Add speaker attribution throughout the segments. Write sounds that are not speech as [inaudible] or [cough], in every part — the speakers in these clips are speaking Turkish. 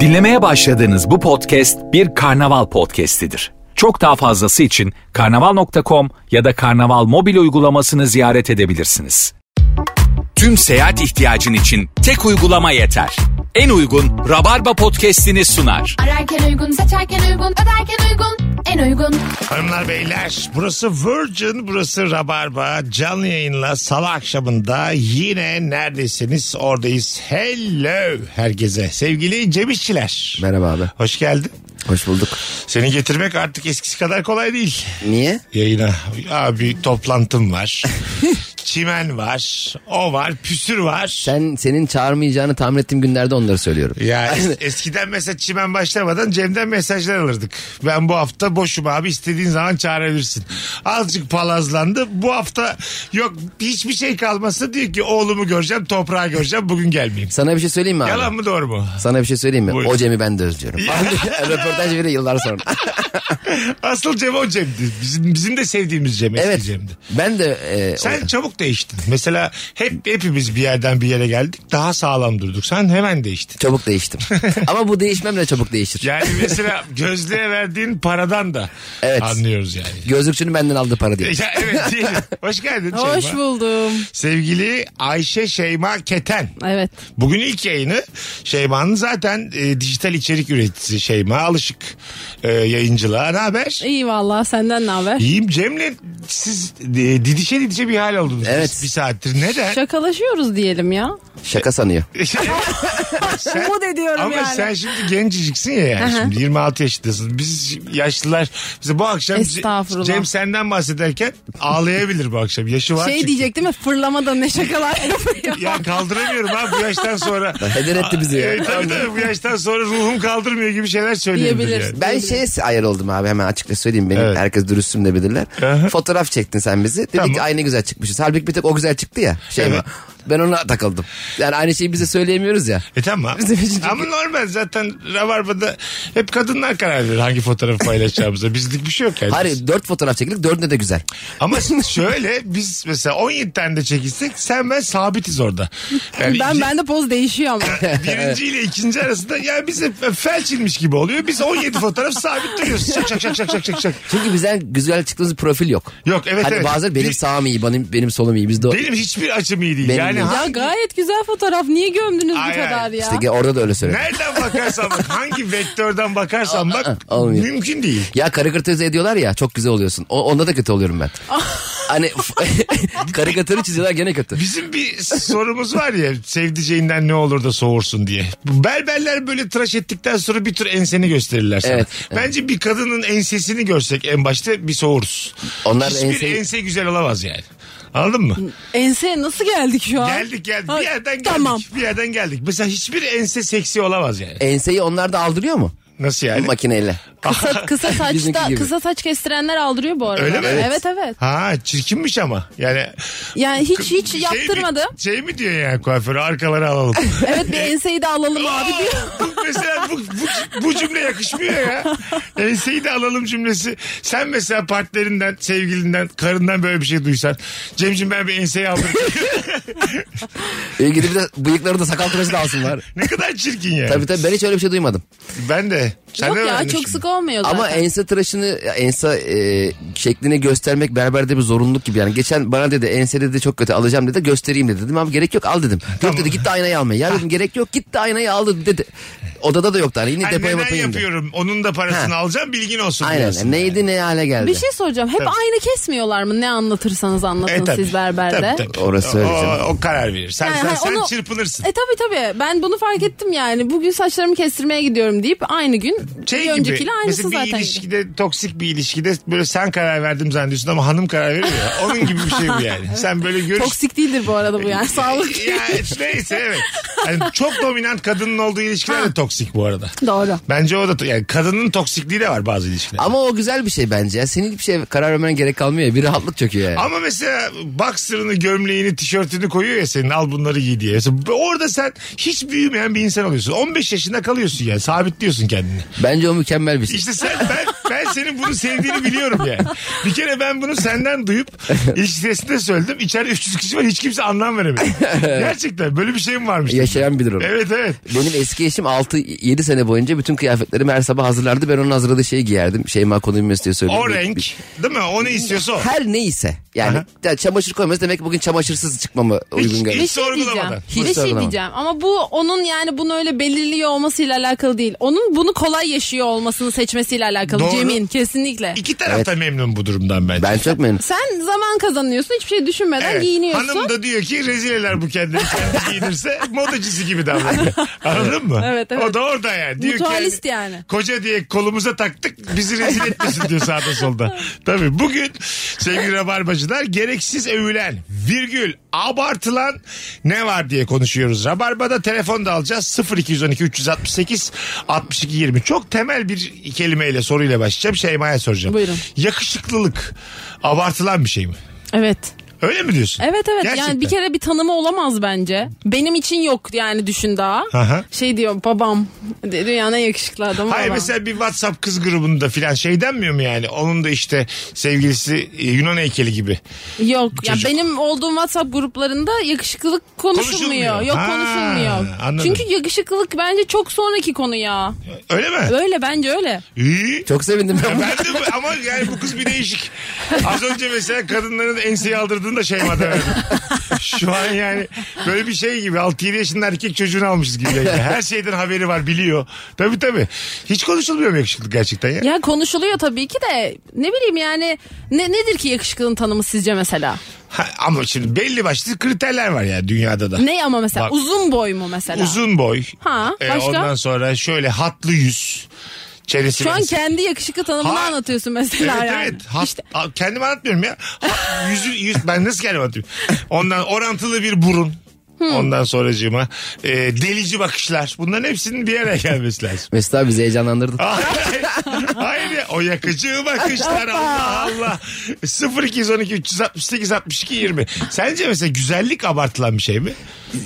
Speaker 1: Dinlemeye başladığınız bu podcast bir karnaval podcastidir. Çok daha fazlası için karnaval.com ya da karnaval mobil uygulamasını ziyaret edebilirsiniz. Tüm seyahat ihtiyacın için tek uygulama yeter. En uygun Rabarba podcastini sunar.
Speaker 2: Ararken uygun, seçerken uygun, öderken uygun, en uygun.
Speaker 3: Hanımlar beyler burası Virgin burası Rabarba canlı yayınla salı akşamında yine neredesiniz oradayız. Hello herkese sevgili Cem İşçiler.
Speaker 4: Merhaba abi.
Speaker 3: Hoş geldin.
Speaker 4: Hoş bulduk.
Speaker 3: Seni getirmek artık eskisi kadar kolay değil.
Speaker 4: Niye?
Speaker 3: Yayına abi toplantım var. Çimen var. O var. Püsür var.
Speaker 4: Sen senin çağırmayacağını tahmin ettiğim günlerde onları söylüyorum.
Speaker 3: Ya
Speaker 4: [laughs]
Speaker 3: es- eskiden mesela çimen başlamadan Cem'den mesajlar alırdık. Ben bu hafta boşum abi istediğin zaman çağırabilirsin. Azıcık palazlandı. Bu hafta yok hiçbir şey kalmasa diyor ki oğlumu göreceğim toprağı göreceğim bugün gelmeyeyim.
Speaker 4: Sana bir şey söyleyeyim mi abi?
Speaker 3: Yalan mı doğru mu?
Speaker 4: Sana bir şey söyleyeyim mi?
Speaker 3: Buyur.
Speaker 4: O Cem'i ben de özlüyorum. [laughs]
Speaker 3: Ya.
Speaker 4: Röportaj bile yıllar
Speaker 3: [laughs]
Speaker 4: sonra.
Speaker 3: Asıl Cem o Cem'di. Bizim, bizim de sevdiğimiz Cem eski
Speaker 4: evet.
Speaker 3: Cem'di.
Speaker 4: Ben de e,
Speaker 3: Sen çabuk değiştin. Mesela hep hepimiz bir yerden bir yere geldik. Daha sağlam durduk. Sen hemen değiştin. [laughs]
Speaker 4: çabuk değiştim. Ama bu değişmemle çabuk değişir.
Speaker 3: Yani
Speaker 4: [laughs]
Speaker 3: mesela gözlüğe verdiğin paradan da
Speaker 4: Evet.
Speaker 3: anlıyoruz yani.
Speaker 4: Gözlükçünün benden aldığı para diye.
Speaker 3: Ya evet değil. Hoş geldin Şeyma.
Speaker 5: Hoş buldum.
Speaker 3: Sevgili Ayşe Şeyma Keten.
Speaker 5: Evet.
Speaker 3: Bugün ilk yayını Şeyma'nın zaten e, dijital içerik üreticisi Şeyma Alışık e, yayıncılığa. Ne haber?
Speaker 5: İyi vallahi senden ne haber?
Speaker 3: İyiyim Cem'le siz e, didişe didişe bir hal oldunuz.
Speaker 4: Evet.
Speaker 3: biz Bir saattir. Neden?
Speaker 5: Şakalaşıyoruz diyelim ya.
Speaker 4: Şaka sanıyor.
Speaker 3: [laughs] Sen-
Speaker 5: Umut ediyorum
Speaker 3: ama
Speaker 5: yani.
Speaker 3: sen şimdi genciciksin ya yani şimdi 26 yaşındasın. Biz yaşlılar mesela bu akşam
Speaker 5: Estağfurullah.
Speaker 3: Cem senden bahsederken ağlayabilir bu akşam. Yaşı var
Speaker 5: Şey
Speaker 3: çünkü.
Speaker 5: diyecek değil mi? Fırlamadan ne şakalar
Speaker 3: [laughs]
Speaker 5: yapıyor.
Speaker 3: Ya kaldıramıyorum abi bu yaştan sonra.
Speaker 4: Heder etti bizi ya.
Speaker 3: E, tabii tabii bu yaştan sonra ruhum kaldırmıyor gibi şeyler söyleyebilir
Speaker 5: Diyebilir.
Speaker 3: yani.
Speaker 4: Ben şeye ayar oldum abi hemen açıkça söyleyeyim. Benim
Speaker 3: Evet.
Speaker 4: herkes dürüstüm de bilirler.
Speaker 3: Aha.
Speaker 4: Fotoğraf çektin sen bizi. Dedik
Speaker 3: Tamam.
Speaker 4: ki ay ne güzel çıkmışız. Halbuki bir tek o güzel çıktı ya. Şey
Speaker 3: Evet.
Speaker 4: Ben ona takıldım. Yani aynı şeyi bize söyleyemiyoruz ya.
Speaker 3: E tamam.
Speaker 4: Bizim için çok-
Speaker 3: Ama normal zaten Rabarba'da hep kadınlar karar verir hangi fotoğrafı paylaşacağımıza. Bizlik bir şey yok yani.
Speaker 4: Hayır dört fotoğraf çekildik dördünde de güzel.
Speaker 3: Ama şöyle biz mesela 17 tane de çekilsek sen ben sabitiz orada. Yani
Speaker 5: ben ben de poz değişiyor
Speaker 3: [laughs]
Speaker 5: ama.
Speaker 3: Birinci ile ikinci arasında yani bize felç inmiş gibi oluyor. Biz 17 fotoğraf sabit duruyoruz. Şak şak şak şak şak şak. şak.
Speaker 4: Çünkü bizden güzel çıktığımız bir profil yok.
Speaker 3: Yok, evet,
Speaker 4: hani
Speaker 3: evet.
Speaker 4: bazıları benim
Speaker 3: Bir-
Speaker 4: sağım iyi benim, benim solum iyi. Biz de o-
Speaker 3: Benim hiçbir açım iyi değil.
Speaker 4: Benim
Speaker 3: yani
Speaker 4: de.
Speaker 3: ha-
Speaker 5: ya gayet güzel fotoğraf. Niye gömdünüz
Speaker 3: Ay,
Speaker 5: bu kadar
Speaker 3: ay.
Speaker 5: ya?
Speaker 4: İşte gel- orada da öyle söylüyor.
Speaker 3: nereden bakarsan bak hangi vektörden bakarsan bak
Speaker 4: Olmuyor.
Speaker 3: mümkün değil.
Speaker 4: Ya karikatürize ediyorlar ya çok güzel oluyorsun. O, onda da kötü oluyorum ben. hani f- [laughs] karikatürü çiziyorlar gene kötü.
Speaker 3: Bizim bir sorumuz var ya sevdiceğinden ne olur da soğursun diye. Berberler böyle tıraş ettikten sonra bir tür enseni gösterirler sana.
Speaker 4: Evet,
Speaker 3: Bence bir kadının ensesini görsek en başta bir soğuruz.
Speaker 4: Onlar da
Speaker 3: Hiçbir
Speaker 4: enseyi-
Speaker 3: ense güzel olamaz yani. Anladın mı?
Speaker 5: Enseye nasıl geldik şu an?
Speaker 3: Geldik geldik.
Speaker 5: Ha,
Speaker 3: Bir yerden geldik.
Speaker 5: Tamam.
Speaker 3: Bir yerden geldik. Mesela hiçbir ense seksi olamaz yani.
Speaker 4: Enseyi onlar da aldırıyor mu?
Speaker 3: Nasıl yani?
Speaker 4: Makineyle.
Speaker 3: [laughs]
Speaker 5: Kısa, kısa
Speaker 4: Bizimki
Speaker 5: saçta
Speaker 4: gibi.
Speaker 5: kısa saç kestirenler aldırıyor bu arada.
Speaker 3: Öyle mi? Evet.
Speaker 5: Evet evet.
Speaker 3: Ha çirkinmiş ama. Yani
Speaker 5: Yani hiç hiç
Speaker 3: Şey mi-
Speaker 5: yaptırmadım.
Speaker 3: Şey mi, diyor yani kuaförü arkaları alalım.
Speaker 5: Evet bir enseyi de alalım abi
Speaker 3: Aa,
Speaker 5: diyor.
Speaker 3: bu- mesela bu, bu, bu cümle yakışmıyor ya. Enseyi de alalım cümlesi. Sen mesela partnerinden, sevgilinden, karından böyle bir şey duysan. Cemcim ben bir enseyi
Speaker 5: [laughs]
Speaker 3: aldım.
Speaker 4: Ee, gidip bir de bıyıkları da sakal tıraşı da alsınlar.
Speaker 3: [laughs] ne kadar çirkin yani.
Speaker 4: tabii tabii ben hiç öyle bir şey duymadım.
Speaker 3: Ben de. [laughs] Sen
Speaker 5: Yok
Speaker 3: de
Speaker 5: ya
Speaker 3: öğrendin
Speaker 5: çok
Speaker 3: şimdi.
Speaker 5: sık olmuyor zaten.
Speaker 4: Ama ense tıraşını ense e, şeklini göstermek berberde bir zorunluluk gibi. Yani geçen bana dedi ense dedi çok kötü alacağım dedi göstereyim dedi. Dedim abi gerek yok
Speaker 3: [laughs]
Speaker 4: al dedim. Yok dedi git de aynayı almaya. Ya dedim gerek yok git de aynayı al dedi. dedi. Odada da yoktu hani yine
Speaker 3: Ay,
Speaker 4: depoya
Speaker 3: neden
Speaker 4: batayım dedi.
Speaker 3: yapıyorum? Onun da parasını alacağım bilgin olsun. diyorsun
Speaker 4: Aynen neydi ne hale
Speaker 3: e-
Speaker 4: geldi.
Speaker 5: Bir şey soracağım. Hep aynı kesmiyorlar mı? Ne anlatırsanız anlatın
Speaker 3: E, tabii.
Speaker 5: siz berberde.
Speaker 3: Tabii, tabii.
Speaker 4: Orası
Speaker 3: o,
Speaker 4: öyle canım.
Speaker 3: o karar verir. Sen,
Speaker 5: Yani
Speaker 3: sen,
Speaker 5: hani
Speaker 3: sen
Speaker 5: onu-
Speaker 3: çırpınırsın.
Speaker 5: E tabii tabii. Ben bunu fark ettim yani. Bugün saçlarımı kestirmeye gidiyorum deyip aynı gün
Speaker 3: şey
Speaker 5: bir
Speaker 3: gibi
Speaker 5: öncekiyle aynısı
Speaker 3: mesela bir
Speaker 5: zaten.
Speaker 3: ilişkide toksik bir ilişkide böyle sen karar verdim zannediyorsun ama hanım karar veriyor ya. Onun gibi bir şey bu yani. Sen böyle görüş...
Speaker 5: Toksik değildir bu arada
Speaker 3: [laughs]
Speaker 5: bu yani. Sağlık.
Speaker 3: Ya, neyse evet. Yani çok dominant kadının olduğu ilişkiler de toksik bu arada.
Speaker 5: Doğru.
Speaker 3: Bence o da yani kadının toksikliği de var bazı ilişkilerde. Ama,
Speaker 4: Ama o güzel bir şey bence ya. Senin hiçbir şeye karar vermen gerek kalmıyor ya. Bir rahatlık çöküyor yani.
Speaker 3: mesela boxer'ını, gömleğini, tişörtünü koyuyor ya senin al bunları giy diye. Mesela orada sen hiç büyümeyen bir insan oluyorsun. 15 yaşında kalıyorsun yani sabitliyorsun kendini.
Speaker 4: Bence o mükemmel bir şey.
Speaker 3: İşte sen ben Ben senin bunu sevdiğini biliyorum yani. Bir kere ben bunu senden
Speaker 4: [laughs]
Speaker 3: duyup iş sitesinde söyledim. İçeride 300 kişi var hiç kimse anlam veremedi. Gerçekten böyle bir şey mi varmış?
Speaker 4: Yaşayan bilir onu.
Speaker 3: Evet evet.
Speaker 4: Benim eski eşim 6-7 sene boyunca bütün kıyafetlerimi her sabah hazırlardı. Ben onun hazırladığı şeyi giyerdim. Şeyma Konuymuş diye söylüyorum.
Speaker 3: O renk değil mi? O ne istiyorsa o.
Speaker 4: Her neyse. Yani
Speaker 3: Aha.
Speaker 4: ya çamaşır koyması demek ki bugün çamaşırsız çıkmamı uygun
Speaker 3: hiç
Speaker 4: geldi.
Speaker 5: Bir şey diyeceğim.
Speaker 3: sorgulamadan.
Speaker 4: Hiç
Speaker 5: bir şey
Speaker 4: sorgulamadan.
Speaker 5: diyeceğim. Ama bu onun yani bunu öyle belirliyor olmasıyla alakalı değil. Onun bunu kolay yaşıyor olmasını seçmesiyle alakalı.
Speaker 3: Doğru.
Speaker 5: Cem'in kesinlikle.
Speaker 3: İki taraf da memnun bu durumdan bence.
Speaker 4: Ben çok memnunum.
Speaker 5: Sen zaman kazanıyorsun. Hiçbir şey düşünmeden
Speaker 3: Evet.
Speaker 5: giyiniyorsun.
Speaker 3: Hanım da diyor ki rezil eder bu kendini. [laughs] Kendisi giyinirse modacısı gibi
Speaker 5: [laughs]
Speaker 3: davranıyor. Anladın mı?
Speaker 5: Evet, evet.
Speaker 3: O da orada yani. Diyor ki
Speaker 5: Mutualist yani.
Speaker 3: Koca diye kolumuza taktık bizi
Speaker 5: [laughs]
Speaker 3: rezil etmesin diyor sağda solda. Tabii bugün sevgili Rabarbacılar gereksiz övülen virgül abartılan ne var diye konuşuyoruz. Rabarba'da telefon da alacağız 0212 368 62 20. Çok temel bir kelimeyle soruyla başlayacağım. Şeyma'ya soracağım.
Speaker 5: Buyurun.
Speaker 3: Yakışıklılık abartılan bir şey mi?
Speaker 5: Evet.
Speaker 3: Öyle mi diyorsun?
Speaker 5: Evet evet
Speaker 3: Gerçekten.
Speaker 5: yani bir kere bir tanımı olamaz bence. Benim için yok yani düşün daha.
Speaker 3: Aha.
Speaker 5: Şey diyor babam dünyanın en yakışıklı adamı
Speaker 3: Hayır
Speaker 5: babam.
Speaker 3: mesela bir WhatsApp kız grubunda filan şey denmiyor mu yani? Onun da işte sevgilisi e, Yunan heykeli gibi.
Speaker 5: Yok ya
Speaker 3: çocuk.
Speaker 5: benim olduğum WhatsApp gruplarında yakışıklılık konuşulmuyor.
Speaker 3: Konuşulmuyor.
Speaker 5: Yok
Speaker 3: Ha,
Speaker 5: konuşulmuyor.
Speaker 3: anladım.
Speaker 5: Çünkü yakışıklılık bence çok sonraki konu ya.
Speaker 3: Öyle mi?
Speaker 5: Öyle bence öyle.
Speaker 3: İyi.
Speaker 4: Çok sevindim
Speaker 3: [laughs]
Speaker 4: ben. buna.
Speaker 3: Ben de bu- ama yani bu kız bir değişik. Az önce mesela kadınların enseyi aldırdığında şey madem. Şu an yani böyle bir şey gibi 6-7 yaşında erkek çocuğunu almışız gibi. yani. Her şeyden haberi var biliyor. Tabii tabii. Hiç konuşulmuyor mu yakışıklık gerçekten ya?
Speaker 5: Ya konuşuluyor tabii ki de ne bileyim yani ne nedir ki yakışıklılığın tanımı sizce mesela?
Speaker 3: Ha, ama şimdi belli başlı kriterler var ya dünyada da.
Speaker 5: Ne ama mesela
Speaker 3: Bak-
Speaker 5: uzun boy mu mesela?
Speaker 3: Uzun boy. E,
Speaker 5: Ha, başka?
Speaker 3: ondan sonra şöyle hatlı yüz. Çenesi
Speaker 5: Şu an
Speaker 3: benzi-
Speaker 5: kendi yakışıklı tanımını
Speaker 3: Ha-
Speaker 5: anlatıyorsun
Speaker 3: Evet
Speaker 5: mesela yani.
Speaker 3: evet. Hat,
Speaker 5: İşte
Speaker 3: a- kendim anlatmıyorum ya. Ha- yüzü, yüz, ben nasıl kendim anlatayım? Ondan orantılı bir burun.
Speaker 5: Hmm.
Speaker 3: Ondan sonracığıma e, delici bakışlar. Bunların hepsinin bir araya gelmesi
Speaker 5: [laughs]
Speaker 3: lazım.
Speaker 4: Mesut abi bizi heyecanlandırdın.
Speaker 3: Ah. Hayır. Hayır ya. O yakıcı bakışlar Allah Allah. 0212 368 62 20. Sence mesela güzellik abartılan bir şey mi?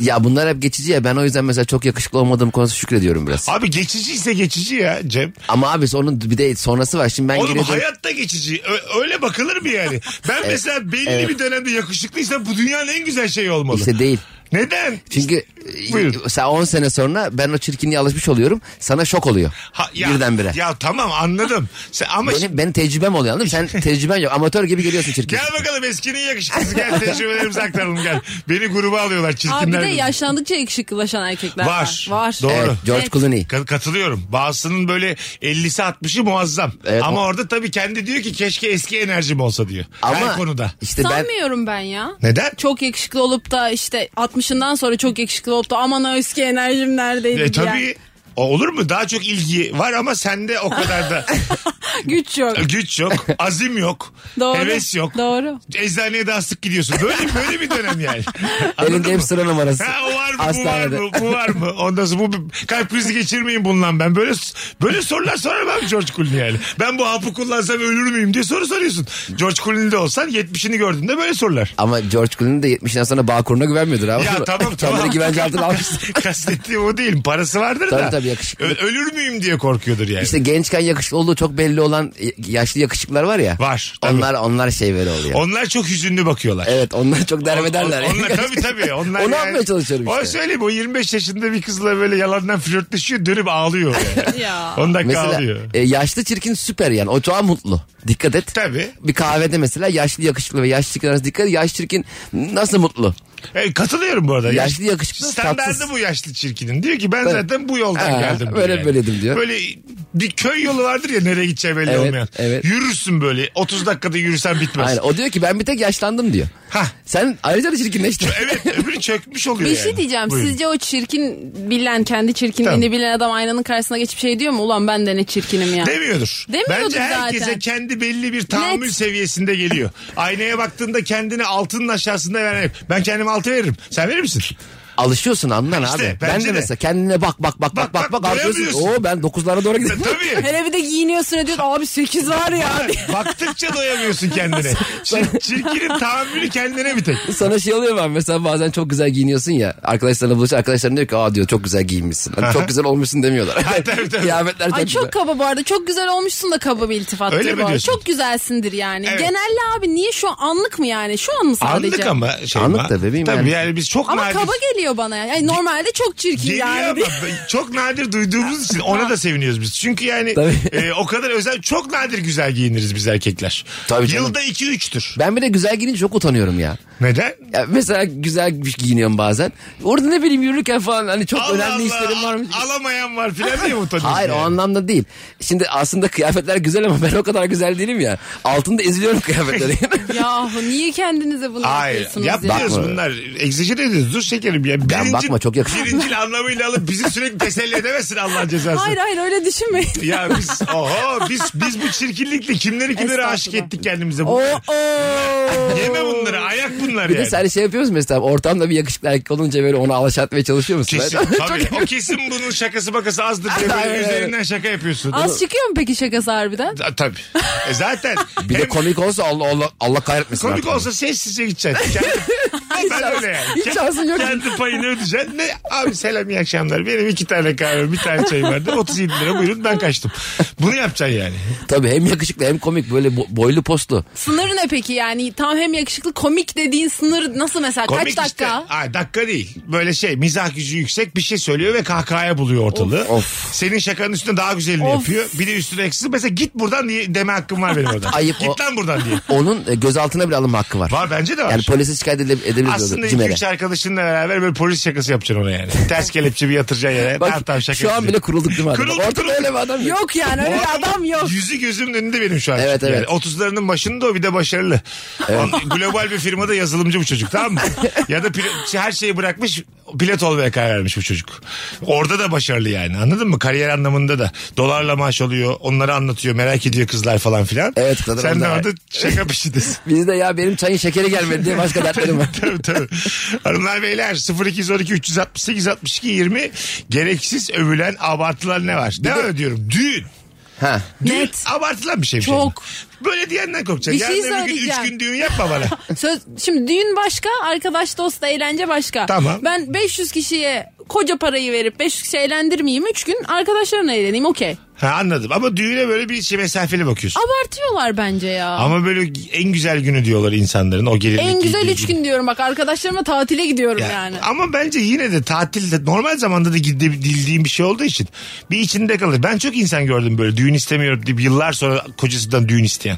Speaker 4: Ya bunlar hep geçici ya. Ben o yüzden mesela çok yakışıklı olmadığım konusu şükrediyorum biraz.
Speaker 3: Abi geçici ise geçici ya Cem.
Speaker 4: Ama abi onun bir de sonrası var. Şimdi ben
Speaker 3: Oğlum
Speaker 4: geliyorum.
Speaker 3: hayat da geçici. Ö- öyle bakılır mı yani?
Speaker 4: [laughs] E,
Speaker 3: Ben mesela belli bir dönemde yakışıklıysam bu dünyanın en güzel şeyi olmalı.
Speaker 4: İşte değil.
Speaker 3: Neden?
Speaker 4: Çünkü
Speaker 3: Buyurun.
Speaker 4: e, sen 10 sene sonra ben o çirkinliğe alışmış oluyorum. Sana şok oluyor.
Speaker 3: Ha, ya,
Speaker 4: Birdenbire.
Speaker 3: Ya tamam anladım. Sen, ama şimdi-
Speaker 4: Benim, benim tecrübem oluyor anladın mı?
Speaker 3: [laughs]
Speaker 4: Sen tecrüben yok. Amatör gibi geliyorsun çirkin.
Speaker 3: gel bakalım eskinin yakışıklısı
Speaker 4: [laughs]
Speaker 3: gel tecrübelerimizi aktaralım gel. Beni gruba alıyorlar
Speaker 5: abi
Speaker 3: çirkinler.
Speaker 5: de
Speaker 3: dedi.
Speaker 5: yaşlandıkça yakışıklılaşan erkekler var.
Speaker 3: Var.
Speaker 5: Var.
Speaker 3: Doğru.
Speaker 4: Evet, George
Speaker 5: Evet.
Speaker 4: Clooney.
Speaker 3: Ka- Katılıyorum. Bazısının böyle 50'si 60'ı muazzam.
Speaker 4: Evet.
Speaker 3: Ama orada tabii kendi diyor ki keşke eski enerjim olsa diyor.
Speaker 4: Ama
Speaker 3: Her konuda.
Speaker 4: işte ben
Speaker 5: Sanmıyorum ben ya.
Speaker 3: Neden?
Speaker 5: Çok yakışıklı olup da işte 60'ından sonra çok yakışıklı olup da aman o eski enerjim neredeydi
Speaker 3: E,
Speaker 5: diye.
Speaker 3: tabii o olur mu? Daha çok ilgi var ama sende o kadar
Speaker 4: [laughs]
Speaker 3: da
Speaker 5: [laughs] Güç yok.
Speaker 3: [laughs] güç yok, azim yok,
Speaker 5: Doğru.
Speaker 3: heves yok.
Speaker 5: Doğru.
Speaker 3: Eczaneye daha sık gidiyorsun. Böyle böyle bir dönem
Speaker 4: [laughs]
Speaker 3: yani. Anladın
Speaker 4: elinde
Speaker 3: mı?
Speaker 4: hep sıra numarası.
Speaker 3: Ha o var mı
Speaker 4: Hastanede.
Speaker 3: bu var mı bu var mı? Ondan sonra bu kalp krizi geçirmeyin bununla ben. Böyle böyle sorular sorarım abi George Clooney yani. Ben bu hapı kullansam ölür müyüm diye soru soruyorsun. George Clooney'de olsan 70'ini gördüğünde böyle sorular.
Speaker 4: Ama George Clooney de 70'den sonra Bağkur'una güvenmiyordur abi.
Speaker 3: Ya
Speaker 4: [laughs]
Speaker 3: tamam tamam.
Speaker 4: Kendini güvence altına almış.
Speaker 3: [laughs] Kastettiğim o değil. Parası vardır
Speaker 4: Tabii
Speaker 3: da.
Speaker 4: tabii, yakışıklı.
Speaker 3: Ö- ölür müyüm diye korkuyordur yani.
Speaker 4: İşte gençken yakışıklı olduğu çok belli olan yaşlı yakışıklılar var ya.
Speaker 3: Var, tabii.
Speaker 4: Onlar onlar şey böyle oluyor.
Speaker 3: Onlar çok hüzünlü bakıyorlar.
Speaker 4: Evet onlar çok derbederler.
Speaker 3: On-
Speaker 4: [laughs]
Speaker 3: Onlar tabii tabii. Onlar
Speaker 4: Onu yapmaya çalışıyorum
Speaker 3: O
Speaker 4: işte.
Speaker 3: söyleyeyim o 25 yaşında bir kızla böyle yalandan flörtleşiyor dönüp ağlıyor. Yani.
Speaker 5: [laughs] Ya.
Speaker 3: 10 dakika
Speaker 4: Mesela
Speaker 3: ağlıyor.
Speaker 4: e, yaşlı çirkin süper yani. O çok mutlu. Dikkat et.
Speaker 3: Tabii.
Speaker 4: Bir kahvede mesela yaşlı yakışıklı ve yaşlı çirkin arasında dikkat et. Yaşlı çirkin nasıl mutlu?
Speaker 3: E, katılıyorum bu arada.
Speaker 4: Yaşlı yakışıklı,
Speaker 3: Standardı
Speaker 4: tatsız.
Speaker 3: bu yaşlı çirkinin. Diyor ki ben
Speaker 4: Tabii.
Speaker 3: zaten bu yoldan
Speaker 4: Ha,
Speaker 3: geldim. diyor
Speaker 4: böyle böyledim diyor.
Speaker 3: Böyle bir köy yolu vardır ya nereye gideceği belli
Speaker 4: Evet,
Speaker 3: olmayan.
Speaker 4: evet.
Speaker 3: Yürürsün böyle 30 dakikada yürürsen bitmez.
Speaker 4: Aynen. O diyor ki ben bir tek yaşlandım diyor.
Speaker 3: Hah.
Speaker 4: Sen ayrıca da çirkinleştin.
Speaker 3: Evet öbürü çökmüş
Speaker 5: Bir
Speaker 3: oluyor
Speaker 5: şey
Speaker 3: yani.
Speaker 5: diyeceğim.
Speaker 3: Buyurun.
Speaker 5: Sizce o çirkin bilen, kendi çirkinliğini
Speaker 3: Tamam.
Speaker 5: bilen adam aynanın karşısına geçip şey diyor mu? Ulan ben de ne çirkinim ya.
Speaker 3: Demiyordur.
Speaker 5: Demiyordur
Speaker 3: Bence herkese
Speaker 5: zaten.
Speaker 3: kendi belli bir tahammül
Speaker 5: Net.
Speaker 3: seviyesinde
Speaker 5: [laughs]
Speaker 3: geliyor. Aynaya baktığında kendini altının aşağısında veren. Ben kendime altı veririm. Sen verir misin?
Speaker 4: alışıyorsun anlar
Speaker 3: İşte,
Speaker 4: abi. Ben
Speaker 3: bence
Speaker 4: de
Speaker 3: de.
Speaker 4: mesela kendine bak bak bak bak bak
Speaker 3: bak,
Speaker 4: bak alıyorsun.
Speaker 3: doyamıyorsun.
Speaker 4: Oo ben 9'lara doğru gidiyorum.
Speaker 3: E,
Speaker 5: [laughs]
Speaker 3: Tabii.
Speaker 5: Hele bir de giyiniyorsun ediyorsun. Abi 8 var ya. diye.
Speaker 3: Baktıkça doyamıyorsun kendine. Çir- çirkinin tahammülü kendine bir tek.
Speaker 4: Sana şey oluyor ben mesela bazen çok güzel giyiniyorsun ya. Arkadaşlarına buluşuyor. Arkadaşların diyor ki aa diyor çok güzel giyinmişsin. Hani çok güzel olmuşsun demiyorlar.
Speaker 3: tabii, tabii.
Speaker 4: [laughs] Kıyafetler çok,
Speaker 5: Ay
Speaker 4: güzel.
Speaker 5: çok kaba bu arada. Çok güzel olmuşsun da kaba bir iltifattır
Speaker 3: Öyle mi
Speaker 5: bu arada.
Speaker 3: diyorsun?
Speaker 5: Çok güzelsindir yani.
Speaker 3: Evet.
Speaker 5: Genelde abi niye şu an anlık mı yani? Şu an mı sadece?
Speaker 3: Anlık ama şey
Speaker 4: Anlık da bebeğim
Speaker 3: Tabii yani.
Speaker 4: yani.
Speaker 3: biz çok
Speaker 5: Ama
Speaker 3: nadir.
Speaker 5: kaba geliyor bana. ya. Yani normalde çok çirkin
Speaker 3: Geliyor
Speaker 5: yani.
Speaker 3: ama çok nadir duyduğumuz için ona da seviniyoruz biz. Çünkü yani
Speaker 4: Tabii.
Speaker 3: e, o kadar özel çok nadir güzel giyiniriz biz erkekler.
Speaker 4: Tabii canım.
Speaker 3: Yılda 2-3'tür.
Speaker 4: Ben bir de güzel giyinince çok utanıyorum ya.
Speaker 3: Neden?
Speaker 4: ya. Mesela güzel bir giyiniyorum bazen. Orada ne bileyim yürürken falan hani çok
Speaker 3: Allah
Speaker 4: önemli
Speaker 3: Allah,
Speaker 4: işlerim varmış.
Speaker 3: Alamayan var filan diye mi utanıyorsun?
Speaker 4: [laughs] Hayır o
Speaker 3: yani?
Speaker 4: anlamda değil. Şimdi aslında kıyafetler güzel ama ben o kadar güzel değilim ya. Altında
Speaker 3: [laughs]
Speaker 4: eziliyorum kıyafetleri.
Speaker 5: [laughs] Yahu niye kendinize bunu
Speaker 3: Hayır.
Speaker 5: yapıyorsunuz ya?
Speaker 3: Yapmıyoruz
Speaker 4: Bakma.
Speaker 3: bunlar. Egzajere ediyoruz. Dur şekerim ya. Birinci,
Speaker 4: bakma, çok yakışıyor.
Speaker 3: Birincil anlamıyla alıp bizi sürekli teselli edemezsin Allah'ın cezası.
Speaker 5: Hayır hayır öyle düşünmeyin.
Speaker 3: Ya biz oho biz biz bu çirkinlikle kimleri kimlere aşık
Speaker 5: Estağfurullah.
Speaker 3: ettik kendimize. Bu,
Speaker 5: Oo.
Speaker 3: Yeme bunları ayak bunlar
Speaker 4: bir de
Speaker 3: yani.
Speaker 4: sen şey yapıyoruz mesela ortamda bir yakışıklı erkek olunca böyle ona alışatmaya çalışıyor musun?
Speaker 3: Kesin, tabii. O kesin bunun şakası bakası azdır diye böyle
Speaker 4: Aynen, aynen.
Speaker 3: üzerinden şaka yapıyorsun.
Speaker 5: Az çıkıyor mu peki şakası harbiden?
Speaker 3: Ta- tabii. E zaten
Speaker 4: Bir de
Speaker 3: hem
Speaker 4: komik olsa Allah Allah Allah kahretmesin.
Speaker 3: komik
Speaker 4: artık.
Speaker 3: olsa sessizce
Speaker 4: [laughs]
Speaker 3: gideceksin. Kendi, ben öyle yani.
Speaker 4: hiç şansın yok.
Speaker 3: Kendi payını ödeyeceksin. Ne? Abi selam iyi akşamlar. Benim iki tane kahve bir tane çay
Speaker 4: [laughs]
Speaker 3: vardı. 37 lira buyurun ben kaçtım. Bunu yapacaksın yani.
Speaker 4: Tabii hem yakışıklı hem komik böyle bo- boylu postlu.
Speaker 5: Sınırı ne peki yani? Tam hem yakışıklı komik dediğin sınır nasıl mesela?
Speaker 3: Komik
Speaker 5: Kaç dakika?
Speaker 3: Işte. Ay, dakika değil. Böyle şey mizah gücü yüksek bir şey söylüyor ve kahkahaya buluyor ortalığı.
Speaker 4: Of.
Speaker 3: Senin şakanın üstüne daha güzelini
Speaker 5: Of.
Speaker 3: yapıyor. Bir de üstüne eksisi. Mesela git buradan diye deme hakkım var benim orada.
Speaker 4: [laughs] Ayıp
Speaker 3: git
Speaker 4: o-
Speaker 3: lan buradan diye.
Speaker 4: Onun e, gözaltına bile alınma hakkı var.
Speaker 3: Var bence de var.
Speaker 4: Yani polise şikayet edile- edebiliriz.
Speaker 3: Aslında
Speaker 4: orada, Cimer'e.
Speaker 3: 2-3 arkadaşınla beraber böyle polis şakası yapacaksın ona yani. Ters kelepçe bir yatıracaksın yere.
Speaker 4: Bak
Speaker 3: tamam tamam şaka
Speaker 4: şu an
Speaker 3: yapacağız.
Speaker 4: bile kurulduk değil mi? adam?
Speaker 3: Kurulduk,
Speaker 4: Ortada
Speaker 3: kurulduk.
Speaker 4: öyle bir adam yok.
Speaker 5: Yok yani öyle bir
Speaker 4: [laughs]
Speaker 5: adam yok.
Speaker 3: Yüzü gözümün önünde benim şu an.
Speaker 4: Evet,
Speaker 3: Yani
Speaker 4: evet.
Speaker 3: 30'larının başında o bir de başarılı. O- Global bir firmada yazılımcı bu çocuk tamam
Speaker 4: [laughs]
Speaker 3: mı? ya da pil- her şeyi bırakmış pilot olmaya karar vermiş bu çocuk. Orada da başarılı yani anladın mı? Kariyer anlamında da. Dolarla maaş alıyor onları anlatıyor merak ediyor kızlar falan filan.
Speaker 4: Evet, kadın
Speaker 3: Sen de
Speaker 4: onda-
Speaker 3: orada şaka
Speaker 4: [laughs]
Speaker 3: peşindesin.
Speaker 4: Bizde ya benim çayın şekeri gelmedi
Speaker 3: [laughs]
Speaker 4: diye başka dertlerim var.
Speaker 3: tabii tabii. Hanımlar beyler 0212 368 62 20 gereksiz övülen abartılan ne var? Ne ödüyorum? Düğün.
Speaker 4: ha.
Speaker 3: Düğün
Speaker 5: Net.
Speaker 3: abartılan bir şey. bir şey.
Speaker 5: Çok.
Speaker 3: Böyle diyenden korkacaksın.
Speaker 5: Bir şey
Speaker 3: Yarın öbür gün 3
Speaker 5: söyleyeceğim.
Speaker 3: gün düğün yapma bana.
Speaker 5: Söz, şimdi düğün başka, arkadaş dost eğlence başka.
Speaker 3: Tamam.
Speaker 5: Ben 500 kişiye koca parayı verip 500 kişi eğlendirmeyeyim. 3 gün arkadaşlarımla eğleneyim okey.
Speaker 3: ha, anladım ama düğüne böyle bir şey mesafeli bakıyorsun.
Speaker 5: Abartıyorlar bence ya.
Speaker 3: Ama böyle en güzel günü diyorlar insanların o gelinlik.
Speaker 5: en güzel
Speaker 3: giydiği
Speaker 5: 3 gün diyorum bak arkadaşlarımla tatile gidiyorum
Speaker 3: Ya,
Speaker 5: yani.
Speaker 3: Ama bence yine de tatilde normal zamanda da gidildiğim bir şey olduğu için bir içinde kalır. Ben çok insan gördüm böyle düğün istemiyorum deyip yıllar sonra kocasından düğün isteyen.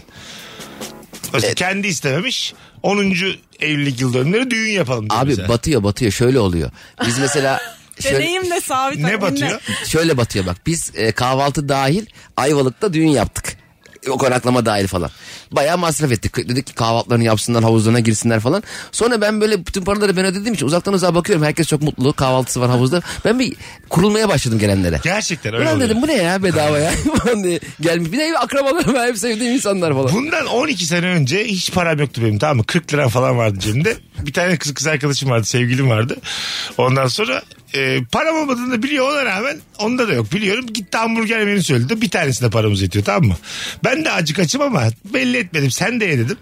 Speaker 3: Mesela kendi istememiş. 10. evlilik yıl dönümleri düğün yapalım diyor
Speaker 4: Abi
Speaker 3: mesela.
Speaker 4: batıyor batıyor şöyle oluyor. Biz
Speaker 5: [laughs]
Speaker 4: mesela şöyle,
Speaker 5: Deneyim de sabit.
Speaker 3: ne batıyor?
Speaker 4: şöyle batıyor bak biz e, kahvaltı dahil Ayvalık'ta düğün yaptık. E, O konaklama dahil falan. Bayağı masraf ettik. Dedik ki kahvaltılarını yapsınlar havuzlarına girsinler falan. Sonra ben böyle bütün paraları ben ödediğim için uzaktan uzağa bakıyorum. Herkes çok mutlu kahvaltısı var havuzda. Ben bir kurulmaya başladım gelenlere.
Speaker 3: Gerçekten öyle
Speaker 4: Ulan
Speaker 3: oluyor.
Speaker 4: dedim bu ne ya bedava ya. [laughs] Falan diye Gelmiş bir de akrabalarım var, hep sevdiğim insanlar falan.
Speaker 3: Bundan 12 sene önce hiç param yoktu benim tamam mı? 40 lira falan vardı cebimde. [laughs] Bir tane kız kız arkadaşım vardı, sevgilim vardı. Ondan sonra e, param olmadığını da biliyor ona rağmen onda da yok biliyorum. Gitti hamburger menü söyledi. Bir tanesinde paramız yetiyor tamam mı? Ben de acık açım ama belli etmedim. Sen de ye dedim.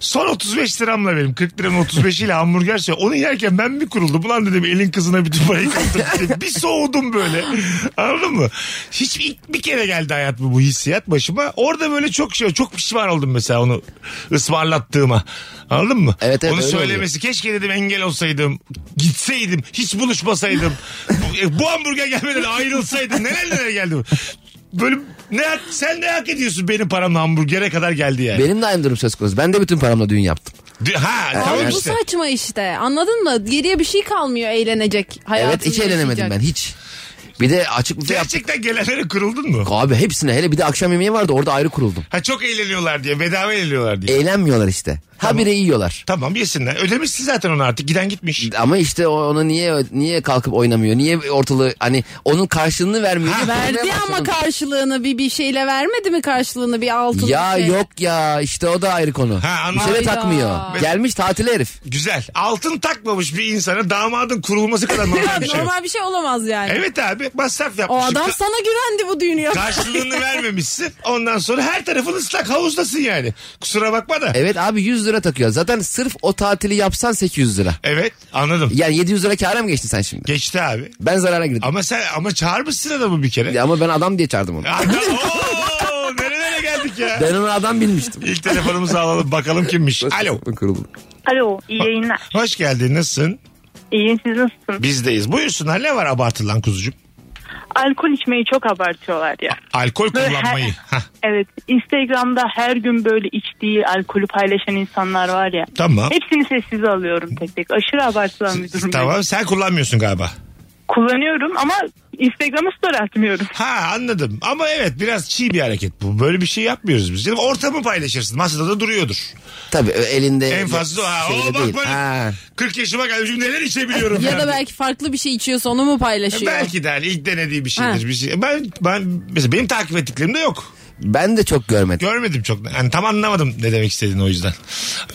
Speaker 3: Son 35 liramla benim 40 liranın 35'iyle hamburger söyledi. Onu yerken ben bir kuruldum. Ulan dedim elin kızına bütün parayı
Speaker 4: [laughs]
Speaker 3: kaptırdım. bir soğudum böyle. Anladın mı? Hiç ilk bir kere geldi hayatımda bu hissiyat başıma. Orada böyle çok şey çok pişman oldum mesela onu ısmarlattığıma. Anladın mı?
Speaker 4: Evet, evet,
Speaker 3: onu
Speaker 4: öyle
Speaker 3: söylemesi. Keşke dedim engel olsaydım. Gitseydim. Hiç buluşmasaydım. bu, bu hamburger gelmeden ayrılsaydım. Neler neler geldi. Böyle ne, sen ne hak ediyorsun benim paramla hamburgere kadar geldi yani.
Speaker 4: Benim de aynı durum söz konusu. Ben de bütün paramla düğün yaptım.
Speaker 3: Ha tamam
Speaker 5: Ama bu
Speaker 3: işte.
Speaker 5: saçma işte anladın mı? Geriye bir şey kalmıyor eğlenecek. hayatında
Speaker 4: evet hiç eğlenemedim
Speaker 5: yaşayacak.
Speaker 4: ben hiç. Bir de açık büfe yaptık.
Speaker 3: Gerçekten gelenlere kuruldun mu?
Speaker 4: Abi hepsine hele bir de akşam yemeği vardı orada ayrı kuruldum.
Speaker 3: Ha çok eğleniyorlar diye bedava eğleniyorlar diye.
Speaker 4: Eğlenmiyorlar işte. Habire yiyorlar.
Speaker 3: Tamam yesinler. Ödemişsin zaten onu artık. Giden gitmiş.
Speaker 4: Ama işte o- ona niye niye kalkıp oynamıyor? Niye ortalığı hani onun karşılığını vermiyor? diye
Speaker 5: Verdi
Speaker 4: korkmaya
Speaker 5: ama
Speaker 4: başladım.
Speaker 5: karşılığını bir bir şeyle vermedi mi karşılığını bir altın
Speaker 4: Ya
Speaker 5: şey?
Speaker 4: yok ya işte o da ayrı konu.
Speaker 3: Ha,
Speaker 4: bir
Speaker 3: anladım.
Speaker 4: şeye
Speaker 5: Hayda.
Speaker 4: takmıyor. Gelmiş tatile herif.
Speaker 3: Güzel. Altın takmamış bir insana damadın kurulması kadar normal bir şey. yok.
Speaker 5: Normal bir şey olamaz yani.
Speaker 3: Evet abi masraf
Speaker 5: O
Speaker 3: yapmışsın.
Speaker 5: adam
Speaker 3: Ka-
Speaker 5: sana güvendi bu düğünü yap.
Speaker 3: Karşılığını vermemişsin. Ondan sonra her tarafın ıslak havuzdasın yani. Kusura bakma da. Evet.
Speaker 4: Evet abi 100 lira takıyor. Zaten sırf o tatili yapsan 800 lira.
Speaker 3: anladım.
Speaker 4: Yani 700 lira kâra mı geçtin sen şimdi?
Speaker 3: Geçti abi.
Speaker 4: Ben zarara girdim.
Speaker 3: Ama sen ama çağırmışsın adamı bir kere.
Speaker 4: Ya Ama ben adam diye çağırdım onu.
Speaker 3: Adam, ooo, nerelere geldik ya.
Speaker 4: Ben onu adam bilmiştim.
Speaker 3: İlk telefonumuzu alalım bakalım kimmiş. Alo.
Speaker 4: Kırıldı.
Speaker 6: Alo iyi yayınlar.
Speaker 3: Hoş geldin nasılsın?
Speaker 6: İyiyim siz nasılsınız?
Speaker 3: Bizdeyiz. Buyursunlar ne var abartılan kuzucuğum?
Speaker 6: Alkol içmeyi çok abartıyorlar ya.
Speaker 3: Alkol
Speaker 6: Böyle
Speaker 3: kullanmayı.
Speaker 6: her-
Speaker 3: Hah,
Speaker 6: evet Instagram'da her gün böyle içtiği alkolü paylaşan insanlar var ya.
Speaker 3: tamam.
Speaker 6: Hepsini sessize alıyorum tek tek. Aşırı abartılan bir durum. yani.
Speaker 3: Tamam sen kullanmıyorsun galiba.
Speaker 6: Kullanıyorum ama Instagram'ı story atmıyorum.
Speaker 3: Ha anladım. Ama evet biraz çiğ bir hareket bu. Böyle bir şey yapmıyoruz biz. Canım ortamı paylaşırsın. Masada da duruyordur.
Speaker 4: Tabii ö- elinde.
Speaker 3: en fazla o. ha.
Speaker 4: şeyde
Speaker 3: O bak
Speaker 4: değil.
Speaker 3: böyle
Speaker 4: Ha.
Speaker 3: 40 yaşıma gelmişim neler içebiliyorum.
Speaker 5: Ya da
Speaker 3: yani.
Speaker 5: belki farklı bir şey içiyorsa onu mu paylaşıyor?
Speaker 3: Belki de hani ilk denediği bir şeydir.
Speaker 5: Ha.
Speaker 3: Bir şey. Ben, ben mesela benim takip ettiklerim de yok.
Speaker 4: Ben de çok görmedim.
Speaker 3: Görmedim çok. Yani tam anlamadım ne demek istediğini o yüzden.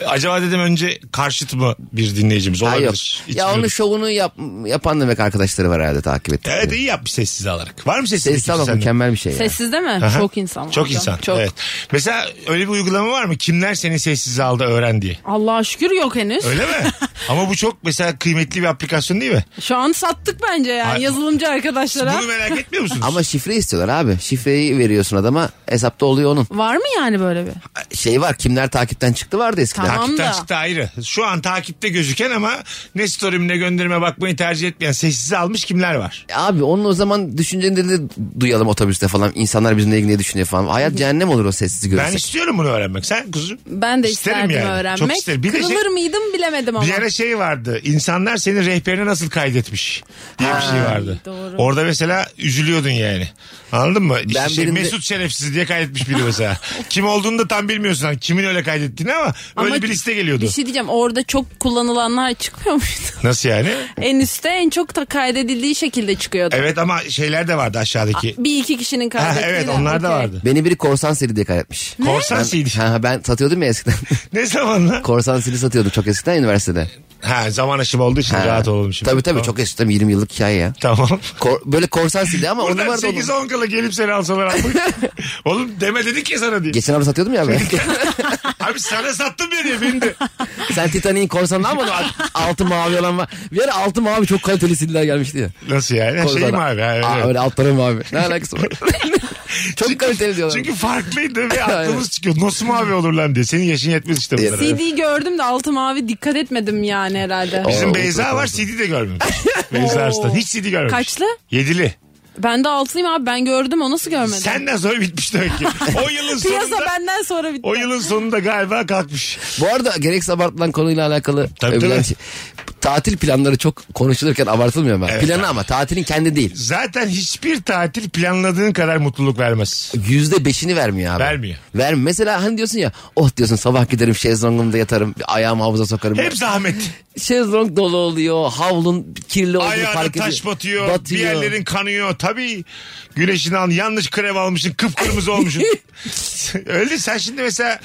Speaker 3: Acaba dedim önce karşıt mı bir dinleyicimiz
Speaker 4: Ha, yok.
Speaker 3: olabilir.
Speaker 4: Ya onun
Speaker 3: İçmiyordur.
Speaker 4: şovunu yap- yapan demek arkadaşları var herhalde takip ettik.
Speaker 3: Evet iyi yapmış sessiz alarak. Var mı sessiz?
Speaker 4: Sessiz ama mükemmel bir şey ya.
Speaker 5: Sessizde mi?
Speaker 3: Aha.
Speaker 5: Çok insan var.
Speaker 3: Çok
Speaker 5: hocam.
Speaker 3: insan. Evet. Mesela öyle bir uygulama var mı? Kimler seni sessiz aldı öğren diye.
Speaker 5: Allah'a şükür yok henüz.
Speaker 3: Öyle [laughs] mi? Ama bu çok mesela kıymetli bir aplikasyon değil mi?
Speaker 5: Şu an sattık bence yani
Speaker 3: Ay-
Speaker 5: yazılımcı arkadaşlara.
Speaker 3: Bunu merak etmiyor musunuz?
Speaker 4: Ama şifre istiyorlar abi. Şifreyi veriyorsun adama hesapta oluyor onun.
Speaker 5: Var mı yani böyle bir?
Speaker 4: Şey var kimler takipten çıktı vardı eskiden.
Speaker 5: Tamam.
Speaker 3: [laughs] Takipten
Speaker 5: da.
Speaker 3: çıktı ayrı. Şu an takipte gözüken ama ne story'im ne gönderime bakmayı tercih etmeyen sessize almış kimler var?
Speaker 4: Abi onun o zaman düşüncelerini de duyalım otobüste falan. İnsanlar bizimle ilgili ne düşünüyor falan. Hayat cehennem olur o sessiz
Speaker 3: Ben
Speaker 4: görürsek.
Speaker 3: istiyorum bunu öğrenmek. Sen kuzum?
Speaker 5: Ben de
Speaker 3: İsterim
Speaker 5: isterdim
Speaker 3: yani.
Speaker 5: öğrenmek.
Speaker 3: Çok isterim. Bir de
Speaker 5: Kırılır
Speaker 3: şey-
Speaker 5: mıydım bilemedim ama.
Speaker 3: Bir ara şey vardı. İnsanlar senin rehberine nasıl kaydetmiş diye bir şey vardı.
Speaker 5: doğru.
Speaker 3: Orada mesela üzülüyordun yani. Anladın mı? İşte
Speaker 4: Ben
Speaker 3: şey,
Speaker 4: birinde-
Speaker 3: Mesut şerefsiz diye kaydetmiş biri
Speaker 5: [laughs]
Speaker 3: mesela. Kim olduğunu da tam bilmiyorsun. Hani kimin öyle kaydettiğini ama,
Speaker 5: Ama
Speaker 3: öyle bir liste geliyordu.
Speaker 5: Bir şey diyeceğim orada çok kullanılanlar çıkmıyor muydu? [laughs]
Speaker 3: Nasıl yani?
Speaker 5: en üstte en çok da kaydedildiği şekilde çıkıyordu.
Speaker 3: Evet ama şeyler de vardı aşağıdaki.
Speaker 5: Bir iki kişinin
Speaker 3: Ha,
Speaker 5: kaydettiği.
Speaker 3: evet
Speaker 5: de,
Speaker 3: onlar da
Speaker 5: okey.
Speaker 3: vardı.
Speaker 4: Beni biri korsan seri diye kaydetmiş.
Speaker 3: Korsan CD.
Speaker 4: Ben, ha, ben satıyordum ya eskiden.
Speaker 3: [laughs]
Speaker 4: [laughs]
Speaker 3: Ne zaman lan?
Speaker 4: korsan seri satıyordum çok eskiden üniversitede.
Speaker 3: Ha zaman aşımı olduğu için
Speaker 4: Ha.
Speaker 3: rahat olalım şimdi.
Speaker 4: Tabii tabii
Speaker 3: Tamam.
Speaker 4: çok eskiden 20 yıllık hikaye ya.
Speaker 3: Tamam.
Speaker 4: Kor- böyle korsan seri ama
Speaker 3: [laughs]
Speaker 4: o
Speaker 3: Buradan
Speaker 4: numarada oğlum.
Speaker 3: 8-10 kala gelip seni alsalar
Speaker 5: [laughs]
Speaker 3: abi. Oğlum deme dedik ya sana diye.
Speaker 4: Geçen hafta satıyordum
Speaker 3: [laughs]
Speaker 4: ya ben.
Speaker 3: Abi sana sattım ya diye beni de.
Speaker 4: Sen Titanic'in korsanını almadın mı? Alt- Altı mavi olan var. Bir ara altı mavi çok kaliteli CD'ler gelmişti ya.
Speaker 3: Nasıl yani? Korsan. Şey mi abi? Ha,
Speaker 4: Aa,
Speaker 3: evet.
Speaker 4: öyle altları mavi. Ne
Speaker 3: [laughs]
Speaker 4: alakası var? çok kaliteli diyorlar.
Speaker 3: Çünkü farklıydı
Speaker 4: [laughs]
Speaker 3: ve aklımız çıkıyor. Nasıl mavi olur lan diye. Senin yaşın yetmez işte bunlara.
Speaker 5: CD gördüm de altı mavi dikkat etmedim yani herhalde.
Speaker 3: Bizim
Speaker 4: Oo,
Speaker 3: Beyza var CD de görmemiş.
Speaker 4: [laughs]
Speaker 3: Beyza Arslan. Hiç CD görmemiş.
Speaker 5: Kaçlı?
Speaker 3: Yedili.
Speaker 5: Ben de altıyım abi ben gördüm o nasıl görmedim?
Speaker 3: Senden sonra bitmiş demek ki. O yılın
Speaker 5: Piyasa
Speaker 3: sonunda...
Speaker 5: benden sonra bitti.
Speaker 3: O yılın sonunda galiba kalkmış.
Speaker 4: Bu arada gereksiz abartılan konuyla alakalı
Speaker 3: Tabii,
Speaker 4: övülen
Speaker 3: tabii.
Speaker 4: şey- Tatil planları çok konuşulurken abartılmıyor mu?
Speaker 3: Evet,
Speaker 4: Planı
Speaker 3: abi.
Speaker 4: ama tatilin kendi değil.
Speaker 3: Zaten hiçbir tatil planladığın kadar mutluluk vermez.
Speaker 4: Yüzde beşini vermiyor abi.
Speaker 3: Vermiyor.
Speaker 4: Vermiyor. Mesela hani diyorsun ya oh diyorsun sabah giderim şezlongumda yatarım ayağımı havuza sokarım.
Speaker 3: Hep zahmet.
Speaker 4: Şezlong dolu oluyor havlun kirli olduğunu
Speaker 3: Ayağına
Speaker 4: fark ediyor.
Speaker 3: taş batıyor, Bir yerlerin kanıyor. Tabii güneşin al yanlış krem almışsın. Kıpkırmızı
Speaker 4: [laughs]
Speaker 3: olmuşsun. Öyle değil. sen şimdi mesela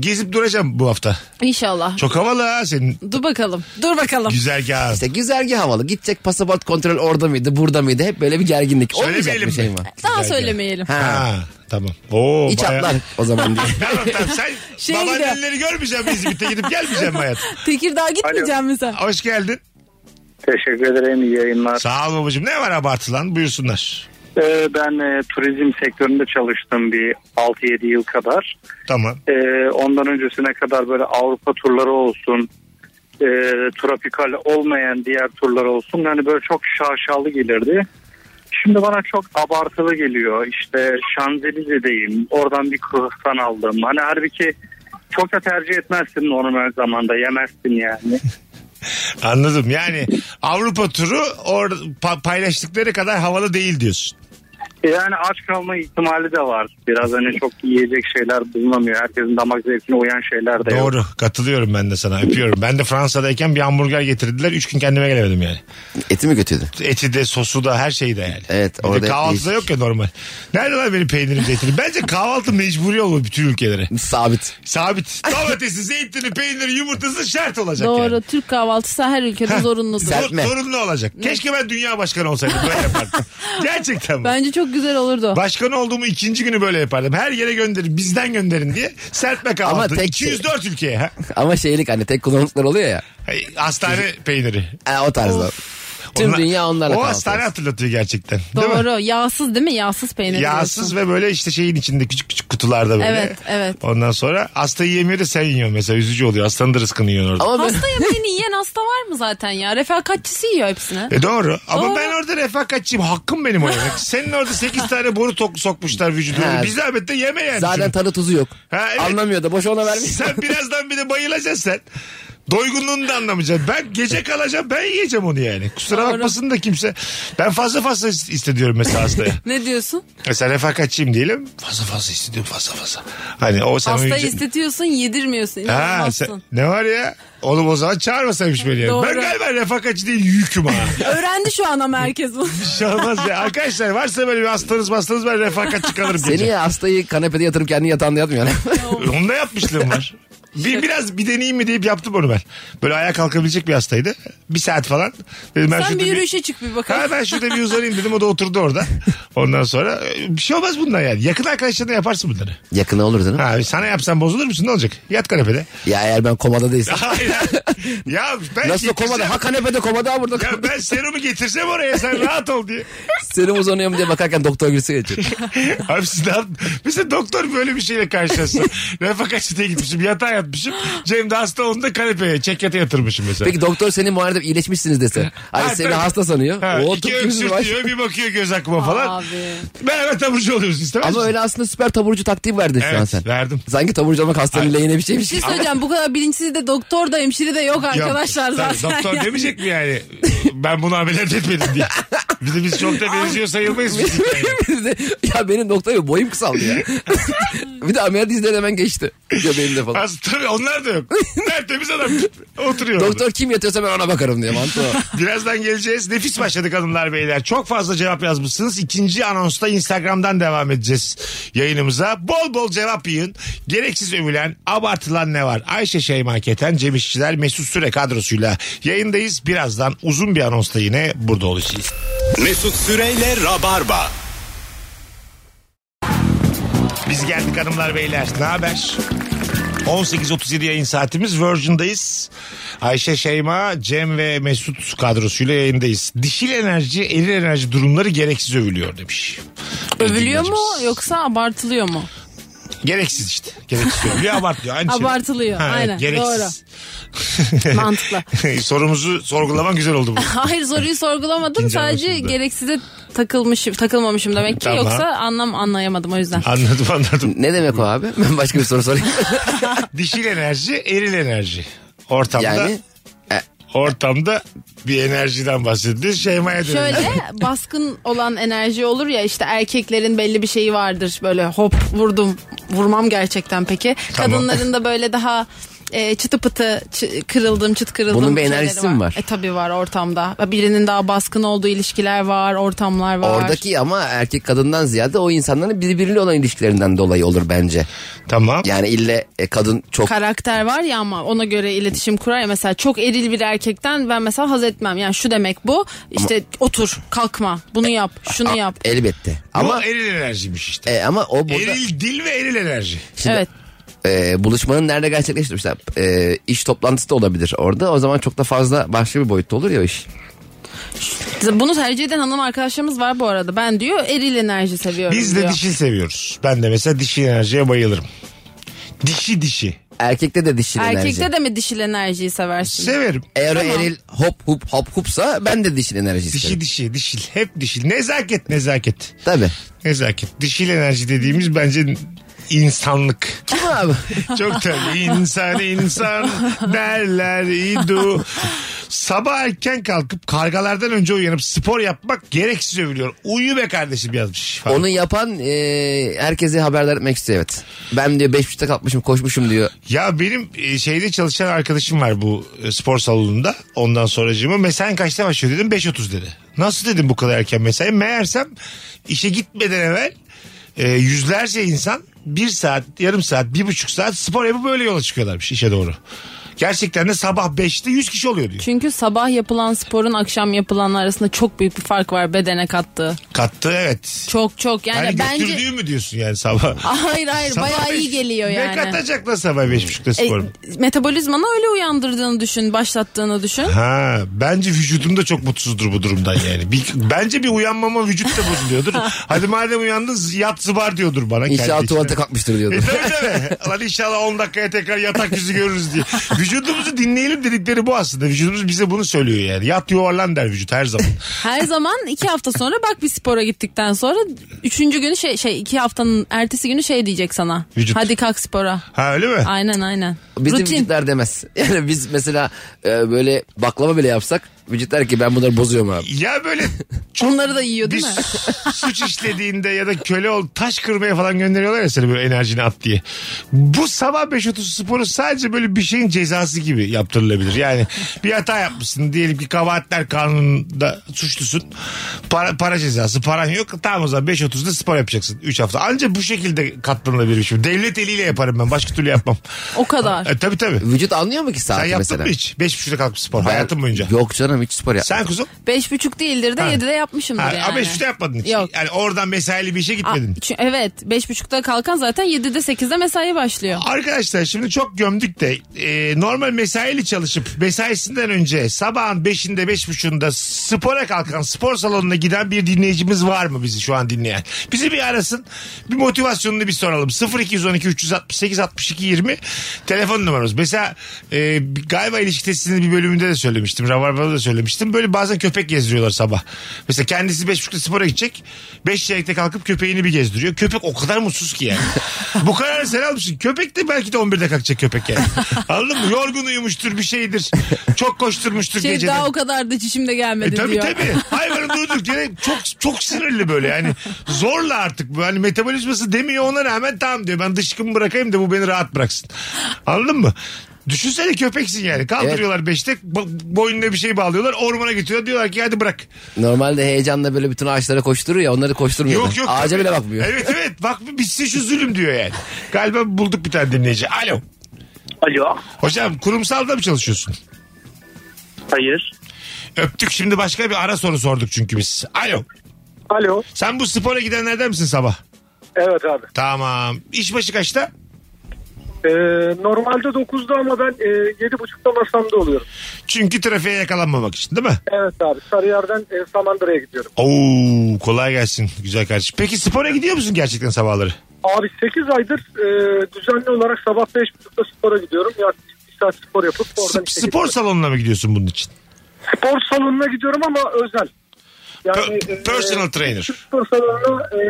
Speaker 3: gezip duracağım bu hafta.
Speaker 5: İnşallah.
Speaker 3: Çok havalı ha senin
Speaker 5: Dur bakalım. Dur bakalım.
Speaker 3: güzergahın.
Speaker 4: İşte güzergah havalı. Gidecek pasaport kontrol orada mıydı burada mıydı? Hep böyle bir gerginlik. Olmayacak
Speaker 3: Söylemeyelim
Speaker 4: bir şey
Speaker 3: mi?
Speaker 4: mi?
Speaker 5: Daha
Speaker 3: Güzel
Speaker 5: söylemeyelim.
Speaker 4: Ha.
Speaker 3: Ha, tamam. Oo,
Speaker 4: İç
Speaker 3: bayağı-
Speaker 4: atlar o zaman diye.
Speaker 3: [laughs] Tamam tamam
Speaker 4: [laughs]
Speaker 3: sen
Speaker 5: Şey de-
Speaker 3: babaanneleri görmeyeceğim İzmit'e gidip gelmeyeceğim hayatım.
Speaker 5: Tekirdağ gitmeyeceğim mi sen?
Speaker 3: Hoş geldin.
Speaker 7: Teşekkür ederim iyi yayınlar.
Speaker 3: Sağ ol babacığım. Ne var abartılan? Buyursunlar.
Speaker 7: Ee, ben e, turizm sektöründe çalıştım bir 6-7 yıl kadar.
Speaker 3: Tamam.
Speaker 7: Ee, ondan öncesine kadar böyle Avrupa turları olsun, e, tropikal olmayan diğer turlar olsun. Yani böyle çok şaşalı gelirdi. Şimdi bana çok abartılı geliyor. İşte Şanzelize'deyim. Oradan bir kruvasan aldım. Hani halbuki çok da tercih etmezsin normal zamanda. Yemezsin yani.
Speaker 3: Anladım. Yani Avrupa turu or pa- paylaştıkları kadar havalı değil diyorsun.
Speaker 7: Yani aç kalma ihtimali de var. Biraz hani çok yiyecek şeyler bulunamıyor. Herkesin damak zevkine uyan şeyler de yok.
Speaker 3: Doğru. Katılıyorum ben de sana. Öpüyorum. Ben de Fransa'dayken bir hamburger getirdiler. Üç gün kendime gelemedim yani.
Speaker 4: Eti mi kötüydü?
Speaker 3: Eti de sosu da her şeyi de yani.
Speaker 4: Evet,
Speaker 3: Bir de
Speaker 4: orada
Speaker 3: kahvaltıda yok
Speaker 4: değişik.
Speaker 3: ya normal. Nerede lan benim peynirim zeytinim? Bence kahvaltı mecburi olur bütün ülkelere.
Speaker 4: Sabit.
Speaker 3: Sabit. Domatesi, zeytini, peyniri, yumurtası şart olacak
Speaker 5: Doğru.
Speaker 3: yani.
Speaker 5: Türk kahvaltısı her ülkede zorunludur.
Speaker 4: Sen-
Speaker 3: Zor,
Speaker 4: Serpme.
Speaker 3: zorunlu olacak. Keşke ben dünya başkanı olsaydım böyle yapardım. Gerçekten bak.
Speaker 5: Bence çok güzel olurdu.
Speaker 3: Başkan olduğumu ikinci günü böyle yapardım. Her yere gönderin, bizden gönderin diye. Serpme kahvaltı.
Speaker 4: tek- şey-
Speaker 3: 204 ülkeye. ha.
Speaker 4: Ama şeylik hani tek kullanımlıklar oluyor ya.
Speaker 3: Ay, Hastane peyniri.
Speaker 4: E, o tarzda. Tüm
Speaker 3: Onlar-
Speaker 4: dünya onlarla
Speaker 3: O
Speaker 4: kahvaltı
Speaker 3: hastane
Speaker 4: arası.
Speaker 3: hatırlatıyor gerçekten. Değil mi?
Speaker 5: Doğru. Yağsız değil mi? Yağsız peynir.
Speaker 3: Yağsız
Speaker 5: diyorsun.
Speaker 3: ve böyle işte şeyin içinde küçük küçük kutularda böyle.
Speaker 5: Evet, evet.
Speaker 3: Ondan sonra hasta yiyemiyor da sen yiyorsun mesela üzücü oluyor. Hastanın da rızkını yiyorsun orada.
Speaker 4: Ama ben-
Speaker 3: [laughs]
Speaker 5: Hasta yemeğini yiyen hasta var mı zaten ya? Refakatçisi yiyor hepsini.
Speaker 3: E doğru. Ama
Speaker 5: Doğru.
Speaker 3: ben orada refakatçiyim. Hakkım benim o yemek. Senin orada 8 tane boru tok sokmuşlar vücuduna.
Speaker 4: Ha.
Speaker 3: Biz zahmet de yeme yani.
Speaker 4: zaten
Speaker 3: şunu.
Speaker 4: tadı tuzu yok.
Speaker 3: Ha, evet.
Speaker 4: Anlamıyor da boş ona vermiş.
Speaker 3: Sen birazdan bir de bayılacaksın sen. Doygunluğunu da anlamayacaksın. Ben gece kalacağım ben yiyeceğim onu yani. Kusura
Speaker 5: Doğru.
Speaker 3: bakmasın da kimse. Ben fazla fazla is- istediyorum mesela hastaya.
Speaker 5: Ne diyorsun?
Speaker 3: mesela refakatçiyim diyelim. Fazla fazla istediyorum fazla fazla. Hani o sen
Speaker 5: Hastayı
Speaker 3: vücud-
Speaker 5: istetiyorsun yedirmiyorsun.
Speaker 3: Ha,
Speaker 5: İnanılmazsın.
Speaker 3: sen- ne var ya? Oğlum o zaman çağırmasaymış beni. yani.
Speaker 5: Doğru.
Speaker 3: Ben galiba refakatçi değil yüküm ha.
Speaker 5: [laughs] Öğrendi şu an ama herkes
Speaker 3: [laughs]
Speaker 5: bunu.
Speaker 3: Bir şey olmaz ya. Arkadaşlar varsa böyle bir hastanız hastanız ben refakatçi kalırım
Speaker 4: Seni
Speaker 3: gece.
Speaker 4: ya hastayı kanepede yatırıp kendi yatağında
Speaker 3: [laughs]
Speaker 4: yatmıyor.
Speaker 3: Onu da yapmışlığım var. Bir, biraz bir deneyeyim mi deyip yaptım onu ben. Böyle ayağa kalkabilecek bir hastaydı. Bir saat falan. Dedim ben
Speaker 5: Sen
Speaker 3: şurada
Speaker 5: bir yürüyüşe çık bir bakalım.
Speaker 3: Ha ben şurada bir uzanayım dedim o da oturdu orada. Ondan sonra e, bir şey olmaz bundan yani. Yakın arkadaşlarına yaparsın bunları.
Speaker 4: Yakına olur canım.
Speaker 3: Ha sana yapsam bozulur musun ne olacak? Yat kanepede.
Speaker 4: Ya eğer ben
Speaker 3: [laughs]
Speaker 4: komada değilsem.
Speaker 3: Hayır. ya ben
Speaker 4: Nasıl komada?
Speaker 3: getirsem-
Speaker 4: Ha kanepede komada ha burada.
Speaker 3: şey Ya ben serumu getirsem oraya sen rahat ol
Speaker 4: [laughs]
Speaker 3: diye.
Speaker 4: Serum uzanıyor mu diye bakarken doktor gülse
Speaker 3: [laughs]
Speaker 4: geçiyor.
Speaker 3: Abi siz ne yaptın? Mesela doktor böyle bir şeyle karşılaşsa.
Speaker 4: [laughs]
Speaker 3: Refakatçide gitmişim yatağa yatmışım. Cem de hasta onu da kanepeye çekyata yatırmışım mesela.
Speaker 4: Peki doktor seni muayenede iyileşmişsiniz dese.
Speaker 3: Ha,
Speaker 4: Hani seni
Speaker 3: tabii.
Speaker 4: hasta sanıyor.
Speaker 3: Ha,
Speaker 4: o
Speaker 3: iki
Speaker 4: tıp kimsiz
Speaker 3: öksür
Speaker 4: var.
Speaker 3: diyor bir bakıyor göz akıma falan.
Speaker 5: Abi.
Speaker 3: Beraber taburcu oluyoruz istemez
Speaker 4: Ama
Speaker 3: misin?
Speaker 4: öyle aslında süper taburcu taktiği verdin şu an
Speaker 3: Evet,
Speaker 4: sen.
Speaker 3: verdim.
Speaker 4: Sanki taburcu olmak hastanın lehine bir şeymiş.
Speaker 5: Bir şey söyleyeceğim bu kadar bilinçsiz de doktor da hemşire de yok
Speaker 3: Yok,
Speaker 5: arkadaşlar
Speaker 3: tabii
Speaker 5: zaten.
Speaker 3: Doktor
Speaker 5: yani.
Speaker 3: demeyecek mi yani? Ben bunu ameliyat etmedim
Speaker 5: [laughs]
Speaker 3: diye. Bir de biz çok da benziyor sayılmayız. biz yani.
Speaker 4: Biz de- [laughs] ya benim doktor yok, boyum kısaldı
Speaker 5: [laughs]
Speaker 4: ya. bir de ameliyat izleri hemen geçti.
Speaker 3: [laughs]
Speaker 4: Göbeğimde falan.
Speaker 3: Az- Tabii onlar da yok. Tertemiz adam oturuyor. orada.
Speaker 4: Doktor kim yatıyorsa ben ona bakarım diye mantığı. o.
Speaker 3: Birazdan geleceğiz. Nefis başladık hanımlar beyler. Çok fazla cevap yazmışsınız. İkinci anonsta Instagram'dan devam edeceğiz yayınımıza. Bol bol cevap yığın. Gereksiz övülen, abartılan ne var? Ayşe Şeyma Keten, Cem İşçiler, Mesut Süre kadrosuyla yayındayız. Birazdan uzun bir anonsta yine burada olacağız.
Speaker 8: Mesut Süreyle Rabarba.
Speaker 3: Biz geldik hanımlar beyler. Ne haber? 18.37 yayın saatimiz Virgin'dayız. Ayşe Şeyma, Cem ve Mesut kadrosuyla yayındayız. Dişil enerji, eril enerji durumları gereksiz övülüyor demiş.
Speaker 5: Övülüyor
Speaker 3: Dinleyicimiz.
Speaker 5: mu yoksa abartılıyor mu?
Speaker 3: Gereksiz işte. Gereksiz
Speaker 5: [laughs]
Speaker 3: övülüyor, abartılıyor. Aynı şey.
Speaker 5: Abartılıyor, aynen,
Speaker 3: [laughs]
Speaker 5: Mantıklı.
Speaker 3: Sorumuzu sorgulaman güzel oldu bu.
Speaker 5: Hayır soruyu sorgulamadım
Speaker 3: İkinci
Speaker 5: sadece
Speaker 3: anlaşıldı.
Speaker 5: gereksize takılmışım takılmamışım demek ki
Speaker 3: Tamam.
Speaker 5: yoksa anlam anlayamadım o
Speaker 3: [laughs]
Speaker 5: yüzden.
Speaker 3: Anladım anladım.
Speaker 4: [laughs] Ne demek o abi? Ben başka bir soru sorayım.
Speaker 3: Dişil enerji, eril enerji. Ortamda
Speaker 4: [laughs] yani
Speaker 3: ortamda bir enerjiden bahsediyor. Şeyma'ya dönelim.
Speaker 5: Şöyle baskın olan enerji olur ya işte erkeklerin belli bir şeyi vardır böyle hop vurdum vurmam gerçekten peki.
Speaker 3: Tamam.
Speaker 5: Kadınların da böyle daha e, çıtı pıtı çı- kırıldım çıt kırıldım.
Speaker 4: Bunun bir
Speaker 5: şeyleri
Speaker 4: enerjisi mi var?
Speaker 5: E tabi var ortamda. Birinin daha baskın olduğu ilişkiler var ortamlar var.
Speaker 4: oradaki ama erkek kadından ziyade o insanların birbiriyle olan ilişkilerinden dolayı olur bence.
Speaker 3: Tamam.
Speaker 4: Yani ille e, kadın çok
Speaker 5: karakter var ya ama ona göre iletişim kurar ya mesela çok eril bir erkekten ben mesela haz etmem. Yani şu demek bu işte otur kalkma
Speaker 3: E,
Speaker 5: bunu yap şunu
Speaker 4: A-
Speaker 5: yap.
Speaker 4: elbette.
Speaker 3: Ama
Speaker 4: Ama
Speaker 3: eril enerjiymiş işte.
Speaker 4: e, ama o burada
Speaker 3: Eril dil ve eril enerji.
Speaker 4: şimdi-
Speaker 5: evet.
Speaker 4: e, buluşmanın nerede gerçekleştirmişler? E, iş toplantısı da olabilir orada. O zaman çok da fazla başka bir boyutta olur ya o iş.
Speaker 5: Bunu tercih eden hanım arkadaşlarımız var bu arada. Ben diyor eril enerji seviyorum
Speaker 3: Biz de
Speaker 5: diyor.
Speaker 3: dişil seviyoruz. Ben de mesela dişil enerjiye bayılırım. Dişi dişi.
Speaker 4: Erkekte de dişil enerji.
Speaker 5: Erkekte de mi dişil enerjiyi seversin?
Speaker 3: Severim.
Speaker 4: Eğer o eril hop hop hop hopsa ben de dişil enerji
Speaker 3: Dişi
Speaker 4: isterim.
Speaker 3: dişi dişil. Hep dişil. Nezaket nezaket.
Speaker 4: Tabii.
Speaker 3: Nezaket. Dişil enerji dediğimiz bence insanlık.
Speaker 4: Kim abi?
Speaker 3: Çok tabii. İnsan insan derler idu. Sabah erken kalkıp kargalardan önce uyanıp spor yapmak gereksiz övülüyor. Uyu be kardeşim yazmış. Falan.
Speaker 4: [laughs] Onu yapan e, herkese haberdar etmek istiyor evet. Ben diyor 5.30'da kalkmışım koşmuşum diyor.
Speaker 3: Ya benim e, şeyde çalışan arkadaşım var bu e, spor salonunda. Ondan sonracığıma mesain kaçta başlıyor dedim 5.30 dedi. Nasıl dedim bu kadar erken mesai? Meğersem işe gitmeden evvel e, yüzlerce insan bir saat, yarım saat, bir buçuk saat spor yapıp böyle yola çıkıyorlarmış işe doğru. Gerçekten de sabah 5'te 100 kişi oluyor diyor.
Speaker 5: Çünkü sabah yapılan sporun akşam yapılanın arasında çok büyük bir fark var bedene kattığı.
Speaker 3: Kattı evet.
Speaker 5: Çok çok yani,
Speaker 3: Yani
Speaker 5: bence...
Speaker 3: götürdüğü mü diyorsun yani sabah?
Speaker 5: [laughs] Hayır hayır
Speaker 3: Sabah
Speaker 5: bayağı
Speaker 3: beş-
Speaker 5: iyi geliyor
Speaker 3: Ne
Speaker 5: yani.
Speaker 3: katacak la sabah 5.30'da
Speaker 5: E,
Speaker 3: spor?
Speaker 5: metabolizmanı öyle uyandırdığını düşün, başlattığını düşün.
Speaker 3: Ha, bence vücudum da çok mutsuzdur bu durumdan yani. Bir- bence bir uyanmama vücut da bozuluyordur. Hadi madem uyandın yat zıbar diyordur bana. kendi
Speaker 4: İnşallah
Speaker 3: içine.
Speaker 4: tuvalete kalkmıştır
Speaker 3: [laughs]
Speaker 4: diyordu.
Speaker 3: E tabii tabii. Lan inşallah 10 dakikaya tekrar yatak yüzü görürüz diye. Vücudumuzu dinleyelim dedikleri bu aslında. Vücudumuz bize bunu söylüyor yani. Yat yuvarlan der vücut her zaman.
Speaker 5: Her zaman iki hafta sonra bak bir spora gittikten sonra üçüncü günü şey şey iki haftanın ertesi günü şey diyecek sana.
Speaker 3: Vücut.
Speaker 5: Hadi kalk spora.
Speaker 3: Ha öyle mi?
Speaker 5: Aynen aynen.
Speaker 4: Bizim
Speaker 5: Rutin.
Speaker 4: vücutlar demez. [laughs] Yani biz mesela e, böyle baklava bile yapsak vücut der ki ben bunları bozuyorum abi.
Speaker 3: Ya böyle
Speaker 5: Onları da yiyor
Speaker 3: bir
Speaker 5: değil mi?
Speaker 3: su- [laughs] suç işlediğinde ya da köle ol taş kırmaya falan gönderiyorlar ya seni böyle enerjini at diye. Bu sabah 5.30 sporu sadece böyle bir şeyin cezası gibi yaptırılabilir. Yani bir hata yapmışsın diyelim ki kabahatler kanununda suçlusun. Para, para cezası paran yok. Tamam o zaman 5.30'da spor yapacaksın 3 hafta. Ancak bu şekilde katlanılabilir bir şey. Devlet eliyle yaparım ben başka türlü yapmam.
Speaker 5: O kadar.
Speaker 3: E, tabii tabii.
Speaker 4: Vücut anlıyor mu ki
Speaker 3: Sen
Speaker 4: saati
Speaker 3: yaptın
Speaker 4: mesela?
Speaker 3: mı hiç? 5.30'da kalkıp spor
Speaker 4: Ben-
Speaker 3: hayatın boyunca.
Speaker 4: Yok canım hiç spor yapmadım.
Speaker 3: Sen kuzum?
Speaker 5: Beş buçuk değildir de
Speaker 3: Ha.
Speaker 5: yedide yapmışımdır
Speaker 3: Ha,
Speaker 5: yani.
Speaker 3: Ama hiçbir şey yapmadın hiç.
Speaker 5: Yok.
Speaker 3: Yani oradan mesaili bir işe
Speaker 5: Aa,
Speaker 3: gitmedin.
Speaker 5: çü- evet beş buçukta kalkan zaten yedide sekizde mesai başlıyor.
Speaker 3: Arkadaşlar şimdi çok gömdük de e, normal mesaili çalışıp mesaisinden önce sabahın 5'inde 5.30'da spora kalkan spor salonuna giden bir dinleyicimiz var mı bizi şu an dinleyen? Bizi bir arasın bir motivasyonunu bir soralım. 0212 368 62 20 telefon numaramız. Mesela e, galiba ilişki testinin bir bölümünde de söylemiştim. Rabarba'da da söylemiştim. Böyle bazen köpek gezdiriyorlar sabah. Mesela kendisi 5.30'da spora gidecek. 5 çeyrekte kalkıp köpeğini bir gezdiriyor. Köpek o kadar mutsuz ki yani. Bu kararı sen almışsın. Köpek de belki de 11'de kalkacak köpek yani. Anladın mı? Yorgun uyumuştur bir şeydir. Çok koşturmuştur
Speaker 5: Şey
Speaker 3: geceden.
Speaker 5: daha o kadar da çişimde
Speaker 3: E
Speaker 5: gelmedi
Speaker 3: tabii
Speaker 5: diyor.
Speaker 3: tabii. Hayvanı durduk yere çok çok sinirli böyle. Yani zorla artık bu. Hani metabolizması demiyor ona rağmen tamam diyor. Ben dışkımı bırakayım da bu beni rahat bıraksın. Anladın mı? Düşünsene köpeksin yani. Kaldırıyorlar beşte bo- boynuna bir şey bağlıyorlar. Ormana götürüyor. Diyorlar ki hadi bırak.
Speaker 4: Normalde heyecanla böyle bütün ağaçlara koşturur ya onları koşturmuyor.
Speaker 3: Yok
Speaker 4: da.
Speaker 3: yok.
Speaker 4: Ağaca
Speaker 3: tabii.
Speaker 4: bile bakmıyor.
Speaker 3: Evet evet. Bak bir bitsin şu zulüm diyor yani. Galiba bulduk bir tane dinleyici. Alo.
Speaker 7: Alo.
Speaker 3: Hocam kurumsalda mı çalışıyorsun?
Speaker 7: Hayır.
Speaker 3: Öptük şimdi başka bir ara soru sorduk çünkü biz. Alo.
Speaker 7: Alo.
Speaker 3: Sen bu spora gidenlerden misin sabah?
Speaker 7: Evet abi.
Speaker 3: Tamam. İş başı kaçta?
Speaker 7: Ee, normalde 9'da ama ben e, 7.30'da masamda oluyorum.
Speaker 3: Çünkü trafiğe yakalanmamak için değil mi?
Speaker 7: Evet abi. Sarıyer'den e, Samandıra'ya gidiyorum.
Speaker 3: Oo kolay gelsin güzel kardeşim. Peki spora gidiyor musun gerçekten sabahları?
Speaker 7: Abi 8 aydır e, düzenli olarak sabah 5.30'da spora gidiyorum. Yaklaşık 1 saat spor yapıp oradan
Speaker 3: Sp-
Speaker 7: işe
Speaker 3: spor
Speaker 7: gidiyorum.
Speaker 3: salonuna mı gidiyorsun bunun için?
Speaker 7: Spor salonuna gidiyorum ama özel. e,
Speaker 3: Pe- personal trainer.
Speaker 7: Spor salonuna e,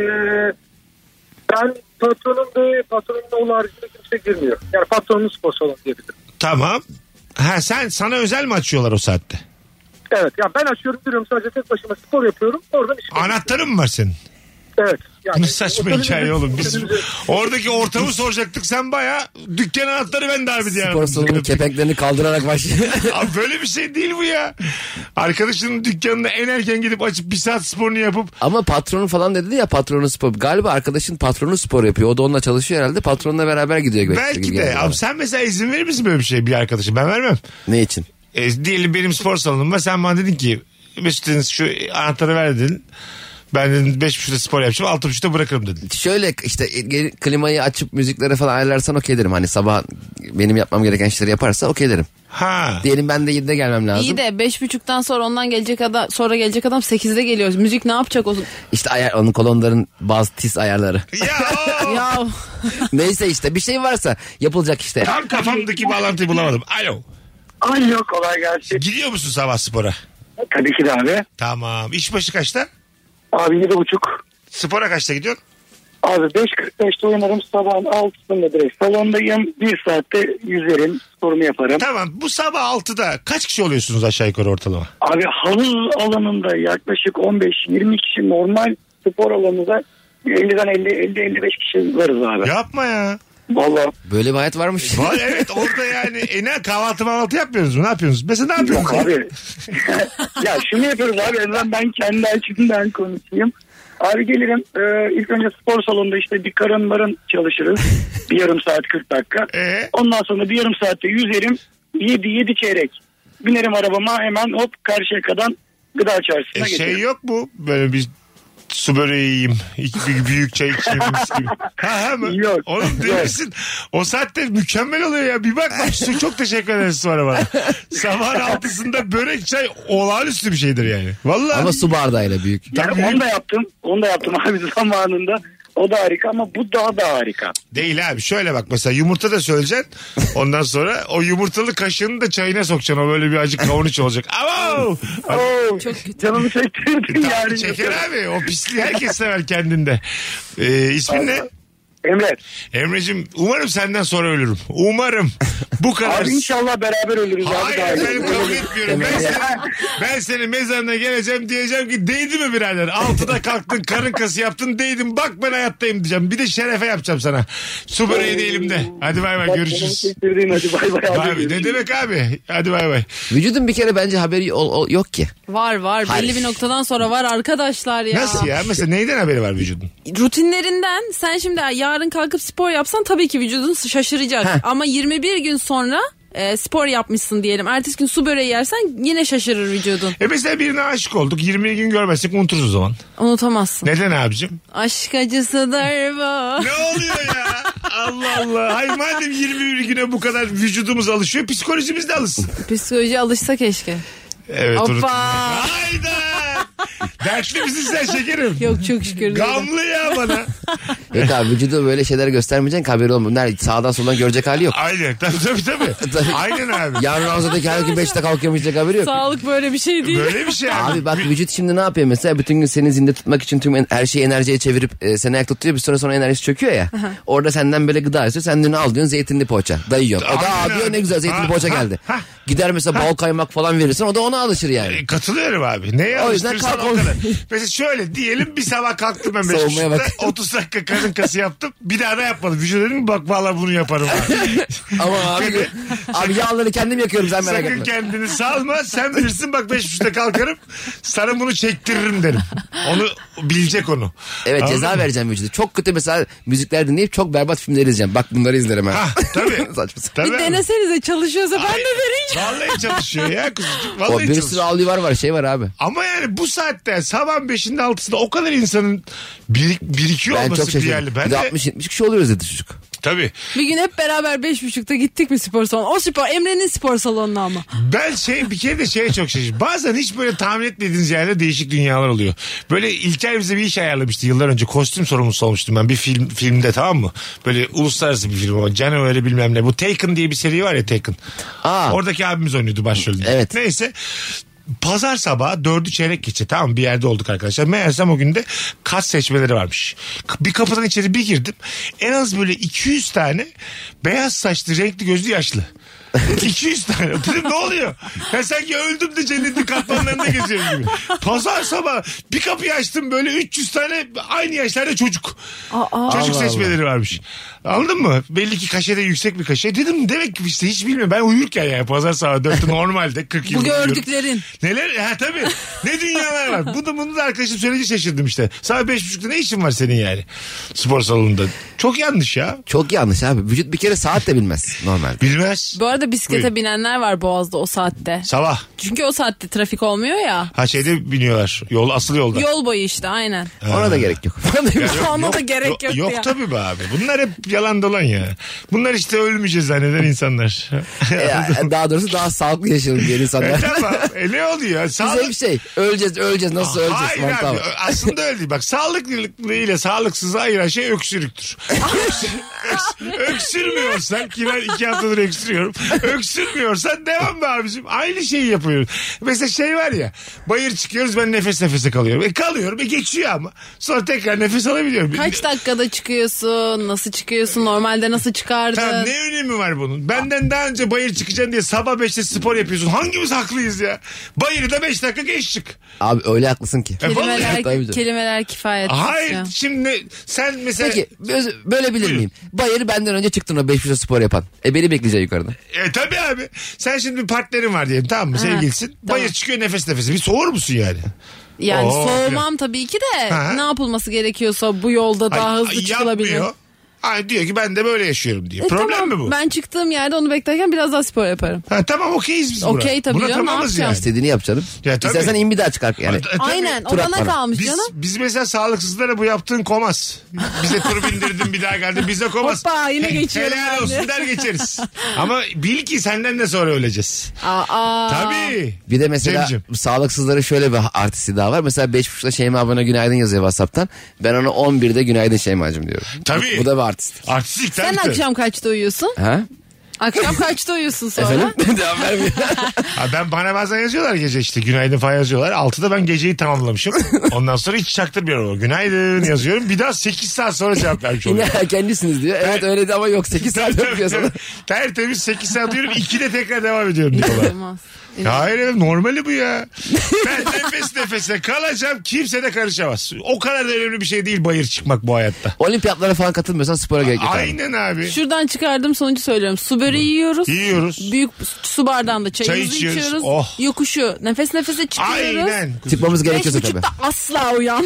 Speaker 7: ben patronum ve patronumla onun haricinde kimse girmiyor. Yani patronun spor salonu diyebilirim.
Speaker 3: Tamam. Ha sen sana özel mi açıyorlar o saatte?
Speaker 7: Evet ya ben açıyorum duruyorum sadece tek başıma spor yapıyorum. Oradan işe
Speaker 3: Anahtarın mı var senin?
Speaker 7: Evet.
Speaker 3: Bu
Speaker 7: Yani,
Speaker 3: ne saçma
Speaker 7: Otelimizi-
Speaker 3: hikaye oğlum. Biz
Speaker 7: otelimizi-
Speaker 3: oradaki ortamı soracaktık. Sen baya dükkan anahtarı ben darbe diye.
Speaker 4: Spor
Speaker 3: aradım.
Speaker 4: salonunun kepenklerini kaldırarak başlıyor.
Speaker 3: [laughs]
Speaker 4: [laughs]
Speaker 3: Abi böyle bir şey değil bu ya. Arkadaşının dükkanına en erken gidip açıp bir saat sporunu yapıp
Speaker 4: Ama patronu falan dedi ya patronu spor. Galiba arkadaşın patronu spor yapıyor. O da onunla çalışıyor herhalde. Patronla beraber gidiyor.
Speaker 3: belki de. Abi sen mesela izin verir misin böyle bir şey bir arkadaşa? Ben vermem.
Speaker 4: Ne için?
Speaker 3: E, diyelim benim spor salonum var. Sen bana dedin ki Mesut dedin, şu anahtarı ver dedin. Ben dedim beş buçukta spor yapacağım. Altı buçukta bırakırım dedin.
Speaker 4: Şöyle işte e, gel- klimayı açıp müziklere falan ayarlarsan okey derim. Hani sabah benim yapmam gereken işleri yaparsa okey derim.
Speaker 3: Ha.
Speaker 4: Diyelim ben de 7'de gelmem lazım.
Speaker 5: İyi de beş buçuktan sonra ondan gelecek adam sonra gelecek adam sekizde geliyor. Müzik ne yapacak o?
Speaker 4: İşte ayar, onun kolonların bazı tiz
Speaker 5: [laughs]
Speaker 4: ayarları.
Speaker 3: Ya o.
Speaker 5: ya
Speaker 4: Neyse işte bir şey varsa yapılacak işte.
Speaker 3: Tam kafamdaki bağlantıyı bulamadım. Alo.
Speaker 7: Alo kolay gelsin.
Speaker 3: Gidiyor musun sabah spora?
Speaker 7: Tabii ki de abi.
Speaker 3: Tamam. İş başı kaçta?
Speaker 7: Abi yedi buçuk.
Speaker 3: Spora kaçta gidiyorsun?
Speaker 7: Abi 5.45'te oynarım sabahın 6'sında direkt salondayım. Bir saatte yüzerim sporumu yaparım.
Speaker 3: Tamam bu sabah 6'da kaç kişi oluyorsunuz aşağı yukarı ortalama?
Speaker 7: Abi havuz alanında yaklaşık 15-20 kişi normal spor alanında 50'den 50 50 55 kişi varız abi.
Speaker 3: Yapma ya.
Speaker 7: Vallahi
Speaker 4: Böyle bir hayat varmış.
Speaker 3: Var evet orada yani e, ne kahvaltı mahvaltı yapmıyorsunuz mu? Ne yapıyorsunuz? Mesela ne yapıyorsunuz? [laughs]
Speaker 7: yok abi. ya şunu yapıyoruz abi ben, ben kendi açımdan konuşayım. Abi gelirim e, ilk önce spor salonunda işte bir karın barın
Speaker 3: [laughs]
Speaker 7: çalışırız. bir yarım saat 40 dakika.
Speaker 3: Ee?
Speaker 7: Ondan sonra bir yarım saatte yüzerim. 7 7 çeyrek. Binerim arabama hemen hop karşıya kadar gıda
Speaker 3: E,
Speaker 7: çarşısına
Speaker 3: şey
Speaker 7: geçerim.
Speaker 3: yok mu? Böyle bir su böreği yiyeyim. İki büyük, büyük çay içeyim. mis gibi. ha ha mı?
Speaker 7: Yok,
Speaker 3: Oğlum demişsin. O saatte mükemmel oluyor ya. Bir bak bak
Speaker 7: [laughs]
Speaker 3: su çok teşekkür ederiz sonra bana. Sabahın altısında börek çay olağanüstü bir şeydir yani. Vallahi.
Speaker 4: [laughs] Ama su bardağıyla büyük.
Speaker 3: Tam
Speaker 7: Yani
Speaker 3: büyük
Speaker 7: onu da yaptım. Onu da yaptım [laughs] abi zamanında. O da harika ama bu daha da harika.
Speaker 3: Değil abi. Şöyle bak mesela yumurta da söyleyeceksin. Ondan sonra o yumurtalı kaşığını da çayına sokacaksın. O böyle bir acık kavurnuç olacak.
Speaker 7: [laughs]
Speaker 3: Ama
Speaker 7: Oo, [laughs] canımı çektirdin yani.
Speaker 3: çeker abi. O pisliği herkes sever kendinde. Ee, ismin ne?
Speaker 7: Emre
Speaker 3: Emre'cim umarım senden sonra ölürüm. Umarım. [laughs] Bu kadar.
Speaker 7: abi inşallah beraber ölürüz abi.
Speaker 3: Hayır
Speaker 7: daha iyi.
Speaker 3: efendim kabul etmiyorum. Ben seni, ben seni mezarına geleceğim diyeceğim ki değdi mi birader? Altıda kalktın karın kası yaptın değdin bak ben hayattayım diyeceğim. Bir de şerefe yapacağım sana. Su böreği de elimde. Hadi bay bay
Speaker 7: Bak,
Speaker 3: görüşürüz.
Speaker 7: canımı çektirdin, hadi bay bay abi.
Speaker 3: Abi, ne demek abi? Hadi bay bay.
Speaker 4: Vücudun bir kere bence haberi ol- ol- yok ki.
Speaker 5: Var var.
Speaker 4: Hayır.
Speaker 5: Belli bir noktadan sonra var arkadaşlar ya.
Speaker 3: Nasıl ya? Mesela neyden haberi var vücudun?
Speaker 5: Rutinlerinden sen şimdi yarın kalkıp spor yapsan tabii ki vücudun şaşıracak. Ama 21 gün sonra e, spor yapmışsın diyelim. Ertesi gün su böreği yersen yine şaşırır vücudun.
Speaker 3: E mesela birine aşık olduk. 20 gün görmezsek unuturuz o zaman.
Speaker 5: Unutamazsın.
Speaker 3: Neden abicim?
Speaker 5: Aşk acısıdır bu.
Speaker 3: Ne oluyor ya? Allah Allah. Hay madem 21 güne bu kadar vücudumuz alışıyor psikolojimiz de alışsın.
Speaker 5: Psikoloji alışsa keşke.
Speaker 3: Evet
Speaker 5: Hoppa.
Speaker 3: unuttum. Hayda. Dertli misin sen şekerim?
Speaker 5: Yok çok şükür. değilim.
Speaker 3: Gamlı ya bana.
Speaker 4: Yok abi vücuda böyle şeyler göstermeyeceksin ki haberi olmuyor. Bunlar sağdan soldan görecek hali yok.
Speaker 3: Aynen tabii tabii tabii.
Speaker 4: Tabii.
Speaker 3: Aynen abi.
Speaker 4: Yarın Ramazan'daki her gün 5'te kalkamayacak haberi yok.
Speaker 5: Sağlık böyle bir şey değil.
Speaker 3: Böyle bir şey abi.
Speaker 4: Abi bak vücut şimdi ne yapıyor mesela bütün gün seni zinde tutmak için tüm en- her şeyi enerjiye çevirip e, seni ayakta tutuyor bir süre sonra enerjisi çöküyor ya. Orada senden böyle gıda istiyor sen dünü al diyorsun zeytinli poğaça dayıyorsun. O da
Speaker 3: Aynen
Speaker 4: abi diyor,
Speaker 3: abi.
Speaker 4: ne güzel
Speaker 3: Ha,
Speaker 4: zeytinli poğaça
Speaker 3: ha,
Speaker 4: geldi.
Speaker 3: ha.
Speaker 4: Gider mesela bal kaymak falan verirsin o da ona alışır yani.
Speaker 3: E, Katılıyorum abi. Neye
Speaker 4: O yüzden
Speaker 3: alıştırırsan
Speaker 4: kalk-
Speaker 3: o kadar. Mesela şöyle diyelim bir sabah kalktım ben beş
Speaker 4: Savunmaya
Speaker 3: buçukta,
Speaker 4: bak.
Speaker 3: 30 dakika karın kası yaptım. Bir daha da yapmadım. Vücut dedim ki, bak valla bunu yaparım.
Speaker 4: [laughs]
Speaker 3: abi.
Speaker 4: Ama abi, abi yağları kendim yakıyorum sen merak
Speaker 3: E, Sakın
Speaker 4: etme.
Speaker 3: kendini salma. Sen bilirsin bak beş buçukta kalkarım. Sana bunu çektiririm derim. Onu bilecek onu.
Speaker 4: Evet
Speaker 3: Anladın
Speaker 4: ceza
Speaker 3: mı?
Speaker 4: vereceğim vücuda. Çok kötü mesela müzikler dinleyip çok berbat filmler izleyeceğim. Bak bunları izlerim ha.
Speaker 3: Ha, tabii.
Speaker 4: [laughs] Saçma sapan.
Speaker 3: Tabii
Speaker 5: Bir
Speaker 3: abi.
Speaker 5: denesenize çalışıyorsa ben de deneyeceğim.
Speaker 3: Vallahi çalışıyor ya kuzucuk.
Speaker 4: O
Speaker 3: Vallahi
Speaker 4: bir sürü
Speaker 3: çalışıyor.
Speaker 4: avlu var var şey var abi.
Speaker 3: Ama yani bu saatte sabah 5'inde 6'sında o kadar insanın birik, birikiyor
Speaker 4: Ben çok
Speaker 3: olması bir
Speaker 4: şaşırdım.
Speaker 3: yerli. Ben
Speaker 4: Bir
Speaker 3: de,
Speaker 4: de 60-70 kişi oluyoruz dedi çocuk.
Speaker 3: tabii.
Speaker 5: Bir gün hep beraber beş buçukta gittik mi spor salonu? O spor Emre'nin spor salonuna ama.
Speaker 3: Ben şey bir kere de şeye çok şaşırdım. Bazen hiç böyle tahmin etmediğiniz yerde değişik dünyalar oluyor. Böyle İlker bize bir iş ayarlamıştı yıllar önce. Kostüm sorumlusu olmuştum ben bir film filmde tamam mı? Böyle uluslararası bir film ama Cano öyle bilmem ne. Bu Taken diye bir seri var ya Taken.
Speaker 4: Aa.
Speaker 3: Oradaki abimiz oynuyordu başrolünde.
Speaker 4: Evet.
Speaker 3: Neyse. Pazar sabahı dördü çeyrek geçe tamam mı? bir yerde olduk arkadaşlar. Meğersem o günde kas seçmeleri varmış. Bir kapıdan içeri bir girdim. En az böyle 200 tane beyaz saçlı renkli gözlü yaşlı. [laughs] 200 tane. Dedim ne oluyor? Ya sanki öldüm de cennetin katmanlarında geziyorum gibi. Pazar sabahı bir kapıyı açtım böyle 300 tane aynı yaşlarda çocuk. çocuk seçmeleri varmış. Anladın mı? Belli ki kaşede yüksek bir kaşe. Dedim demek ki işte hiç bilmiyorum. Ben uyurken yani pazar sabahı dörtte normalde 40 yıl
Speaker 5: Bu
Speaker 3: uyuyorum.
Speaker 5: gördüklerin.
Speaker 3: Neler? Ha tabii. Ne dünyalar var. Bunu, bunu da arkadaşım söyleyince şaşırdım işte. Sabah beş buçukta ne işin var senin yani? Spor salonunda. Çok yanlış ya.
Speaker 4: Çok yanlış abi. Vücut bir kere saat de bilmez normalde.
Speaker 3: Bilmez.
Speaker 5: Bu arada bisiklete
Speaker 3: Buyurun.
Speaker 5: binenler var Boğaz'da o saatte.
Speaker 3: Sabah.
Speaker 5: Çünkü o saatte trafik olmuyor ya.
Speaker 3: Ha şeyde biniyorlar. Yol asıl yolda.
Speaker 5: Yol boyu işte aynen.
Speaker 4: Ona da gerek yok.
Speaker 5: Ona da gerek yok,
Speaker 3: yok
Speaker 5: ya.
Speaker 3: tabii be abi. Bunlar hep yalan dolan ya. Bunlar işte ölmeyeceğiz zanneden
Speaker 5: [laughs]
Speaker 3: insanlar. [laughs]
Speaker 4: Ya, daha doğrusu daha sağlıklı yaşayalım diyen
Speaker 3: e, [laughs]
Speaker 4: insanlar.
Speaker 3: tamam. E, ne oluyor?
Speaker 4: Güzel
Speaker 3: Sağlık...
Speaker 4: bir şey. Öleceğiz öleceğiz nasıl öleceğiz.
Speaker 3: Hayır
Speaker 4: Tamam,
Speaker 3: abi.
Speaker 4: tamam.
Speaker 3: Aslında öyle değil. Bak sağlıklı ile sağlıksızı ayıran şey öksürüktür. Öksür- öks- Öksürmüyorsan ki ben iki haftadır öksürüyorum. Öksürmüyorsan devam be abicim. Aynı şeyi yapıyoruz. Mesela şey var ya. Bayır çıkıyoruz ben nefes nefese kalıyorum. E kalıyorum e geçiyor ama. Sonra tekrar nefes alabiliyorum.
Speaker 5: Kaç dakikada çıkıyorsun? Nasıl çıkıyorsun? Normalde nasıl çıkardın?
Speaker 3: Tamam ne önemi var bunun? Benden daha önce bayır çıkacaksın diye sabah 5'te spor yapıyorsun. Hangimiz haklıyız ya? Bayırı da 5 dakika geç çık.
Speaker 4: Abi öyle haklısın ki.
Speaker 3: E, vallahi-
Speaker 5: Kelimeler,
Speaker 4: Tabii canım.
Speaker 5: kelimeler kifayet.
Speaker 3: Hayır
Speaker 5: ediyor.
Speaker 3: şimdi sen mesela
Speaker 4: Peki öz- bölebilir
Speaker 3: Buyurun.
Speaker 4: miyim? Bayırı benden önce çıktın o 500 spor yapan. E beni bekleyecek yukarıda.
Speaker 3: e, tabii abi sen şimdi bir partnerin var diyelim tamam mı sevgilisin
Speaker 5: tamam.
Speaker 3: bayır çıkıyor nefes nefese bir soğur musun yani?
Speaker 5: Yani
Speaker 3: Oo,
Speaker 5: soğumam tabii ki de
Speaker 3: Oh. Ha.
Speaker 5: ne yapılması gerekiyorsa bu yolda daha
Speaker 3: Ay,
Speaker 5: hızlı
Speaker 3: ay,
Speaker 5: çıkılabilir.
Speaker 3: yapmıyor. Ay, diyor ki ben de böyle yaşıyorum diye.
Speaker 5: E,
Speaker 3: Problem
Speaker 5: tamam,
Speaker 3: mi bu?
Speaker 5: Ben çıktığım yerde onu beklerken biraz daha spor yaparım.
Speaker 3: Ha, tamam okeyiz biz buna.
Speaker 5: Okey tabii
Speaker 3: Buna
Speaker 5: canım, ne
Speaker 3: tamamız yani.
Speaker 5: yapacağız?
Speaker 4: İstediğini yap canım.
Speaker 3: Ya tabii.
Speaker 4: İstersen in bir daha çıkar yani.
Speaker 3: E, tabii.
Speaker 5: Aynen o
Speaker 4: Tur
Speaker 5: bana
Speaker 4: atmadım.
Speaker 5: kalmış
Speaker 3: Biz,
Speaker 5: canım.
Speaker 3: biz mesela sağlıksızlara bu yaptığın komaz. Bize tur
Speaker 5: [laughs]
Speaker 3: bindirdin bir daha geldi. Bize komaz.
Speaker 5: Hoppa, yine
Speaker 3: He-
Speaker 5: geçiyorum
Speaker 3: Helal
Speaker 5: ben de.
Speaker 3: olsun der
Speaker 5: [laughs]
Speaker 3: geçeriz. Ama bil ki senden de sonra öleceğiz.
Speaker 5: Aa,
Speaker 3: Tabii.
Speaker 4: Bir de mesela
Speaker 3: Cemciğim.
Speaker 4: sağlıksızların şöyle bir artisti daha var. Mesela 5.30'da Şeyma abone günaydın yazıyor Whatsapp'tan. Ben ona 11'de günaydın Şeyma'cığım diyorum.
Speaker 3: Tabii.
Speaker 4: Bu, bu da bir artist.
Speaker 3: Artistik
Speaker 5: Sen
Speaker 3: tabii.
Speaker 5: akşam kaçta uyuyorsun?
Speaker 4: Ha?
Speaker 5: Akşam kaçta uyuyorsun sonra?
Speaker 4: Efendim? Devam vermiyor.
Speaker 3: Ha, ben bana bazen yazıyorlar gece işte günaydın falan yazıyorlar. 6'da ben geceyi tamamlamışım. Ondan sonra hiç çaktırmıyorum. Günaydın yazıyorum. Bir daha 8 saat sonra cevap vermiş
Speaker 4: Yine
Speaker 3: oluyorum.
Speaker 4: erkencisiniz diyor. Evet öyle de ama yok 8 saat
Speaker 3: [laughs] Tabii,
Speaker 4: yapıyorsun.
Speaker 3: tabii. Tertemiz 8 saat diyorum 2'de tekrar devam ediyorum
Speaker 5: [laughs]
Speaker 3: diyorlar.
Speaker 5: Olmaz.
Speaker 3: Ya hayır efendim, normali bu ya. Ben nefes nefese kalacağım kimse de karışamaz. O kadar da önemli bir şey değil bayır çıkmak bu hayatta.
Speaker 4: Olimpiyatlara falan katılmıyorsan spora gerek yok. abi.
Speaker 3: Aynen abi.
Speaker 5: Şuradan çıkardığım sonucu söylüyorum. Su böreği yiyoruz.
Speaker 3: Yiyoruz.
Speaker 5: Büyük su bardağında çayımızı
Speaker 3: Çay içiyoruz.
Speaker 5: içiyoruz.
Speaker 3: Oh.
Speaker 5: Yokuşu nefes nefese çıkıyoruz.
Speaker 3: Aynen.
Speaker 4: Çıkmamız
Speaker 5: Beş
Speaker 4: gerekiyorsa tabii.
Speaker 5: buçukta asla
Speaker 3: [laughs]
Speaker 5: uyan.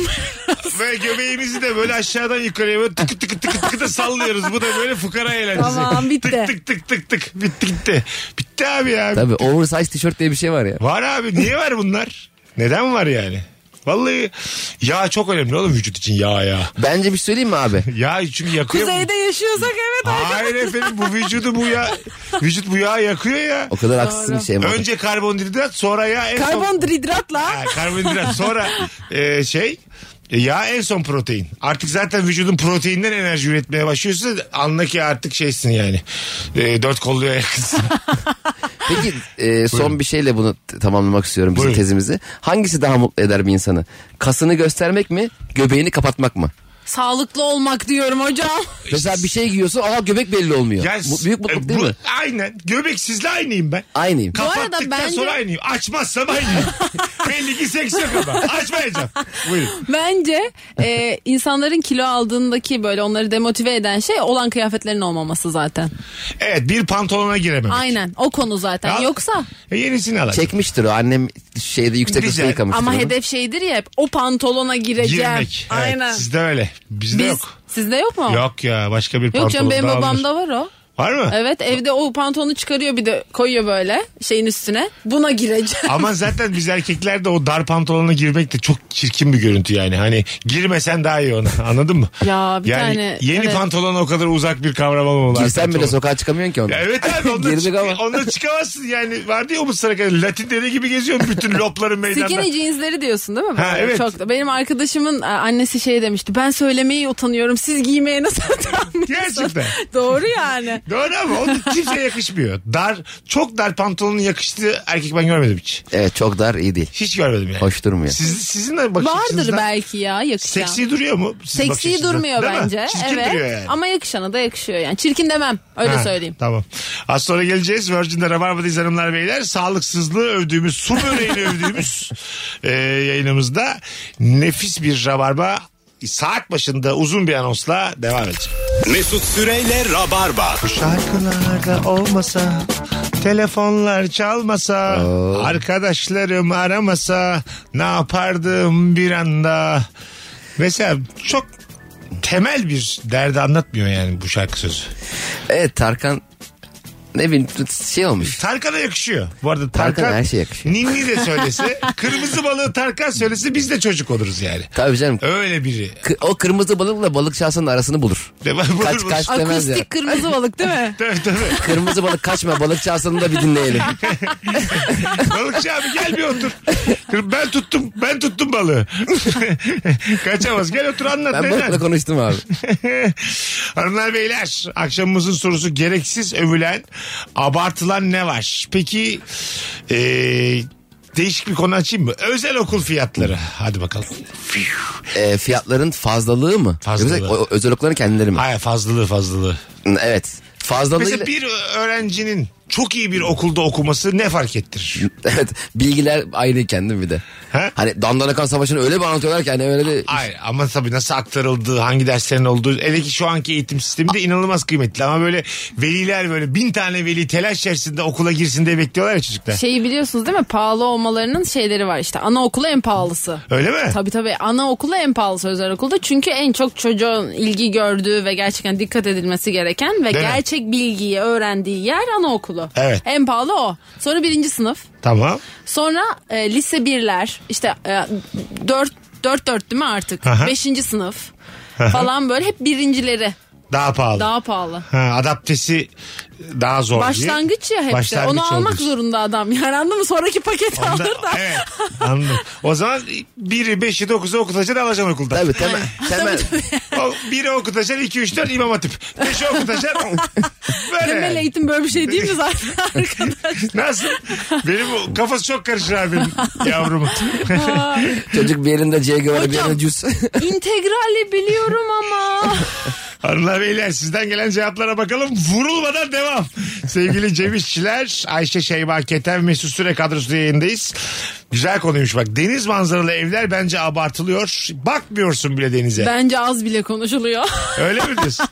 Speaker 3: Ve göbeğimizi de böyle aşağıdan yukarıya böyle tıkı tıkı tıkı tıkı da sallıyoruz. Bu da böyle fukara eğlencesi.
Speaker 5: Tamam, bitti.
Speaker 3: Tık tık tık tık tık. Bitti gitti. Bitti abi ya.
Speaker 4: Tabii oversize tişört diye bir şey var ya.
Speaker 3: Var abi niye var bunlar? Neden var yani? Vallahi yağ çok önemli oğlum vücut için yağ ya.
Speaker 4: Bence bir şey söyleyeyim mi abi?
Speaker 3: Yağ çünkü yakıyor.
Speaker 5: Kuzeyde yaşıyorsak evet.
Speaker 3: Hayır efendim bu vücudu bu yağ. Vücut bu yağı yakıyor ya.
Speaker 4: O kadar haksızsın
Speaker 5: Doğru.
Speaker 4: ki Şeyma.
Speaker 3: Önce karbonhidrat sonra yağ en son.
Speaker 5: Karbonhidratla.
Speaker 3: Ha, karbonhidrat sonra e, şey e, yağ en son protein. Artık zaten vücudun proteinden enerji üretmeye başlıyorsa anla ki artık şeysin yani. E, dört kollu yakınsın.
Speaker 4: Peki e, son bir şeyle bunu t- tamamlamak istiyorum bizim
Speaker 3: Buyurun.
Speaker 4: tezimizi. Hangisi daha mutlu eder bir insanı? Kasını göstermek mi? Göbeğini kapatmak mı?
Speaker 5: Sağlıklı olmak diyorum hocam. [laughs]
Speaker 4: Mesela bir şey giyiyorsun aa göbek belli olmuyor.
Speaker 3: Yani,
Speaker 4: Bu, büyük mutluluk
Speaker 3: e,
Speaker 4: değil
Speaker 3: bu-
Speaker 4: mi?
Speaker 3: Aynen. Göbeksizle aynıyım ben.
Speaker 4: Aynıyım.
Speaker 5: arada
Speaker 3: Kapattıktan
Speaker 5: bence-
Speaker 3: sonra aynıyım. Açmazsam
Speaker 5: [laughs]
Speaker 3: aynıyım. Belli ki seks yok ama. Açmayacağım. Buyurun.
Speaker 5: Bence e, insanların kilo aldığındaki böyle onları demotive eden şey olan kıyafetlerin olmaması zaten.
Speaker 3: Evet bir pantolona giremem.
Speaker 5: Aynen o konu zaten.
Speaker 3: Ya-
Speaker 5: Yoksa
Speaker 3: E, yenisini alacağım.
Speaker 4: Çekmiştir o annem şeyde yüksek
Speaker 3: Güzel.
Speaker 4: hızda yıkamıştır.
Speaker 5: ama
Speaker 4: onu.
Speaker 5: hedef şeydir ya hep o pantolona gireceğim.
Speaker 3: Girmek. Evet,
Speaker 5: Aynen.
Speaker 3: Sizde öyle. Bizde
Speaker 5: Biz,
Speaker 3: yok.
Speaker 5: Sizde yok mu?
Speaker 3: Yok ya başka bir pantolon
Speaker 5: Yok canım benim
Speaker 3: daha
Speaker 5: babamda var o.
Speaker 3: Var mı?
Speaker 5: Evet evde o pantolonu çıkarıyor bir de koyuyor böyle şeyin üstüne.
Speaker 3: [laughs]
Speaker 5: Buna gireceğim.
Speaker 3: Ama zaten biz erkeklerde o dar pantolona girmek de çok çirkin bir görüntü yani. Hani girmesen daha iyi ona [laughs] anladın mı?
Speaker 5: Ya bir
Speaker 3: yani
Speaker 5: tane-
Speaker 3: yeni
Speaker 5: evet.
Speaker 3: pantolona o kadar uzak bir kavram olmamalı.
Speaker 4: Girsen bile
Speaker 3: Pantolon.
Speaker 4: sokağa çıkamıyorsun ki onu.
Speaker 3: Ya Evet abi ondan,
Speaker 4: Girdik
Speaker 3: çık-
Speaker 4: ama.
Speaker 3: ondan çıkamazsın yani. Vardı ya o Mısır'a kadar Latin dede gibi geziyorsun bütün lopların meydanda.
Speaker 5: Skinny jeansleri diyorsun değil mi?
Speaker 3: Ha,
Speaker 5: Böyle
Speaker 3: evet.
Speaker 5: Çok da. Benim arkadaşımın e, annesi şey demişti. Ben söylemeyi utanıyorum. Siz giymeye nasıl [laughs] utanmıyorsunuz?
Speaker 3: Gerçekten.
Speaker 5: Doğru yani.
Speaker 3: Doğru ama o kimseye yakışmıyor. Dar, çok dar pantolonun yakıştığı erkek ben görmedim hiç.
Speaker 4: Evet çok dar iyi değil.
Speaker 3: Hiç görmedim yani.
Speaker 4: Hoş durmuyor.
Speaker 3: Siz, sizin de bakış
Speaker 5: Vardır
Speaker 3: açınızdan
Speaker 5: belki ya yakışan.
Speaker 3: Seksi duruyor mu? sizin bakış
Speaker 5: Seksi
Speaker 3: açınızdan?
Speaker 5: durmuyor
Speaker 3: Değil mi?
Speaker 5: bence.
Speaker 3: Çirkin
Speaker 5: evet.
Speaker 3: duruyor yani.
Speaker 5: Ama yakışana da yakışıyor yani. Çirkin demem. Öyle
Speaker 3: Ha,
Speaker 5: söyleyeyim.
Speaker 3: Tamam. Az sonra geleceğiz. Virgin'de Rabarba'dayız hanımlar beyler. Sağlıksızlığı övdüğümüz, su böreğini
Speaker 5: [laughs]
Speaker 3: övdüğümüz e, yayınımızda nefis bir Rabarba saat başında uzun bir anonsla devam edecek.
Speaker 8: Mesut Süreyle Rabarba.
Speaker 3: Bu şarkılarda olmasa, telefonlar çalmasa, arkadaşlarım aramasa ne yapardım bir anda? Mesela çok temel bir derdi anlatmıyor yani bu şarkı sözü.
Speaker 4: Evet Tarkan ne bileyim şey olmuş.
Speaker 3: Tarkan'a yakışıyor. Bu arada Tarkan,
Speaker 4: Tarkan'a her şey yakışıyor.
Speaker 3: Ninni de
Speaker 4: [laughs]
Speaker 3: söylese, kırmızı balığı Tarkan söylese biz de çocuk oluruz yani.
Speaker 4: Tabii canım.
Speaker 3: Öyle biri.
Speaker 4: Kı- O kırmızı balıkla balık şahsının arasını bulur.
Speaker 3: De, bulur,
Speaker 4: Kaç kaç demez ya.
Speaker 5: Akustik kırmızı balık
Speaker 3: [laughs]
Speaker 5: değil mi?
Speaker 3: Tabii tabii.
Speaker 4: Kırmızı balık kaçma balık şahsını da bir dinleyelim.
Speaker 3: Balıkçı abi gel bir otur. Ben tuttum, ben tuttum balığı. [laughs] Kaçamaz. Gel otur anlat.
Speaker 4: Ben
Speaker 3: neden? [laughs]
Speaker 4: balıkla konuştum abi.
Speaker 3: Hanımlar beyler akşamımızın sorusu gereksiz övülen Abartılan ne var? Peki e, değişik bir konu açayım mı? Özel okul fiyatları. Hadi bakalım.
Speaker 4: E, fiyatların fazlalığı mı?
Speaker 3: Fazlalığı.
Speaker 4: Yoksa o- o- özel okulların kendileri mi?
Speaker 3: Hayır fazlalığı fazlalığı.
Speaker 4: Evet. Fazlalığıyla...
Speaker 3: Mesela bir öğrencinin çok iyi bir okulda okuması ne fark ettirir?
Speaker 4: [laughs] Evet bilgiler ayrıyken değil mi bir de?
Speaker 3: He?
Speaker 4: Hani Dandanakan Savaşı'nı öyle bir anlatıyorlar ki hani öyle de...
Speaker 3: Hayır ama tabii nasıl aktarıldığı, hangi derslerin olduğu. Hele ki şu anki eğitim sistemi de inanılmaz kıymetli. Ama böyle veliler böyle bin tane veli telaş içerisinde okula girsin diye bekliyorlar ya çocuklar.
Speaker 5: Şeyi biliyorsunuz değil mi? Pahalı olmalarının şeyleri var işte. Anaokulu en pahalısı.
Speaker 3: Öyle mi?
Speaker 5: Tabii tabii anaokulu en pahalısı özel okulda. Çünkü en çok çocuğun ilgi gördüğü ve gerçekten dikkat edilmesi gereken ve
Speaker 3: Değil mi?
Speaker 5: gerçek bilgiyi öğrendiği yer anaokulu.
Speaker 3: Evet.
Speaker 5: En pahalı o. Sonra birinci sınıf.
Speaker 3: Tamam.
Speaker 5: Sonra e, lise birler işte e, dört, dört dört değil mi artık?
Speaker 3: Aha.
Speaker 5: Beşinci sınıf falan böyle hep birincileri
Speaker 3: Daha pahalı.
Speaker 5: daha pahalı.
Speaker 3: Ha, adaptesi daha zor
Speaker 5: Başlangıç
Speaker 3: diye.
Speaker 5: ya hepsi.
Speaker 3: Başlangıç
Speaker 5: Onu almak
Speaker 3: olduğu için.
Speaker 5: zorunda adam. [laughs] Yani anladın mı? Sonraki paketi
Speaker 3: Onda-
Speaker 5: alır da.
Speaker 3: evet anladım. O zaman biri beşi dokuzu okutacaksın alacaksın okulda.
Speaker 4: Tabii temel, temel,
Speaker 3: O, biri okutacaksın iki üç dört imam hatip. Beşi okutacaksın.
Speaker 5: Temel
Speaker 3: Böyle.
Speaker 5: eğitim böyle bir şey değil mi
Speaker 3: [laughs]
Speaker 5: zaten arkadaş?
Speaker 3: Nasıl? Benim o- kafası çok karışır abi benim
Speaker 5: [laughs]
Speaker 3: yavrumun.
Speaker 4: çocuk bir elinde C göre bir
Speaker 5: Hocam.
Speaker 4: elinde cüz. [laughs]
Speaker 5: İntegrali biliyorum
Speaker 3: [laughs]
Speaker 5: ama.
Speaker 3: Hanımlar beyler sizden gelen cevaplara bakalım. Vurulmadan devam. Sevgili Cem İşçiler, Ayşe Şeyma Keten, Mesut Süre kadrosu yayındayız. Güzel konuymuş bak. Deniz manzaralı evler bence abartılıyor. Bakmıyorsun bile denize.
Speaker 5: Bence az bile konuşuluyor. [laughs]
Speaker 3: Öyle mi diyorsun?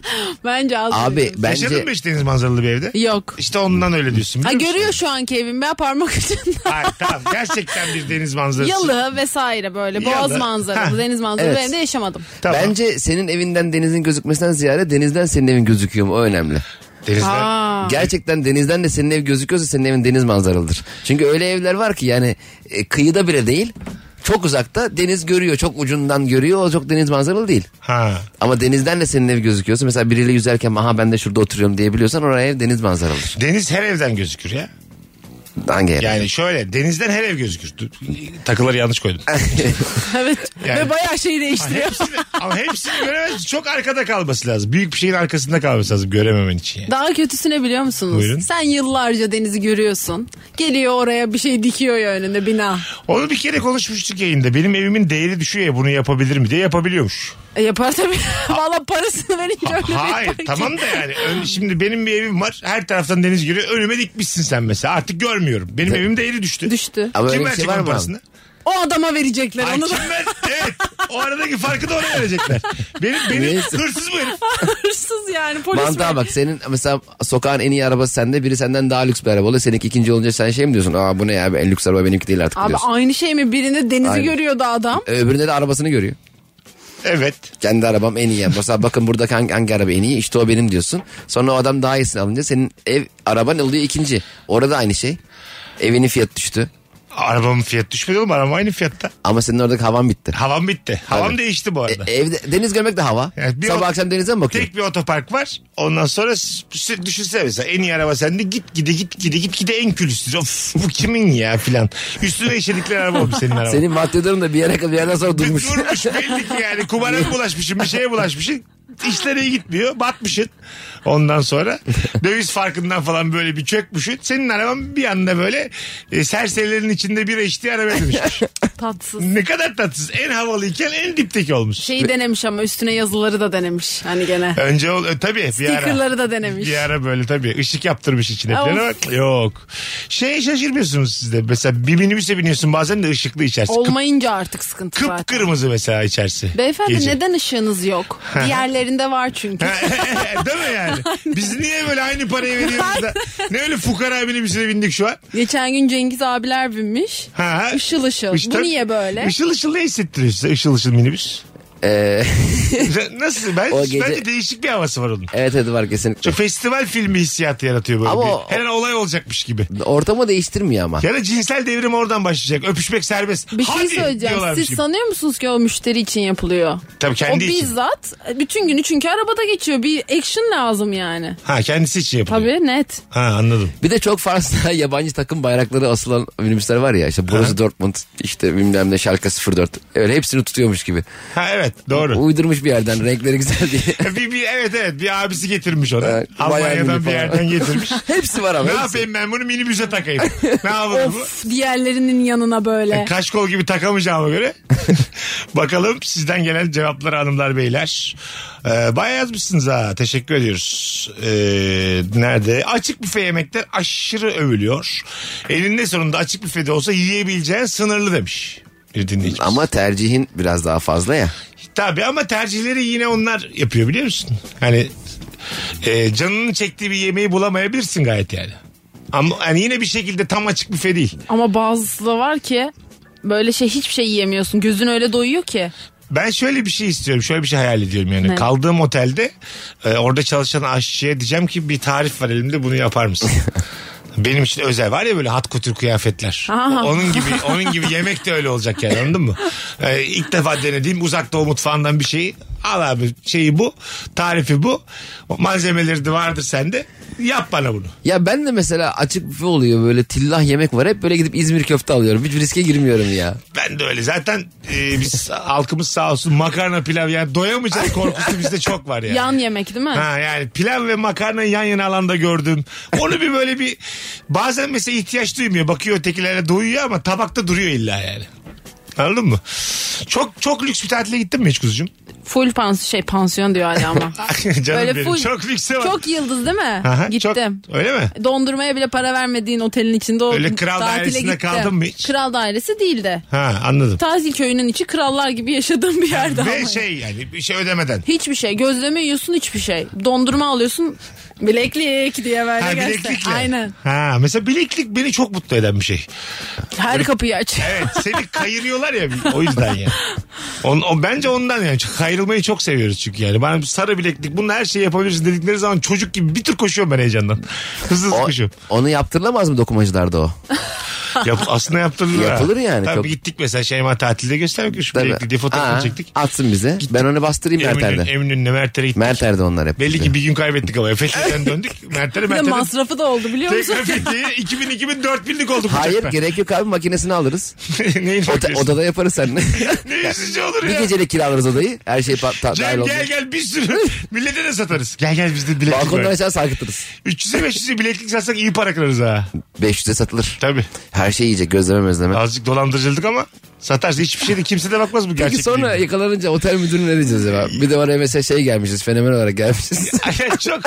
Speaker 5: Bence az bile
Speaker 4: Abi
Speaker 3: Yaşadın
Speaker 4: bence
Speaker 3: mı hiç deniz manzaralı bir evde?
Speaker 5: Yok.
Speaker 3: İşte ondan öyle diyorsun.
Speaker 5: Ha,
Speaker 3: biliyor musun?
Speaker 5: görüyor şu anki evim ben parmak ucunda.
Speaker 3: Hayır tamam gerçekten bir deniz manzarası.
Speaker 5: Yalı vesaire böyle boğaz
Speaker 3: Yalı.
Speaker 5: manzaralı,
Speaker 3: Ha.
Speaker 5: deniz manzaralı
Speaker 4: Evet.
Speaker 5: ben de yaşamadım. [laughs]
Speaker 3: Tamam.
Speaker 4: Bence senin evinden denizin gözükmesinden ziyade denizden senin evin gözüküyor mu o önemli.
Speaker 3: Denizden...
Speaker 5: Aa.
Speaker 4: Gerçekten denizden de senin ev gözüküyorsa senin evin deniz manzaralıdır. Çünkü öyle evler var ki yani e, kıyıda bile değil çok uzakta deniz görüyor çok ucundan görüyor o çok deniz manzaralı değil.
Speaker 3: Ha.
Speaker 4: Ama denizden de senin ev gözüküyorsa mesela biriyle yüzerken aha ben de şurada oturuyorum diyebiliyorsan oraya ev deniz manzaralıdır.
Speaker 3: Deniz her evden gözükür ya.
Speaker 4: Hangi ev?
Speaker 3: Yani şöyle denizden her ev gözükür. Dur, Takıları yanlış koydum.
Speaker 5: Evet
Speaker 3: Yani-
Speaker 5: ve bayağı şeyi
Speaker 3: Ha,
Speaker 5: değiştiriyor.
Speaker 3: hepsini, ama hepsini göremez. Çok arkada kalması lazım. Büyük bir şeyin arkasında kalması lazım görememen için. yani.
Speaker 5: Daha kötüsüne biliyor musunuz?
Speaker 3: Buyurun.
Speaker 5: Sen yıllarca denizi görüyorsun. Geliyor oraya bir şey dikiyor ya önünde bina.
Speaker 3: Onu bir kere konuşmuştuk yayında. Benim evimin değeri düşüyor ya bunu yapabilir mi diye yapabiliyormuş.
Speaker 5: E yapar tabii. [laughs] Valla parasını verince öyle bir
Speaker 3: Hayır
Speaker 5: yapar ki.
Speaker 3: tamam da yani Ön- şimdi benim bir evim var. Her taraftan deniz giriyor. Önüme dikmişsin sen mesela. Artık görmüyorum. Benim evim değeri düştü.
Speaker 5: Düştü.
Speaker 4: Ama öyle
Speaker 3: Kim
Speaker 4: bir şey
Speaker 3: verecek
Speaker 4: var
Speaker 3: onun
Speaker 4: mı? abi?
Speaker 3: parasını?
Speaker 5: O adama verecekler
Speaker 3: Ay,
Speaker 5: onu da.
Speaker 3: kim ver? Evet. O aradaki farkı da ona verecekler. Benim, benim
Speaker 4: Neyse.
Speaker 3: hırsız bu herif.
Speaker 5: [laughs] Hırsız yani polis
Speaker 4: Mantığa
Speaker 5: ver-
Speaker 4: bak senin mesela sokağın en iyi arabası sende biri senden daha lüks bir araba oluyor. Seninki ikinci olunca sen şey mi diyorsun? Aa bu ne ya en lüks araba benimki değil artık
Speaker 5: Abi
Speaker 4: diyorsun.
Speaker 5: aynı şey mi? Birinde denizi
Speaker 4: Aynen.
Speaker 5: görüyordu adam.
Speaker 4: E, Öbüründe de arabasını görüyor.
Speaker 3: Evet.
Speaker 4: Kendi arabam en iyi. Mesela bakın buradaki hangi, hangi araba en iyi işte o benim diyorsun. Sonra o adam daha iyisini alınca senin ev araban oluyor ikinci. Orada da aynı şey. Evinin fiyatı düştü.
Speaker 3: Arabamın fiyatı düşmedi oğlum. Arabam aynı fiyatta.
Speaker 4: Ama senin oradaki havan bitti.
Speaker 3: Havam bitti. Havam
Speaker 4: Tabii.
Speaker 3: değişti bu arada.
Speaker 4: E, evde deniz görmek de hava.
Speaker 3: Evet, bir
Speaker 4: Sabah
Speaker 3: ot-
Speaker 4: akşam denize mi bakıyorsun?
Speaker 3: Tek bir otopark var. Ondan sonra s- düşünsene mesela en iyi araba sende git gide git gide git gide en külüstüz. Of bu kimin ya filan. Üstüne işedikleri araba olmuş senin araban.
Speaker 4: Senin maddi durum da bir yere kadar bir yerden sonra durmuş.
Speaker 3: Durmuş belli ki yani. Kumara mı bulaşmışsın bir şeye bulaşmışsın. İşler iyi gitmiyor. Batmışsın. Ondan sonra döviz farkından falan böyle bir çökmüşsün. Senin araban bir anda böyle e, serserilerin içinde bira içtiği arabaya dönüşmüş.
Speaker 4: [laughs]
Speaker 5: Tatsız.
Speaker 3: ne kadar tatsız. En havalıyken en dipteki olmuş.
Speaker 5: Şeyi denemiş ama üstüne yazıları da denemiş. Hani gene.
Speaker 3: Önce ol, e, tabii bir ara.
Speaker 5: Stickerları da denemiş.
Speaker 3: Bir ara böyle tabii ışık yaptırmış içine
Speaker 5: Of.
Speaker 3: falan bak. Yok. Şey şaşırmıyorsunuz siz de. Mesela bir minibüse biniyorsun bazen de ışıklı içerisi. Kıp,
Speaker 5: Olmayınca artık sıkıntı zaten.
Speaker 3: kıpkırmızı mesela içerisi.
Speaker 5: Beyefendi
Speaker 3: Gece.
Speaker 5: neden ışığınız yok? Diğerlerinde var çünkü.
Speaker 3: [laughs] Değil mi yani? Biz niye böyle aynı parayı veriyoruz
Speaker 5: [laughs]
Speaker 3: da? Ne öyle fukara minibüsüne bindik şu an?
Speaker 5: Geçen gün Cengiz abiler binmiş.
Speaker 3: Ha.
Speaker 5: Işıl ışıl.
Speaker 3: Işıl-
Speaker 5: Bu niye böyle?
Speaker 3: Işıl ışıl ne hissettiriyor size ışıl ışıl minibüs?
Speaker 4: Ee,
Speaker 3: Nasıl? Ben,
Speaker 4: O gece-
Speaker 3: Bence değişik bir havası var onun.
Speaker 4: evet evet var kesinlikle.
Speaker 3: Çok festival filmi hissiyatı yaratıyor böyle.
Speaker 4: Ama
Speaker 3: bir.
Speaker 4: o-
Speaker 3: Her an olay olacakmış gibi.
Speaker 4: Ortamı değiştirmiyor ama.
Speaker 3: Ya da cinsel devrim oradan başlayacak. Öpüşmek serbest.
Speaker 5: Bir şey
Speaker 3: Hadi
Speaker 5: söyleyeceğim.
Speaker 3: diyorlarmış
Speaker 5: Siz
Speaker 3: gibi.
Speaker 5: sanıyor musunuz ki o müşteri için yapılıyor?
Speaker 3: Tabii kendi
Speaker 5: o
Speaker 3: için.
Speaker 5: bizzat bütün günü çünkü arabada geçiyor. Bir action lazım yani.
Speaker 3: Ha kendisi için yapılıyor.
Speaker 5: Tabii net.
Speaker 3: Ha anladım.
Speaker 4: Bir de çok fazla [laughs] yabancı takım bayrakları asılan minibüsler var ya işte Borussia Dortmund işte bilmem ne Schalke 04 öyle hepsini tutuyormuş gibi.
Speaker 3: Ha evet. Evet doğru.
Speaker 4: Uydurmuş bir yerden renkleri güzel diye.
Speaker 3: [laughs] bir, bir, evet evet bir abisi getirmiş ona.
Speaker 4: Evet, bayağı
Speaker 3: Almanya'dan
Speaker 4: mini
Speaker 3: bir
Speaker 4: falan.
Speaker 3: yerden
Speaker 4: [laughs]
Speaker 3: getirmiş.
Speaker 4: Hepsi var ama.
Speaker 3: ne
Speaker 4: hepsi.
Speaker 3: yapayım ben bunu minibüse takayım. ne yapalım bu?
Speaker 5: Of diğerlerinin yanına böyle.
Speaker 3: E, Kaşkol gibi takamayacağıma göre. Bakalım sizden gelen cevapları hanımlar beyler. Ee, bayağı yazmışsınız ha. Teşekkür ediyoruz. Ee, nerede? Açık büfe yemekler aşırı övülüyor. Elinde sonunda açık büfede olsa yiyebileceğin sınırlı demiş. Bir dinleyicimiz.
Speaker 4: Ama tercihin biraz daha fazla ya.
Speaker 3: Tabii ama tercihleri yine onlar yapıyor biliyor musun? Hani e, canının çektiği bir yemeği bulamayabilirsin gayet yani. Ama hani yine bir şekilde tam açık büfe değil.
Speaker 5: Ama bazısı da var ki böyle şey hiçbir şey yiyemiyorsun. Gözün öyle doyuyor ki.
Speaker 3: Ben şöyle bir şey istiyorum. Şöyle bir şey hayal ediyorum yani.
Speaker 5: Ne?
Speaker 3: Kaldığım otelde e, orada çalışan aşçıya diyeceğim ki bir tarif var elimde bunu yapar
Speaker 5: [laughs]
Speaker 3: mısın? Benim için özel var ya böyle hat kutur kıyafetler.
Speaker 5: Aha.
Speaker 3: Onun gibi onun gibi yemek de öyle olacak yani anladın mı? E, ilk defa denediğim uzak doğu mutfağından bir şeyi al abi şeyi bu tarifi bu malzemeleri de vardır sende yap bana bunu.
Speaker 4: Ya ben de mesela açık büfe oluyor böyle tillah yemek var. Hep böyle gidip İzmir köfte alıyorum. Hiç riske girmiyorum ya.
Speaker 3: Ben de öyle. Zaten e, biz halkımız sağ olsun makarna pilav yani doyamayacak korkusu bizde çok var yani.
Speaker 5: Yan yemek değil mi? [laughs]
Speaker 3: Ha yani pilav ve makarna yan yana alanda gördüm. Onu bir böyle bir bazen mesela ihtiyaç duymuyor. Bakıyor ötekilerle doyuyor ama tabakta duruyor illa yani. Anladın mı? Çok çok lüks bir tatile gittin mi hiç kuzucuğum? [laughs]
Speaker 5: Full pansiyon şey pansiyon diyor hala ama.
Speaker 3: Canım
Speaker 5: Böyle
Speaker 3: benim.
Speaker 5: full-
Speaker 3: Çok lükse var.
Speaker 5: Çok yıldız değil mi?
Speaker 3: Aha, çok-
Speaker 5: Gittim.
Speaker 3: öyle mi?
Speaker 5: Dondurmaya bile para vermediğin otelin içinde o
Speaker 3: Öyle kral
Speaker 5: tatile
Speaker 3: dairesinde
Speaker 5: gittim.
Speaker 3: kaldın mı hiç?
Speaker 5: Kral dairesi değildi.
Speaker 3: Ha anladım.
Speaker 5: Tatil köyünün içi krallar gibi yaşadığım bir yerde ama.
Speaker 3: Ve şey yani bir şey ödemeden.
Speaker 5: Hiçbir şey. Gözleme yiyorsun hiçbir şey. Dondurma alıyorsun bileklik diye böyle
Speaker 3: Ha
Speaker 5: gelse.
Speaker 3: bileklikle.
Speaker 5: Aynen.
Speaker 3: Ha mesela bileklik beni çok mutlu eden bir şey.
Speaker 5: Her kapıyı aç.
Speaker 3: Evet seni kayırıyorlar ya bir- o yüzden ya. On, o, bence ondan yani Çünkü kayrılmayı çok seviyoruz çünkü yani. Bana sarı bileklik bunun her şeyi yapabilirsin dedikleri zaman çocuk gibi bir tür koşuyorum ben heyecandan. Hızlı hızlı
Speaker 4: O- [laughs]
Speaker 3: koşuyorum.
Speaker 4: onu yaptırılamaz mı dokumacılarda o?
Speaker 3: Yap, aslında yaptırılır ha.
Speaker 4: Yapılır yani,
Speaker 3: Tabii
Speaker 4: çok-
Speaker 3: gittik mesela Şeyma tatilde göstermek şu
Speaker 4: Tabii.
Speaker 3: bileklik diye fotoğrafını
Speaker 4: Aa,
Speaker 3: çektik.
Speaker 4: Atsın bize. Ben onu bastırayım
Speaker 3: Eminönü,
Speaker 4: Merter'de.
Speaker 3: Eminönü'ne Mert'e gittik.
Speaker 4: Merter'de onlar hep.
Speaker 3: Belli
Speaker 4: bize.
Speaker 3: ki bir gün kaybettik ama Fethiye'den
Speaker 4: [laughs]
Speaker 3: döndük. Mert'e
Speaker 5: Bir de
Speaker 3: Mert'e
Speaker 5: masrafı da oldu biliyor musun?
Speaker 3: Tekrar Fethiye'ye 2000 2000 4000'lik olduk [laughs]
Speaker 4: Hayır
Speaker 3: uçakta.
Speaker 4: gerek yok abi makinesini alırız.
Speaker 3: Neyin
Speaker 4: Ote-
Speaker 3: bakıyorsun?
Speaker 4: odada yaparız seninle.
Speaker 3: [laughs] Ne yüzücü olur
Speaker 4: bir
Speaker 3: ya.
Speaker 4: gecelik kiralarız odayı. Her şey pa- ta- dahil
Speaker 3: Cem
Speaker 4: oldu.
Speaker 3: gel gel bir
Speaker 4: [laughs]
Speaker 3: sürü millete de satarız. Gel gel biz de bileklik
Speaker 4: Balkondan
Speaker 3: böyle.
Speaker 4: aşağı sarkıtırız.
Speaker 3: 300'e 500'e bileklik satsak iyi para kırarız ha.
Speaker 4: 500'e satılır.
Speaker 3: Tabii.
Speaker 4: Her şey yiyecek gözleme mezleme.
Speaker 3: Azıcık dolandırıcılık ama satarsa hiçbir şey de kimse de bakmaz bu
Speaker 4: Peki
Speaker 3: gerçekliğe.
Speaker 4: sonra yakalanınca otel müdürüne ne diyeceğiz acaba? Bir de oraya mesela şey gelmişiz fenomen olarak gelmişiz. [laughs]
Speaker 3: [laughs] çok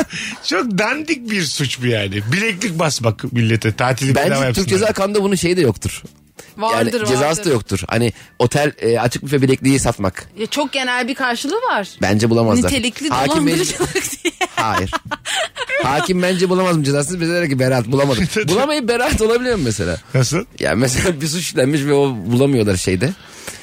Speaker 3: çok dandik bir suç bu yani. Bileklik basmak millete tatili bedava
Speaker 4: Bence
Speaker 3: yapsınlar.
Speaker 4: Türk Ceza Kanunu'nda bunun şeyi de yoktur.
Speaker 5: [laughs] Vardır
Speaker 4: yani cezası
Speaker 5: vardır.
Speaker 4: da yoktur. Hani otel e, açık büfe bilekliği satmak.
Speaker 5: Ya çok genel bir karşılığı var.
Speaker 4: Bence bulamazlar.
Speaker 5: Nitelikli
Speaker 4: Hakim bence-
Speaker 5: dolandırıcılık [laughs] diye.
Speaker 4: Hayır. Hakim bence bulamaz mı cezasını? Bize der ki beraat
Speaker 3: [laughs]
Speaker 4: bulamadık. Bulamayıp beraat olabiliyor mu mesela?
Speaker 3: Nasıl?
Speaker 4: Ya mesela [laughs] bir suç işlenmiş ve o bulamıyorlar şeyde.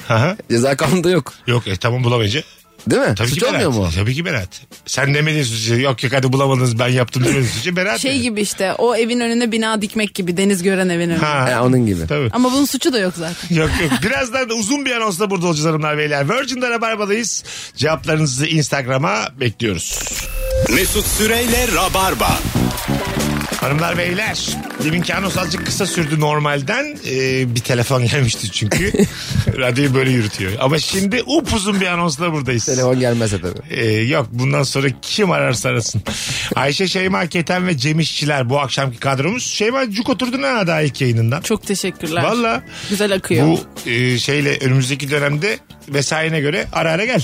Speaker 3: Aha.
Speaker 4: Ceza kanunda yok.
Speaker 3: Yok e, tamam bulamayınca.
Speaker 4: Değil mi?
Speaker 3: Tabii
Speaker 4: suç
Speaker 3: ki beraat.
Speaker 4: olmuyor mu? o?
Speaker 3: Tabii ki beraat. Sen demediğin sürece yok yok hadi bulamadınız ben yaptım demediğin sürece beraat.
Speaker 5: Şey
Speaker 3: yani.
Speaker 5: gibi işte o evin önüne bina dikmek gibi deniz gören evin önüne.
Speaker 3: Ha.
Speaker 4: Ha, onun gibi.
Speaker 3: Tabii.
Speaker 5: Ama bunun suçu da yok zaten.
Speaker 3: Yok yok. Birazdan da uzun bir anonsla burada olacağız hanımlar beyler. Virgin'de Rabarba'dayız. Cevaplarınızı Instagram'a bekliyoruz.
Speaker 8: Mesut Süreyle Rabarba.
Speaker 3: Hanımlar beyler. Deminki anons azıcık kısa sürdü normalden. Ee, bir telefon [laughs] gelmişti çünkü. Radyoyu böyle yürütüyor. Ama şimdi upuzun bir anonsla buradayız.
Speaker 4: Telefon gelmezse tabii.
Speaker 3: Ee, yok bundan sonra kim ararsa arasın. Ayşe Şeyma Keten ve Cem İşçiler bu akşamki kadromuz. Şeyma cuk oturdun ha daha ilk yayınından.
Speaker 5: Çok teşekkürler.
Speaker 3: Valla
Speaker 5: Güzel akıyor.
Speaker 3: bu e, şeyle önümüzdeki dönemde vesairene göre ara ara gel.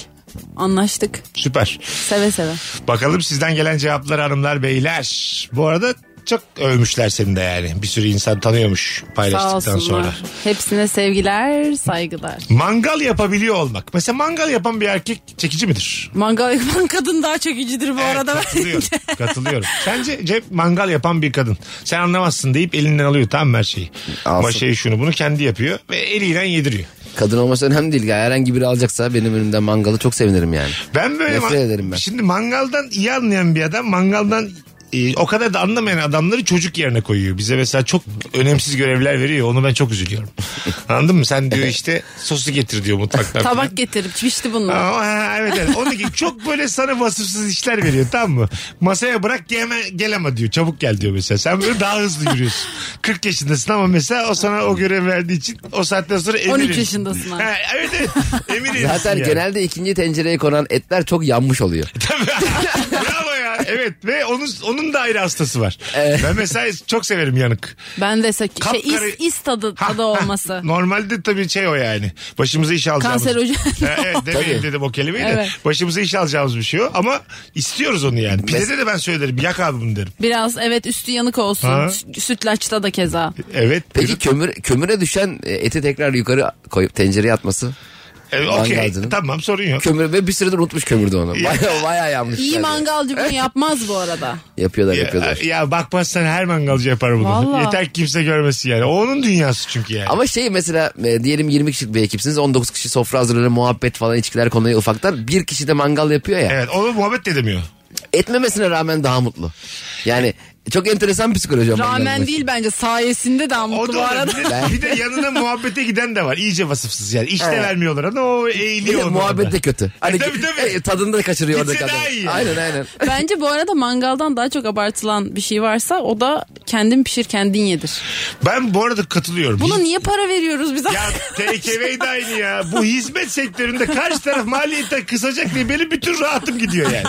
Speaker 5: Anlaştık.
Speaker 3: Süper.
Speaker 5: Seve seve.
Speaker 3: Bakalım sizden gelen cevaplar hanımlar beyler. Bu arada çok övmüşler seni de yani. Bir sürü insan tanıyormuş
Speaker 5: Sağ
Speaker 3: paylaştıktan
Speaker 5: olsunlar.
Speaker 3: sonra.
Speaker 5: Hepsine sevgiler, saygılar.
Speaker 3: Mangal yapabiliyor olmak. Mesela mangal yapan bir erkek çekici midir?
Speaker 5: Mangal yapan kadın daha çekicidir bu
Speaker 3: Evet,
Speaker 5: arada. [laughs]
Speaker 3: katılıyorum. katılıyorum. Sence Cep mangal yapan bir kadın. Sen anlamazsın deyip elinden alıyor tamam mı her şeyi.
Speaker 4: Alsın.
Speaker 3: Maşayı şunu bunu kendi yapıyor ve eliyle yediriyor.
Speaker 4: Kadın olması önemli değil. Ya. Herhangi biri alacaksa benim önümden mangalı çok sevinirim yani.
Speaker 3: Ben böyle
Speaker 4: Nefret ederim ben.
Speaker 3: Şimdi mangaldan iyi anlayan bir adam mangaldan e, e, o kadar da anlamayan adamları çocuk yerine koyuyor. Bize mesela çok önemsiz görevler veriyor. Onu ben çok
Speaker 4: [laughs]
Speaker 3: üzülüyorum. Anladın mı? Sen diyor işte sosu getir diyor mutfaktan. falan.
Speaker 5: Tabak getirip pişti bunlar.
Speaker 3: Ama ha, evet evet. Ondaki çok böyle sana vasıfsız işler veriyor tamam mı? Masaya bırak gelme, gel ama diyor. Çabuk gel diyor mesela. Sen böyle daha hızlı
Speaker 4: [laughs]
Speaker 3: yürüyorsun. 40 yaşındasın ama mesela o sana o görev verdiği için o saatten sonra emirin. [laughs]
Speaker 5: 13 yaşındasın abi.
Speaker 3: Ha, evet evet. Emirin.
Speaker 4: Zaten genelde ikinci tencereye konan etler çok
Speaker 3: [laughs]
Speaker 4: yanmış oluyor.
Speaker 3: Bravo ya. Evet ve onun onun da ayrı hastası var. Ben mesela çok severim yanık.
Speaker 5: Ben de sak- şey, is,
Speaker 3: Kapkara-
Speaker 5: is tadı,
Speaker 3: Ha,
Speaker 5: tadı
Speaker 3: ha. [laughs]
Speaker 5: olması.
Speaker 3: Normalde tabii şey o yani. Başımıza iş alacağımız.
Speaker 5: Kanserojen.
Speaker 3: Ha, evet demeyin dedim o kelimeyi de.
Speaker 5: Evet.
Speaker 3: Başımıza iş alacağımız bir şey o. Ama istiyoruz onu yani. Pidede de ben söylerim. Yak abi bunu derim.
Speaker 5: Biraz evet üstü yanık olsun.
Speaker 3: Ha.
Speaker 5: Sü- Sütlaçta da keza.
Speaker 3: Evet.
Speaker 4: Peki
Speaker 3: derim.
Speaker 4: kömür kömüre düşen e, eti tekrar yukarı koyup tencereye atması.
Speaker 3: Evet, okey.
Speaker 4: mangalcının.
Speaker 3: Tamam sorun yok.
Speaker 4: Kömür ve bir süredir unutmuş kömürde onu. Baya baya yanmış.
Speaker 5: İyi
Speaker 4: yani.
Speaker 5: mangalcı bunu yapmaz bu arada.
Speaker 4: Yapıyorlar
Speaker 3: Ya,
Speaker 4: yapıyorlar.
Speaker 3: ya bakmazsan her mangalcı yapar bunu.
Speaker 5: Vallahi.
Speaker 3: Yeter ki kimse görmesin yani. O onun dünyası çünkü yani.
Speaker 4: Ama şey mesela e, diyelim 20 kişilik bir ekipsiniz 19 kişi sofra hazırlığı muhabbet falan içkiler konuyu ufaktan bir kişi de mangal yapıyor ya
Speaker 3: Evet onu muhabbet de demiyor.
Speaker 4: etmemesine rağmen daha mutlu. Yani çok enteresan psikoloji. o mangalın
Speaker 5: Rağmen
Speaker 4: başı.
Speaker 5: değil bence sayesinde daha
Speaker 3: O
Speaker 5: mutlu bu
Speaker 3: da
Speaker 5: arada.
Speaker 3: bir de, bir de yanına muhabbete giden de var. İyice vasıfsız yani. İşte
Speaker 4: Evet.
Speaker 3: vermiyorlar ama o
Speaker 4: Bir
Speaker 3: eğiliyor.
Speaker 4: de
Speaker 3: onu
Speaker 4: muhabbet
Speaker 3: orada.
Speaker 4: de kötü. Hani
Speaker 3: tabii, tabii.
Speaker 4: e, tadını da kaçırıyor
Speaker 3: Gitse
Speaker 4: oradaki adam.
Speaker 3: daha iyi.
Speaker 4: Aynen aynen.
Speaker 5: [laughs] Bence bu arada mangaldan daha çok abartılan bir şey varsa o da kendin pişir kendin yedir.
Speaker 3: Ben bu arada katılıyorum.
Speaker 5: Buna niye para veriyoruz [laughs] biz?
Speaker 3: Ya TKV de aynı ya. Bu hizmet sektöründe karşı taraf maliyetten kısacak diye benim bütün rahatım gidiyor
Speaker 4: [laughs]
Speaker 3: yani.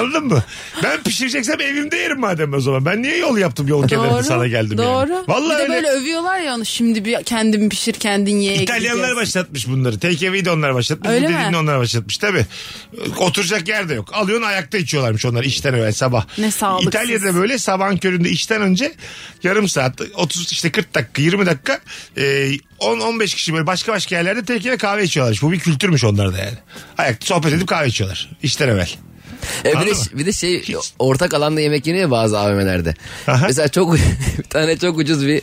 Speaker 3: Anladın mı? Ben pişireceksem evimde yerim madem o zaman. Ben niye yol yaptım yol kenarında sana geldim yani.
Speaker 5: Doğru.
Speaker 3: Vallahi
Speaker 5: bir de
Speaker 3: öyle.
Speaker 5: böyle övüyorlar ya onu şimdi bir kendin pişir kendin ye.
Speaker 3: İtalyanlar
Speaker 5: gideceğiz.
Speaker 3: başlatmış bunları. TKV'yi de onlar başlatmış.
Speaker 5: Öyle
Speaker 3: bu dediğini
Speaker 5: mi?
Speaker 3: onlar başlatmış. Tabii. Oturacak yer de yok. Alıyorsun ayakta içiyorlarmış onlar işten evvel sabah.
Speaker 5: Ne sağlıksız.
Speaker 3: İtalya'da böyle sabahın köründe işten önce yarım saat 30 işte 40 dakika 20 dakika e, 10-15 kişi böyle başka başka yerlerde TKV kahve içiyorlarmış. Bu bir kültürmüş onlarda yani. Ayakta sohbet edip kahve içiyorlar. İşten evvel.
Speaker 4: E, bir,
Speaker 3: Anladın
Speaker 4: de,
Speaker 3: mı?
Speaker 4: bir de şey ortak alanda yemek yeniyor ya bazı AVM'lerde.
Speaker 3: Aha.
Speaker 4: Mesela çok [laughs] bir tane çok ucuz bir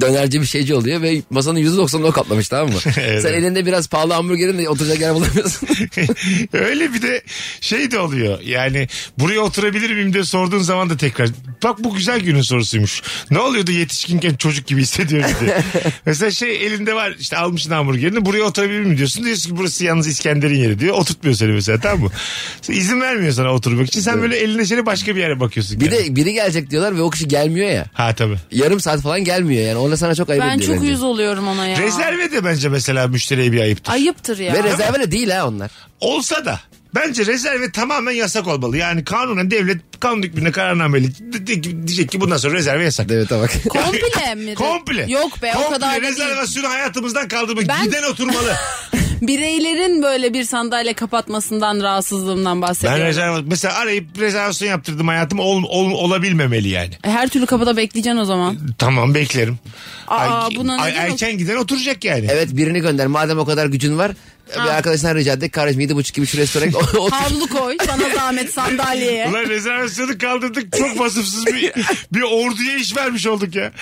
Speaker 4: dönerci bir şeyci oluyor ve masanın %90'ını o kaplamış tamam mı?
Speaker 3: [laughs] Evet.
Speaker 4: Sen elinde biraz pahalı hamburgerin de oturacak
Speaker 3: [laughs]
Speaker 4: yer bulamıyorsun.
Speaker 3: Öyle bir de şey de oluyor. Yani buraya oturabilir miyim diye sorduğun zaman da tekrar. Bak bu güzel günün sorusuymuş. Ne oluyordu yetişkinken çocuk gibi hissediyoruz
Speaker 4: [laughs]
Speaker 3: diye. Mesela şey elinde var işte almışsın hamburgerini buraya oturabilir miyim diyorsun. Diyorsun ki burası yalnız İskender'in yeri diyor. Oturtmuyor seni mesela tamam mı? İzin vermiyor sana oturmak için. Sen böyle elinde şöyle başka bir yere bakıyorsun.
Speaker 4: bir
Speaker 3: yani.
Speaker 4: de biri gelecek diyorlar ve o kişi gelmiyor ya.
Speaker 3: Ha tabii.
Speaker 4: Yarım saat falan gelmiyor yani. Ona sana çok ayıp
Speaker 5: Ben
Speaker 4: ediyor
Speaker 5: çok
Speaker 4: bence.
Speaker 5: uyuz oluyorum ona ya.
Speaker 3: Rezerve de bence mesela müşteriye bir ayıptır.
Speaker 5: Ayıptır ya.
Speaker 4: Ve rezerve de değil ha onlar.
Speaker 3: olsa da bence rezerve tamamen yasak olmalı. Yani kanunen devlet kanun hükmüne kararnameli di- di- diyecek ki bundan sonra rezerve yasak.
Speaker 4: Evet
Speaker 5: [laughs]
Speaker 4: bak.
Speaker 5: Komple
Speaker 3: [laughs]
Speaker 5: mi?
Speaker 3: Komple.
Speaker 5: Yok be
Speaker 3: Komple
Speaker 5: o kadar da değil.
Speaker 3: rezervasyonu hayatımızdan kaldırmak.
Speaker 5: Ben-
Speaker 3: Giden
Speaker 5: [laughs]
Speaker 3: oturmalı.
Speaker 5: Bireylerin böyle bir sandalye kapatmasından rahatsızlığımdan
Speaker 3: ben
Speaker 5: bahsediyorum.
Speaker 3: rezervasyon mesela arayıp rezervasyon yaptırdım hayatım ol, ol- olabilmemeli yani.
Speaker 5: E, Her türlü kapıda bekleyeceksin
Speaker 3: [laughs]
Speaker 5: o zaman.
Speaker 3: Tamam beklerim.
Speaker 5: Aa, buna ne demek?
Speaker 3: erken giden oturacak yani.
Speaker 4: Evet birini gönder. Madem o kadar gücün var.
Speaker 5: Ah.
Speaker 4: Bir arkadaşından rica ettik. Kardeşim yedi buçuk gibi şu
Speaker 5: [laughs]
Speaker 4: restorana otur.
Speaker 5: Havlu koy bana zahmet sandalyeye.
Speaker 3: Ulan rezervasyonu kaldırdık çok vasıfsız
Speaker 5: [laughs]
Speaker 3: bir, bir orduya iş vermiş olduk ya.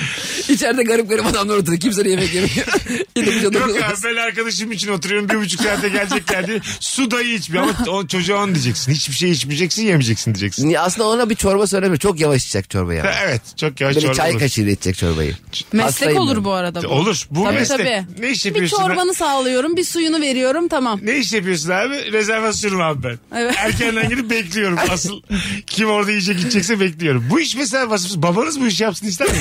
Speaker 4: İçeride garip garip adamlar oturuyor. Kimse de yemek
Speaker 5: [laughs]
Speaker 4: yemiyor. Yedi buçuk
Speaker 3: Yok
Speaker 4: [laughs] dokuz.
Speaker 3: ya ben arkadaşım için oturuyorum bir buçuk saate gelecekler diye. Su dahi içmiyor ama o çocuğa onu diyeceksin. Hiçbir şey içmeyeceksin yemeyeceksin diyeceksin.
Speaker 4: Niye? Aslında ona bir çorba söylemiyor. Çok yavaş içecek çorbayı. ama.
Speaker 3: Evet çok yavaş
Speaker 4: Böyle
Speaker 3: çorba
Speaker 4: çay
Speaker 3: olur.
Speaker 4: kaşığıyla içecek çorbayı.
Speaker 5: Meslek
Speaker 4: Hastayım
Speaker 5: olur
Speaker 4: ben.
Speaker 5: bu arada bu.
Speaker 3: Olur. Bu
Speaker 5: Tabii
Speaker 3: meslek.
Speaker 5: tabii.
Speaker 3: Ne iş
Speaker 5: Bir
Speaker 3: yapıyorsun?
Speaker 5: çorbanı sağlıyorum bir suyunu veriyorum tamam.
Speaker 3: Ne iş yapıyorsun abi? Rezervasyonum abi ben.
Speaker 5: Evet.
Speaker 3: Erkenden gidip
Speaker 5: [laughs]
Speaker 3: bekliyorum. Asıl kim orada yiyecek içecekse bekliyorum. Bu iş mesela vasıfsız. Babanız bu işi yapsın ister
Speaker 5: [laughs]
Speaker 3: mi?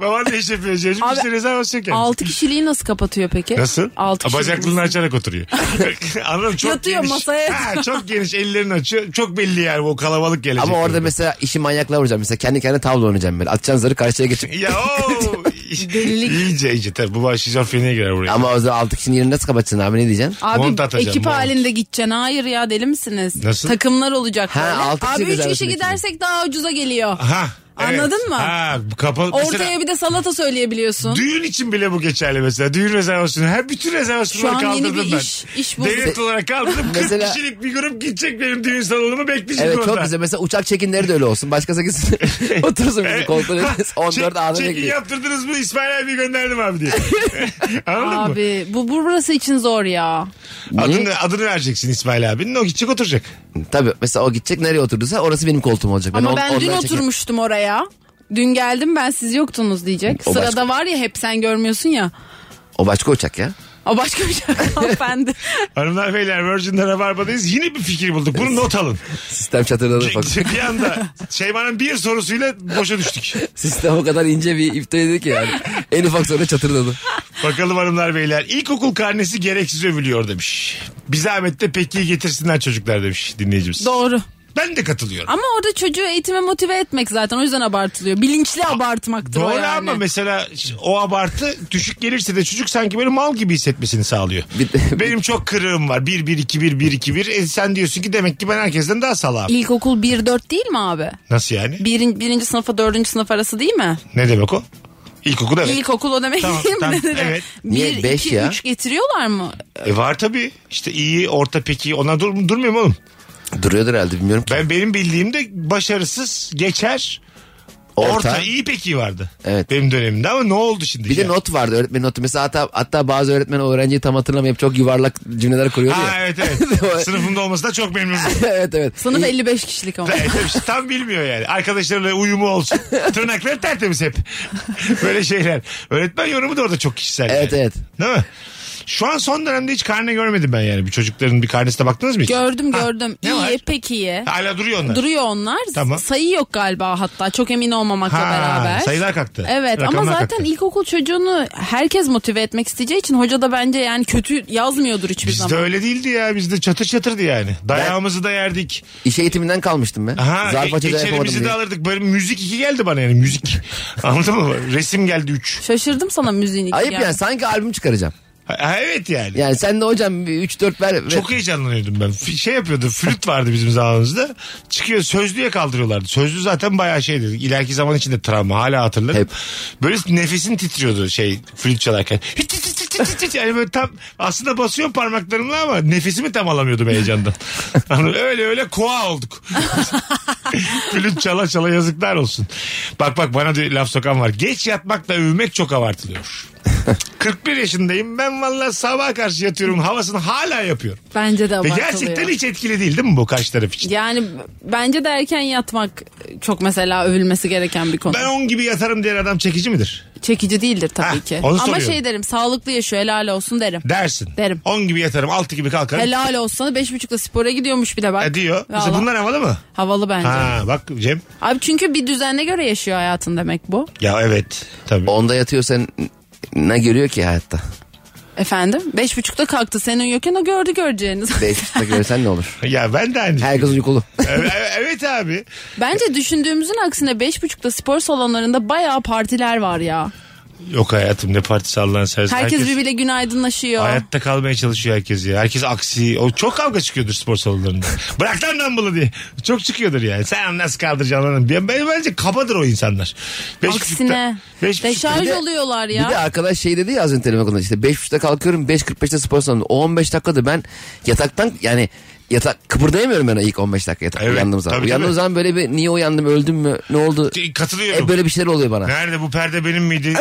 Speaker 3: Baban ne iş yapıyor? Cemciğim
Speaker 5: Abi,
Speaker 3: işte rezervasyon kendisi.
Speaker 5: 6 kişiliği nasıl kapatıyor peki? [laughs]
Speaker 3: Nasıl?
Speaker 5: 6
Speaker 3: Ha,
Speaker 5: kişilik.
Speaker 3: Bacaklığını açarak oturuyor.
Speaker 5: [laughs]
Speaker 3: Anladım çok
Speaker 5: Yatıyor
Speaker 3: geniş.
Speaker 5: masaya.
Speaker 3: Ha, çok geniş ellerini açıyor. Çok belli yani o kalabalık gelecek.
Speaker 4: Ama orada mesela işi manyakla vuracağım. Mesela kendi kendine tavla oynayacağım böyle. Atacaksın zarı
Speaker 3: [laughs]
Speaker 4: karşıya geçip. [laughs]
Speaker 3: Ya o. İyice iyice tabii bu şizofreniye girer buraya.
Speaker 4: Ama o zaman altı kişinin yerini nasıl kapatacaksın abi ne diyeceksin?
Speaker 5: Abi
Speaker 3: Mont atacaksın,
Speaker 5: ekip
Speaker 3: mont.
Speaker 5: halinde gideceksin. Hayır ya deli misiniz?
Speaker 3: Nasıl?
Speaker 5: Takımlar olacak
Speaker 4: Ha,
Speaker 5: böyle.
Speaker 4: altı kişi
Speaker 5: Abi 3
Speaker 4: rezervasyon
Speaker 5: kişi
Speaker 4: içinde.
Speaker 5: gidersek daha ucuza geliyor.
Speaker 3: Ha
Speaker 5: Anladın
Speaker 3: Evet.
Speaker 5: mı?
Speaker 3: Ha, kapalı.
Speaker 5: Ortaya
Speaker 3: Mesela
Speaker 5: bir de salata söyleyebiliyorsun.
Speaker 3: Düğün için bile bu geçerli mesela. Düğün rezervasyonu. Her bütün rezervasyonları
Speaker 5: Şu an yeni
Speaker 3: kaldırdım
Speaker 5: bir
Speaker 3: ben.
Speaker 5: iş- iş buldum.
Speaker 3: Devlet olarak kaldırdım. 40
Speaker 4: Mesela-
Speaker 3: kişilik bir grup gidecek benim düğün salonumu bekleyecek
Speaker 4: Evet
Speaker 3: orada.
Speaker 4: çok
Speaker 3: [laughs]
Speaker 4: güzel. Mesela uçak çekinleri de öyle olsun. Başkası gitsin. Otursun bizim
Speaker 3: Evet.
Speaker 4: koltuğuna.
Speaker 3: Çek-
Speaker 4: 14 anı
Speaker 3: Çekin
Speaker 4: bekliyor.
Speaker 3: yaptırdınız mı İsmail abi gönderdim abi
Speaker 5: [laughs]
Speaker 3: diye. Anladın mı?
Speaker 5: Abi bu, bu burası için zor ya.
Speaker 3: Adını, adını vereceksin İsmail abinin. O gidecek oturacak.
Speaker 4: Tabii mesela o gidecek nereye oturduysa orası benim koltuğum olacak.
Speaker 5: Ama
Speaker 4: on-
Speaker 5: ben dün
Speaker 4: ondan çekerim.
Speaker 5: oturmuştum oraya. Dün geldim ben siz yoktunuz diyecek.
Speaker 4: O
Speaker 5: Sırada
Speaker 4: başka-
Speaker 5: var ya hep sen görmüyorsun ya.
Speaker 4: O başka uçak ya.
Speaker 5: O başka bir şey [laughs]
Speaker 3: [laughs]
Speaker 5: hanımefendi.
Speaker 3: Hanımlar beyler Virgin'de Rabarba'dayız. Yine bir fikir bulduk. Bunu not
Speaker 4: [laughs]
Speaker 3: alın.
Speaker 4: Sistem çatırdadı. bak.
Speaker 3: bir anda Şeyma'nın bir sorusuyla boşa düştük.
Speaker 4: Sistem o kadar ince bir ifteydi ki yani. en ufak sonra çatırdadı.
Speaker 3: Bakalım hanımlar beyler. İlkokul karnesi gereksiz övülüyor demiş. Bir zahmet de pekiyi getirsinler çocuklar demiş dinleyicimiz.
Speaker 5: Doğru.
Speaker 3: ben de katılıyorum.
Speaker 5: Ama orada çocuğu eğitime motive etmek zaten o yüzden abartılıyor. Bilinçli abartmaktır o
Speaker 3: Doğru
Speaker 5: yani.
Speaker 3: ama mesela o abartı düşük gelirse de çocuk sanki böyle mal gibi hissetmesini sağlıyor.
Speaker 4: Bir de- [laughs]
Speaker 3: Benim çok kırığım var. 1 1 2 1 1 2 1. E sen diyorsun ki demek ki ben herkesten daha salağım.
Speaker 5: İlkokul 1-4 değil mi abi?
Speaker 3: Nasıl yani?
Speaker 5: Birin, birinci sınıfa dördüncü sınıf arası değil mi?
Speaker 3: Ne demek o? İlkokul evet.
Speaker 5: İlkokul o demek
Speaker 3: Tamam,
Speaker 5: değil mi?
Speaker 3: tamam,
Speaker 5: Dedim.
Speaker 3: evet.
Speaker 4: Niye
Speaker 5: Bir,
Speaker 4: beş
Speaker 5: iki,
Speaker 4: ya?
Speaker 5: üç getiriyorlar mı?
Speaker 3: E var tabii. İşte iyi, orta peki. Ona dur, durmuyor mu oğlum?
Speaker 4: Duruyordur herhalde bilmiyorum ki.
Speaker 3: Ben benim bildiğimde başarısız geçer. Orta,
Speaker 4: Orta.
Speaker 3: iyi peki vardı.
Speaker 4: Evet.
Speaker 3: Benim dönemimde ama ne oldu şimdi?
Speaker 4: Bir de
Speaker 3: ya?
Speaker 4: not vardı öğretmenin notu. Mesela hatta, hatta bazı öğretmen o öğrenciyi tam hatırlamayıp çok yuvarlak cümleler kuruyordu [laughs]
Speaker 3: Ha
Speaker 4: ya.
Speaker 3: evet evet. Sınıfımda olması da çok memnunum.
Speaker 4: [laughs] evet evet.
Speaker 5: Sınıf 55 kişilik ama.
Speaker 3: Evet, hepsi tam bilmiyor yani. Arkadaşlarıyla uyumu olsun. Tırnakları tertemiz hep. [laughs] Böyle şeyler. Öğretmen yorumu da orada çok kişisel.
Speaker 4: Evet,
Speaker 3: yani.
Speaker 4: evet.
Speaker 3: Değil mi? Şu an son dönemde hiç karne görmedim ben yani. Bir çocukların bir karnesine baktınız mı hiç?
Speaker 5: Gördüm
Speaker 3: Ha,
Speaker 5: gördüm.
Speaker 3: ne var?
Speaker 5: iyi peki iyi.
Speaker 3: Hala duruyor onlar.
Speaker 5: Duruyor onlar.
Speaker 3: Tamam.
Speaker 5: Sayı yok galiba hatta çok emin olmamakla
Speaker 3: Ha,
Speaker 5: beraber.
Speaker 3: sayılar kalktı.
Speaker 5: Evet ama
Speaker 3: Rakamlar
Speaker 5: zaten
Speaker 3: kalktı.
Speaker 5: ilkokul çocuğunu herkes motive etmek isteyeceği için hoca da bence yani kötü yazmıyordur hiçbir
Speaker 3: Bizde
Speaker 5: zaman.
Speaker 3: öyle değildi ya. Bizde çatır çatırdı yani. Dayağımızı da yerdik.
Speaker 4: İş eğitiminden kalmıştım ben.
Speaker 3: Aha,
Speaker 4: Zarf
Speaker 3: e-
Speaker 4: açıda yapamadım
Speaker 3: içerimizi de
Speaker 4: diye.
Speaker 3: alırdık. Böyle müzik iki geldi bana yani müzik. [laughs] Anladın mı? Resim geldi üç.
Speaker 5: Şaşırdım sana müziğin iki
Speaker 4: Ayıp
Speaker 5: yani.
Speaker 4: yani sanki albüm çıkaracağım.
Speaker 3: Ha, ha, evet yani.
Speaker 4: Yani sen de hocam 3-4 ver.
Speaker 3: Çok heyecanlanıyordum ben. F- Şey yapıyordu flüt vardı bizim zamanımızda. Çıkıyor sözlüye kaldırıyorlardı. Sözlü zaten bayağı şey dedik. İleriki zaman içinde travma hala hatırlarım.
Speaker 4: Hep.
Speaker 3: Böyle nefesin titriyordu şey flüt çalarken. [laughs] Hiç, hiç, hiç, hiç, hiç, hiç. Yani böyle tam aslında basıyorum parmaklarımla ama nefesimi tam alamıyordum heyecandan. Anladın mı? öyle öyle koa olduk. [laughs] flüt çala çala yazıklar olsun. Bak bak bana diyor, laf sokan var. Geç yatmakla övünmek çok abartılıyor. 41 yaşındayım. Ben vallahi sabah karşı yatıyorum. Havasını hala yapıyorum.
Speaker 5: Bence de
Speaker 3: Ve
Speaker 5: abartılıyor.
Speaker 3: gerçekten hiç etkili değil değil mi bu karşı taraf için?
Speaker 5: Yani bence de erken yatmak çok mesela övülmesi gereken bir konu.
Speaker 3: Ben 10 gibi yatarım diyen adam çekici midir?
Speaker 5: Çekici değildir tabii
Speaker 3: Ha,
Speaker 5: ki.
Speaker 3: onu
Speaker 5: Ama
Speaker 3: soruyorum.
Speaker 5: şey derim sağlıklı yaşıyor helal olsun derim.
Speaker 3: Dersin.
Speaker 5: Derim.
Speaker 3: 10 gibi yatarım 6 gibi kalkarım.
Speaker 5: Helal olsun. Beş buçukta spora gidiyormuş bir de bak.
Speaker 3: E diyor. Mesela
Speaker 5: Valla.
Speaker 3: bunlar havalı mı?
Speaker 5: Havalı bence.
Speaker 3: Ha bak Cem.
Speaker 5: Abi çünkü bir düzene göre yaşıyor hayatın demek bu.
Speaker 3: Ya evet. Tabii.
Speaker 4: Onda yatıyorsan ne görüyor ki hayatta?
Speaker 5: Efendim? Beş buçukta kalktı senin yokken o gördü göreceğiniz.
Speaker 4: 5 görsen ne olur?
Speaker 3: Ya ben de aynı. şey. [laughs]
Speaker 4: Herkes uykulu.
Speaker 3: evet, evet abi.
Speaker 5: [laughs] Bence düşündüğümüzün aksine beş buçukta spor salonlarında bayağı partiler var ya.
Speaker 3: Yok hayatım ne partisi Allah'ın seversen.
Speaker 5: Herkes, birbiriyle günaydınlaşıyor.
Speaker 3: Hayatta kalmaya çalışıyor herkes ya. Herkes aksi. O çok kavga çıkıyordur spor
Speaker 5: [laughs]
Speaker 3: salonlarında. Bırak lan dumbbell'ı diye. Çok çıkıyordur yani. Sen nasıl kaldıracaksın lan? Ben, ben- bence kabadır o insanlar. Beş
Speaker 5: Aksine.
Speaker 3: buçukta- beş buçukta-
Speaker 5: Deşarj
Speaker 4: Bir de-
Speaker 5: oluyorlar ya.
Speaker 4: Bir de arkadaş şey dedi ya az önce telefon konuda işte 5.30'da kalkıyorum 5.45'te spor salonu. O 15 dakikada ben yataktan yani yatak kıpırdayamıyorum ben o ilk 15 dakika yatak
Speaker 3: Evet,
Speaker 4: uyandığım zaman.
Speaker 3: tabii,
Speaker 4: uyandığım
Speaker 3: tabii.
Speaker 4: zaman böyle bir niye uyandım öldüm mü ne oldu?
Speaker 3: Katılıyorum.
Speaker 4: Hep böyle bir şeyler oluyor bana.
Speaker 3: Nerede bu perde benim
Speaker 4: [laughs]
Speaker 3: miydi?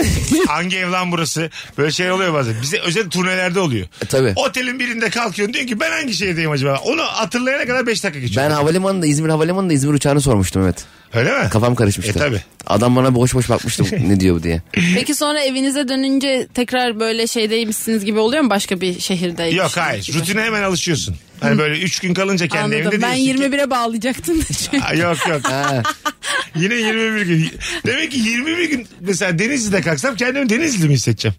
Speaker 3: Hangi ev lan burası? Böyle şey oluyor bazen. Bize özel turnelerde oluyor.
Speaker 4: E, tabii.
Speaker 3: Otelin birinde kalkıyorsun diyor ki ben hangi şehirdeyim acaba? Onu hatırlayana kadar 5 dakika geçiyor.
Speaker 4: Ben havalimanında İzmir havalimanında İzmir uçağını sormuştum evet.
Speaker 3: Öyle mi?
Speaker 4: Kafam karışmıştı.
Speaker 3: E, tabii.
Speaker 4: Adam bana boş
Speaker 3: [laughs]
Speaker 4: boş bakmıştı ne diyor bu diye.
Speaker 5: Peki sonra evinize dönünce tekrar böyle şeydeymişsiniz gibi oluyor mu başka bir şehirde?
Speaker 4: E,
Speaker 3: Yok hayır. Rutine hemen alışıyorsun. Hani böyle 3 gün kalınca kendi
Speaker 5: Anladım.
Speaker 3: evinde
Speaker 5: Ben
Speaker 3: diyorsun [laughs] ki-
Speaker 5: 21'e bağlayacaktım. da
Speaker 3: [laughs]
Speaker 5: çünkü.
Speaker 3: Aa, yok yok. Yine 21 gün. Demek ki 21 gün mesela Denizli'de kalksam kendimi Denizli mi hissedeceğim?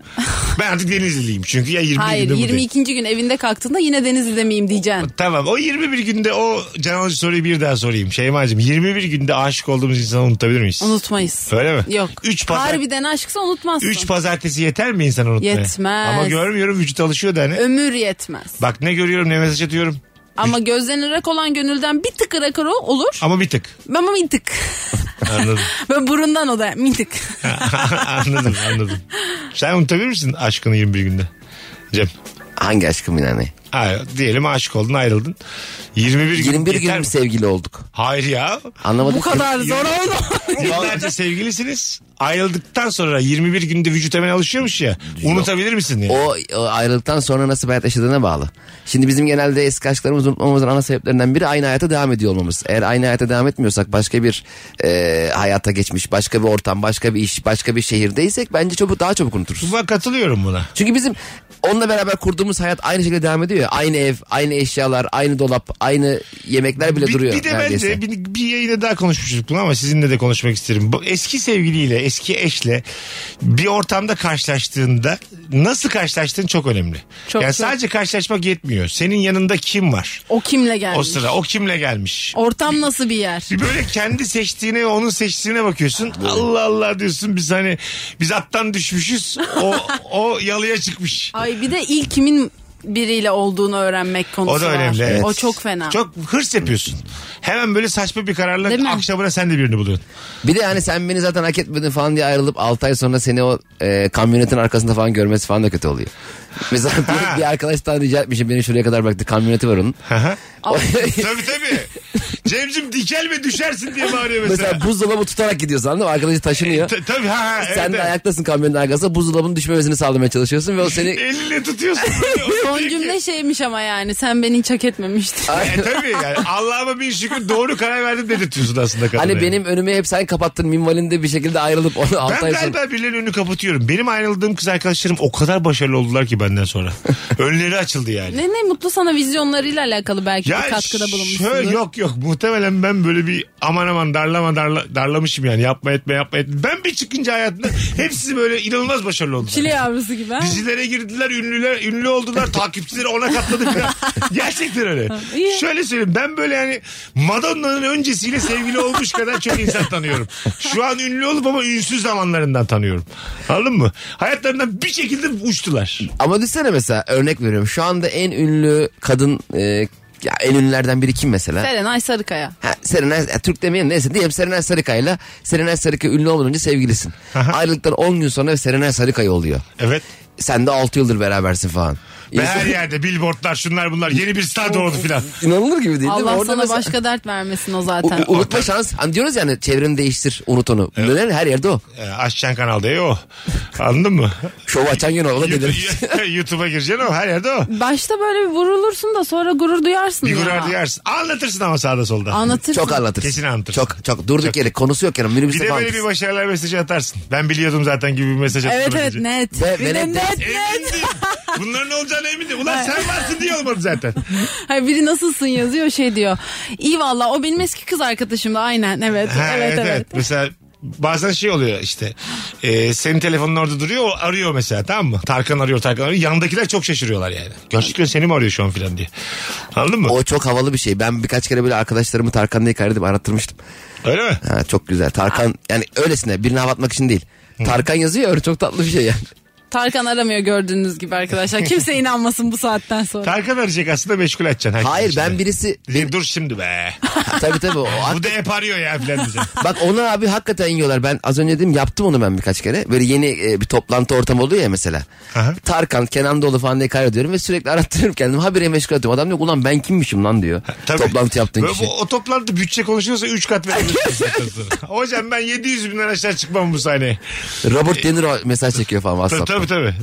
Speaker 3: Ben artık Denizliliyim çünkü ya 21
Speaker 5: Hayır
Speaker 3: günde buradayım.
Speaker 5: 22. gün evinde kalktığında yine Denizli'de miyim diyeceksin.
Speaker 3: Tamam o 21 günde o can alıcı soruyu bir daha sorayım. Şeyma'cığım 21 günde aşık olduğumuz insanı unutabilir miyiz?
Speaker 5: Unutmayız.
Speaker 3: Öyle mi?
Speaker 5: Yok.
Speaker 3: Üç pazar-
Speaker 5: Harbiden aşksa unutmazsın.
Speaker 3: 3 pazartesi yeter mi insan unutmaya?
Speaker 5: Yetmez.
Speaker 3: Ama görmüyorum vücut alışıyor da hani.
Speaker 5: Ömür yetmez.
Speaker 3: Bak ne görüyorum ne mesaj atıyorum.
Speaker 5: Ama gözlerin rak olan gönülden bir tık rak olur.
Speaker 3: Ama bir tık.
Speaker 5: [laughs] Ama bir tık. [laughs]
Speaker 3: Anladım.
Speaker 5: Böyle burundan o da mintik.
Speaker 3: anladım anladım. Sen unutabilir misin aşkını 21 günde? Cem.
Speaker 4: Hangi aşkım yani?
Speaker 3: Hayır, diyelim aşık oldun ayrıldın. 21 gün
Speaker 4: 21
Speaker 3: yeter
Speaker 4: gün
Speaker 3: mi?
Speaker 4: sevgili olduk.
Speaker 3: Hayır ya.
Speaker 4: Anlamadım.
Speaker 5: Bu
Speaker 4: ki.
Speaker 5: kadar zor oldu.
Speaker 3: Yıllarca sevgilisiniz. Ayrıldıktan sonra 21 günde vücut hemen alışıyormuş ya. Unutabilir misin yani?
Speaker 4: O, o ayrılıktan sonra nasıl bir hayat yaşadığına bağlı. Şimdi bizim genelde eski aşklarımızı unutmamamızın ana sebeplerinden biri aynı hayata devam ediyor olmamız. Eğer aynı hayata devam etmiyorsak başka bir e, hayata geçmiş, başka bir ortam, başka bir iş, başka bir şehirdeysek bence çabuk daha çabuk unuturuz.
Speaker 3: Buna katılıyorum buna.
Speaker 4: Çünkü bizim onunla beraber kurduğumuz hayat aynı şekilde devam ediyor ya. Aynı ev, aynı eşyalar, aynı dolap, aynı yemekler bile
Speaker 3: bir,
Speaker 4: duruyor
Speaker 3: bir de
Speaker 4: neredeyse.
Speaker 3: bence bir, bir yayına daha konuşmuştuk bunu ama sizinle de konuşmak isterim. Bu eski sevgiliyle, eski eşle bir ortamda karşılaştığında nasıl karşılaştığın çok önemli.
Speaker 5: Çok,
Speaker 3: yani
Speaker 5: çok.
Speaker 3: sadece karşılaşmak yetmiyor. Senin yanında kim var?
Speaker 5: O kimle gelmiş?
Speaker 3: O sıra o kimle gelmiş?
Speaker 5: Ortam nasıl bir yer?
Speaker 3: Bir böyle kendi seçtiğine ve onun seçtiğine bakıyorsun. Allah Allah diyorsun biz hani biz attan düşmüşüz. O o yalıya çıkmış.
Speaker 5: Ay bir de ilk kimin biriyle olduğunu öğrenmek konusu
Speaker 3: O da önemli.
Speaker 5: var.
Speaker 3: evet.
Speaker 5: O çok fena.
Speaker 3: Çok hırs yapıyorsun. Hemen böyle saçma bir
Speaker 5: Değil mi?
Speaker 3: kararla akşamına sen de birini buluyorsun.
Speaker 4: Bir de hani sen beni zaten hak etmedin falan diye ayrılıp 6 ay sonra seni o e, kamyonetin arkasında falan görmesi falan da kötü oluyor. Mesela bir, bir arkadaştan rica etmişim beni şuraya kadar bıraktı kamyoneti var onun.
Speaker 3: Aha.
Speaker 4: O-
Speaker 3: tabii tabii. Cemcim dikelme düşersin diye bağırıyor mesela.
Speaker 4: [laughs] Mesela buzdolabı tutarak gidiyorsun anladın mı? Arkadaşı taşınıyor.
Speaker 3: Ta- tabii ha, ha [laughs] evet,
Speaker 4: Sen de
Speaker 3: evet.
Speaker 4: ayaktasın kamyonun arkasında buzdolabının düşmemesini sağlamaya çalışıyorsun ve
Speaker 3: [laughs]
Speaker 4: o seni...
Speaker 3: Elinle
Speaker 5: [laughs]
Speaker 3: tutuyorsun. böyle. O
Speaker 5: Son
Speaker 3: diyor ki-
Speaker 5: cümle şeymiş ama yani sen beni hiç hak etmemiştin.
Speaker 4: Ay,
Speaker 3: E, tabii yani Allah'ıma bin şükür doğru karar verdim dedirtiyorsun aslında kadına.
Speaker 4: hani
Speaker 3: yani.
Speaker 4: benim önümü hep sen kapattın minvalinde bir şekilde ayrılıp onu 6
Speaker 3: Ben
Speaker 4: ay sonra...
Speaker 3: galiba birilerinin önünü kapatıyorum. Benim ayrıldığım kız arkadaşlarım o kadar başarılı oldular ki benden
Speaker 5: [laughs]
Speaker 3: sonra. Önleri açıldı yani.
Speaker 5: ne ne mutlu sana vizyonlarıyla alakalı belki bir katkıda bulunmuşsundur.
Speaker 3: şöyle yok yok muhtemelen ben böyle bir aman aman darlama darla, darlamışım yani yapma etme yapma etme. Ben bir çıkınca hayatımda hepsi böyle inanılmaz başarılı oldu.
Speaker 5: Çile yavrusu gibi. ha?
Speaker 3: Dizilere girdiler, ünlüler, ünlü oldular, takipçileri ona katladı falan. Gerçekten öyle.
Speaker 5: iyi.
Speaker 3: Şöyle söyleyeyim ben böyle yani Madonna'nın öncesiyle sevgili olmuş kadar çok insan tanıyorum. Şu an ünlü olup ama ünsüz zamanlarından tanıyorum. Anladın mı? Hayatlarından bir şekilde uçtular.
Speaker 4: Ama düşünsene mesela örnek veriyorum. Şu anda en ünlü kadın... e, ya en ünlülerden biri kim mesela?
Speaker 5: Serenay Sarıkaya.
Speaker 4: Ha, Serenay, ya, Türk demeyelim neyse diyelim Serenay Sarıkaya'yla Serenay Sarıkaya ünlü olmadan önce sevgilisin. Ayrılıktan 10 gün sonra Serenay Sarıkaya oluyor.
Speaker 3: Evet.
Speaker 4: Sen de 6 yıldır berabersin falan.
Speaker 3: Ve her yerde billboardlar şunlar bunlar yeni bir star doğdu filan.
Speaker 4: İnanılır gibi değil değil mi?
Speaker 5: Allah
Speaker 4: Orada
Speaker 5: sana
Speaker 4: mesela-
Speaker 5: başka dert vermesin o
Speaker 4: U-
Speaker 5: zaten.
Speaker 4: u- unutma şans. Hani diyoruz yani çevreni değiştir, unut onu. Neler her yerde o.
Speaker 3: E, açacaksın kanalda ya o. Anladın mı?
Speaker 4: Şov açan gün orada gelir.
Speaker 3: [laughs] YouTube- YouTube'a gireceksin o her yerde o.
Speaker 5: Başta böyle bir vurulursun da sonra gurur duyarsın.
Speaker 3: Bir
Speaker 5: ya.
Speaker 3: gurur duyarsın. Anlatırsın ama sağda solda.
Speaker 5: Anlatırsın.
Speaker 4: Çok anlatırsın.
Speaker 3: Kesin anlatırsın.
Speaker 4: Çok çok durduk yere konusu yok yani
Speaker 3: Bir
Speaker 4: minibüste
Speaker 3: de
Speaker 4: falan.
Speaker 3: böyle bir başarılar mesajı atarsın. Ben biliyordum zaten gibi bir mesaj atarsın.
Speaker 5: Evet evet net.
Speaker 4: Ve-
Speaker 5: Bir
Speaker 4: ve
Speaker 5: de
Speaker 4: net-
Speaker 5: net net.
Speaker 3: Emindim. Bunların olacağına emindim. Ulan sen varsın diye olmadı
Speaker 5: [laughs]
Speaker 3: zaten.
Speaker 5: Hayır, biri nasılsın yazıyor şey diyor. İyi valla o benim eski kız arkadaşım da aynen evet.
Speaker 3: Ha,
Speaker 5: evet evet.
Speaker 3: Mesela bazen şey oluyor işte. E, senin telefonun orada duruyor. O arıyor mesela tamam mı? Tarkan arıyor Tarkan arıyor. Yandakiler çok şaşırıyorlar yani. Gerçekten seni mi arıyor şu an filan diye. Anladın mı?
Speaker 4: O çok havalı bir şey. Ben birkaç kere böyle arkadaşlarımı Tarkan'la hikar edip arattırmıştım.
Speaker 3: Öyle mi?
Speaker 4: Ha, çok güzel. Tarkan yani öylesine birini hava atmak için değil. Tarkan yazıyor ya, öyle çok tatlı bir şey yani.
Speaker 5: Tarkan aramıyor gördüğünüz gibi
Speaker 3: [laughs]
Speaker 5: arkadaşlar. Kimse inanmasın bu saatten sonra.
Speaker 3: Tarkan arayacak aslında meşgul edeceksin. herkes
Speaker 4: Hayır
Speaker 3: içinde.
Speaker 4: ben birisi
Speaker 3: Diyecek, [laughs] Dur şimdi be.
Speaker 4: Ha, tabii
Speaker 3: [laughs]
Speaker 4: tabii. O,
Speaker 3: Bu da hep arıyor ya filan bize.
Speaker 4: bak ona abi hakikaten yiyorlar. Ben az önce dedim yaptım onu ben birkaç kere. Böyle yeni e, bir toplantı ortamı oluyor ya mesela.
Speaker 3: Aha.
Speaker 4: Tarkan, Kenan Doğulu falan diye kaydediyorum ve sürekli arattırıyorum kendimi. Habire meşgul ediyorum. Adam diyor ki, ulan ben kimmişim lan diyor.
Speaker 3: Tabii.
Speaker 4: Toplantı yaptığın
Speaker 3: Böyle
Speaker 4: kişi.
Speaker 3: Bu, o toplantı bütçe konuşuyorsa 3 kat
Speaker 4: [laughs]
Speaker 3: verebilirsin. zaten sonra. Hocam ben 700 binden aşağı çıkmam bu sahneye.
Speaker 4: Robert De Niro mesaj çekiyor falan
Speaker 3: Tabii
Speaker 4: WhatsApp'ta.
Speaker 3: tabii.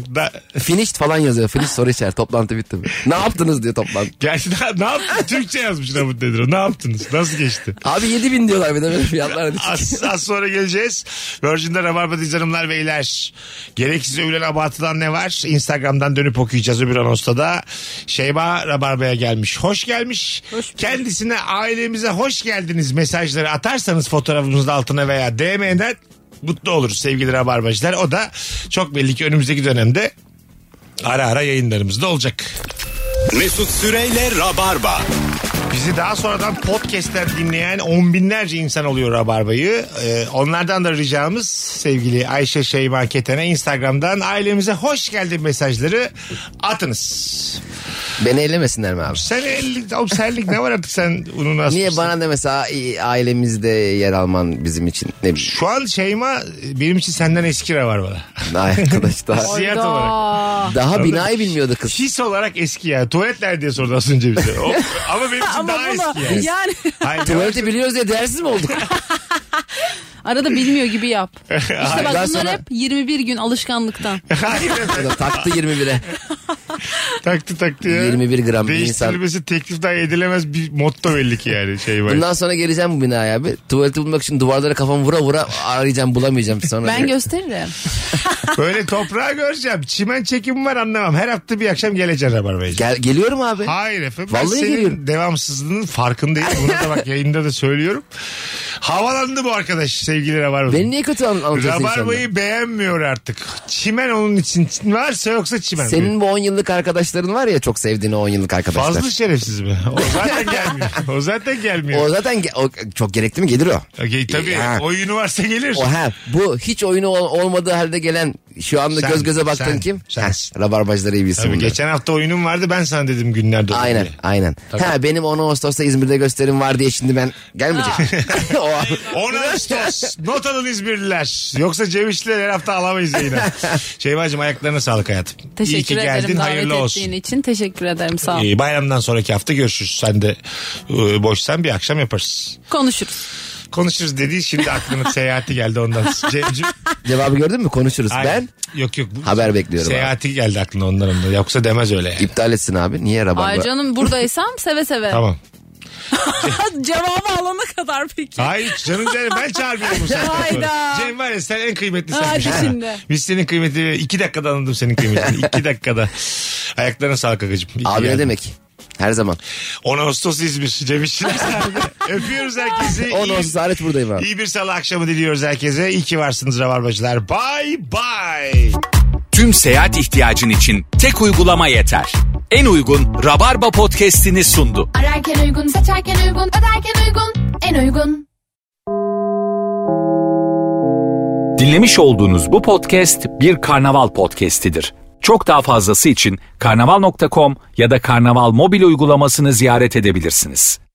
Speaker 3: tabii. Da,
Speaker 4: Finished falan yazıyor. Finish soru işareti.
Speaker 3: [laughs]
Speaker 4: Toplantı bitti mi? Ne yaptınız diyor toplantı.
Speaker 3: gerçi ne- ne yaptın? Türkçe yazmış Rabut Nedir? Ne yaptınız? Nasıl geçti?
Speaker 4: Abi 7000 diyorlar bir de böyle fiyatlar.
Speaker 3: Az, az sonra geleceğiz. Virgin'de Rabarba'dayız hanımlar beyler. Gereksiz övülen abartılan ne var? Instagram'dan dönüp okuyacağız öbür anonsta da. Şeyba Rabarba'ya gelmiş. Hoş gelmiş. Kendisine ailemize hoş geldiniz mesajları atarsanız fotoğrafımızın altına veya DM'den mutlu oluruz sevgili Rabarbacılar. O da çok belli ki önümüzdeki dönemde ara ara yayınlarımızda olacak.
Speaker 8: Mesut Süreyle Rabarba.
Speaker 3: Bizi daha sonradan podcast'ten dinleyen on binlerce insan oluyor Rabarba'yı. Ee, onlardan da ricamız sevgili Ayşe Şeyma Keten'e Instagram'dan ailemize hoş geldin mesajları atınız.
Speaker 4: [laughs] Beni ellemesinler mi abi?
Speaker 3: Sen ellik, oğlum senlik ne var artık sen onun asmışsın.
Speaker 4: Niye bana da mesela i- ailemizde yer alman bizim için ne bileyim.
Speaker 3: Şu an Şeyma benim için senden eski rabarbada.
Speaker 4: Daha arkadaş daha.
Speaker 3: Siyah olarak.
Speaker 4: [laughs] Daha binayı bilmiyordu kız.
Speaker 3: His olarak eski ya. Tuvalet nerede diye sordu az önce bize. O-
Speaker 4: [laughs]
Speaker 3: ama benim için
Speaker 5: Ama
Speaker 3: daha eski
Speaker 5: bunu
Speaker 3: yani.
Speaker 5: yani
Speaker 3: Hayır,
Speaker 4: Tuvaleti biliyoruz diye değersiz mi [laughs] olduk?
Speaker 5: [laughs] arada bilmiyor
Speaker 3: [laughs]
Speaker 5: gibi yap. İşte
Speaker 4: Ben
Speaker 5: bak bunlar
Speaker 4: sana-
Speaker 5: hep 21 gün alışkanlıktan.
Speaker 3: hayır
Speaker 4: Ya
Speaker 3: efendim.
Speaker 4: [laughs] da Taktı 21'e.
Speaker 3: taktı taktı ya.
Speaker 4: 21 gram bir insan.
Speaker 3: Değiştirilmesi teklif dahi edilemez bir motto belli ki yani şey var.
Speaker 4: Bundan sonra geleceğim bu binaya abi. Tuvaleti bulmak için duvarlara kafamı vura vura arayacağım bulamayacağım sonra.
Speaker 5: Ben gösteririm.
Speaker 3: Böyle toprağı göreceğim. Çimen çekim var anlamam. Her hafta bir akşam geleceğim rabarbaya.
Speaker 4: Gel, geliyorum abi.
Speaker 3: Hayır efendim. ben
Speaker 4: Vallahi
Speaker 3: senin
Speaker 4: geliyorum.
Speaker 3: devamsızlığının farkındayım. Bunu da
Speaker 4: [laughs]
Speaker 3: bak yayında da söylüyorum. Havalandı bu arkadaş sevgili Rabarba.
Speaker 4: Beni niye kötü an- anlatıyorsun insanlara?
Speaker 3: Rabarbayı beğenmiyor artık. Çimen onun için varsa yoksa çimen.
Speaker 4: Senin bu 10 yıllık arkadaşların var ya çok sevdiğin o 10 yıllık arkadaşlar.
Speaker 3: Fazla şerefsiz mi? O
Speaker 4: [laughs]
Speaker 3: zaten gelmiyor. O zaten gelmiyor.
Speaker 4: O zaten ge- o çok gerekli mi gelir o.
Speaker 3: Okey, tabii
Speaker 4: Ya.
Speaker 3: oyunu varsa gelir.
Speaker 4: O ha bu hiç oyunu ol- olmadığı halde gelen şu anda
Speaker 3: Sen,
Speaker 4: göz göze baktığın
Speaker 3: sen,
Speaker 4: kim?
Speaker 3: sen.
Speaker 4: Heh, rabarbacıları iyi bilsin
Speaker 3: Tabii
Speaker 4: bunları.
Speaker 3: geçen hafta oyunum vardı ben sana dedim günlerde. olur
Speaker 4: Aynen
Speaker 3: diye.
Speaker 4: aynen. Ha benim 10 Ağustos'ta İzmir'de gösterim var diye şimdi ben gelmeyeceğim. [laughs] o,
Speaker 3: 10
Speaker 4: [laughs]
Speaker 3: Ağustos. Not alın İzmirliler. Yoksa Ceviş'le her hafta alamayız
Speaker 4: [laughs]
Speaker 3: yayına. Şeybacım ayaklarına sağlık hayatım. İyi
Speaker 5: Teşekkür
Speaker 3: ki geldin.
Speaker 5: ederim davet
Speaker 3: Hayırlı olsun.
Speaker 5: ettiğin için. Teşekkür ederim sağ ol.
Speaker 3: Ee, bayramdan sonraki hafta görüşürüz. Sen de e, boşsan bir akşam yaparız.
Speaker 5: Konuşuruz.
Speaker 3: Konuşuruz dedi. Şimdi
Speaker 4: [laughs]
Speaker 3: aklına seyahati geldi ondan. Cemcim.
Speaker 4: cevabı gördün mü konuşuruz.
Speaker 3: Ay,
Speaker 4: Ben
Speaker 3: Yok yok. bu-
Speaker 4: Haber bekliyorum
Speaker 3: Seyahati geldi aklına ondan onda. Yoksa demez öyle yani.
Speaker 4: iptal etsin abi. Niye
Speaker 5: Ay
Speaker 4: rabarba?
Speaker 5: canım buradaysam seve seve.
Speaker 3: Tamam.
Speaker 5: [laughs] Cevabı alana kadar peki.
Speaker 3: Hayır canım canım ben çağırmıyorum bu saatten sonra.
Speaker 5: Hayda.
Speaker 3: Cem var ya sen en kıymetli
Speaker 5: Hadi
Speaker 3: senmişsin. ha.
Speaker 5: şimdi.
Speaker 3: Biz senin kıymetini iki dakikada anladım senin kıymetini. iki dakikada. Ayaklarına sağlık akıcım.
Speaker 4: Abi ne demek? Her zaman.
Speaker 3: 10 Ağustos İzmir. Cem İşçiler
Speaker 4: [laughs]
Speaker 3: sahnede. Öpüyoruz herkesi.
Speaker 4: 10
Speaker 3: İyi-
Speaker 4: Ağustos hariç buradayım abi.
Speaker 3: İyi bir salı akşamı diliyoruz herkese. İyi ki varsınız Rabarbacılar. Bye bye.
Speaker 1: Tüm seyahat ihtiyacın için tek uygulama yeter. En uygun Rabarba podcast'ini sundu.
Speaker 2: Ararken uygun, seçerken uygun, öderken uygun, en uygun.
Speaker 1: Dinlemiş olduğunuz bu podcast bir karnaval podcastidir. Çok daha fazlası için karnaval.com ya da karnaval mobil uygulamasını ziyaret edebilirsiniz.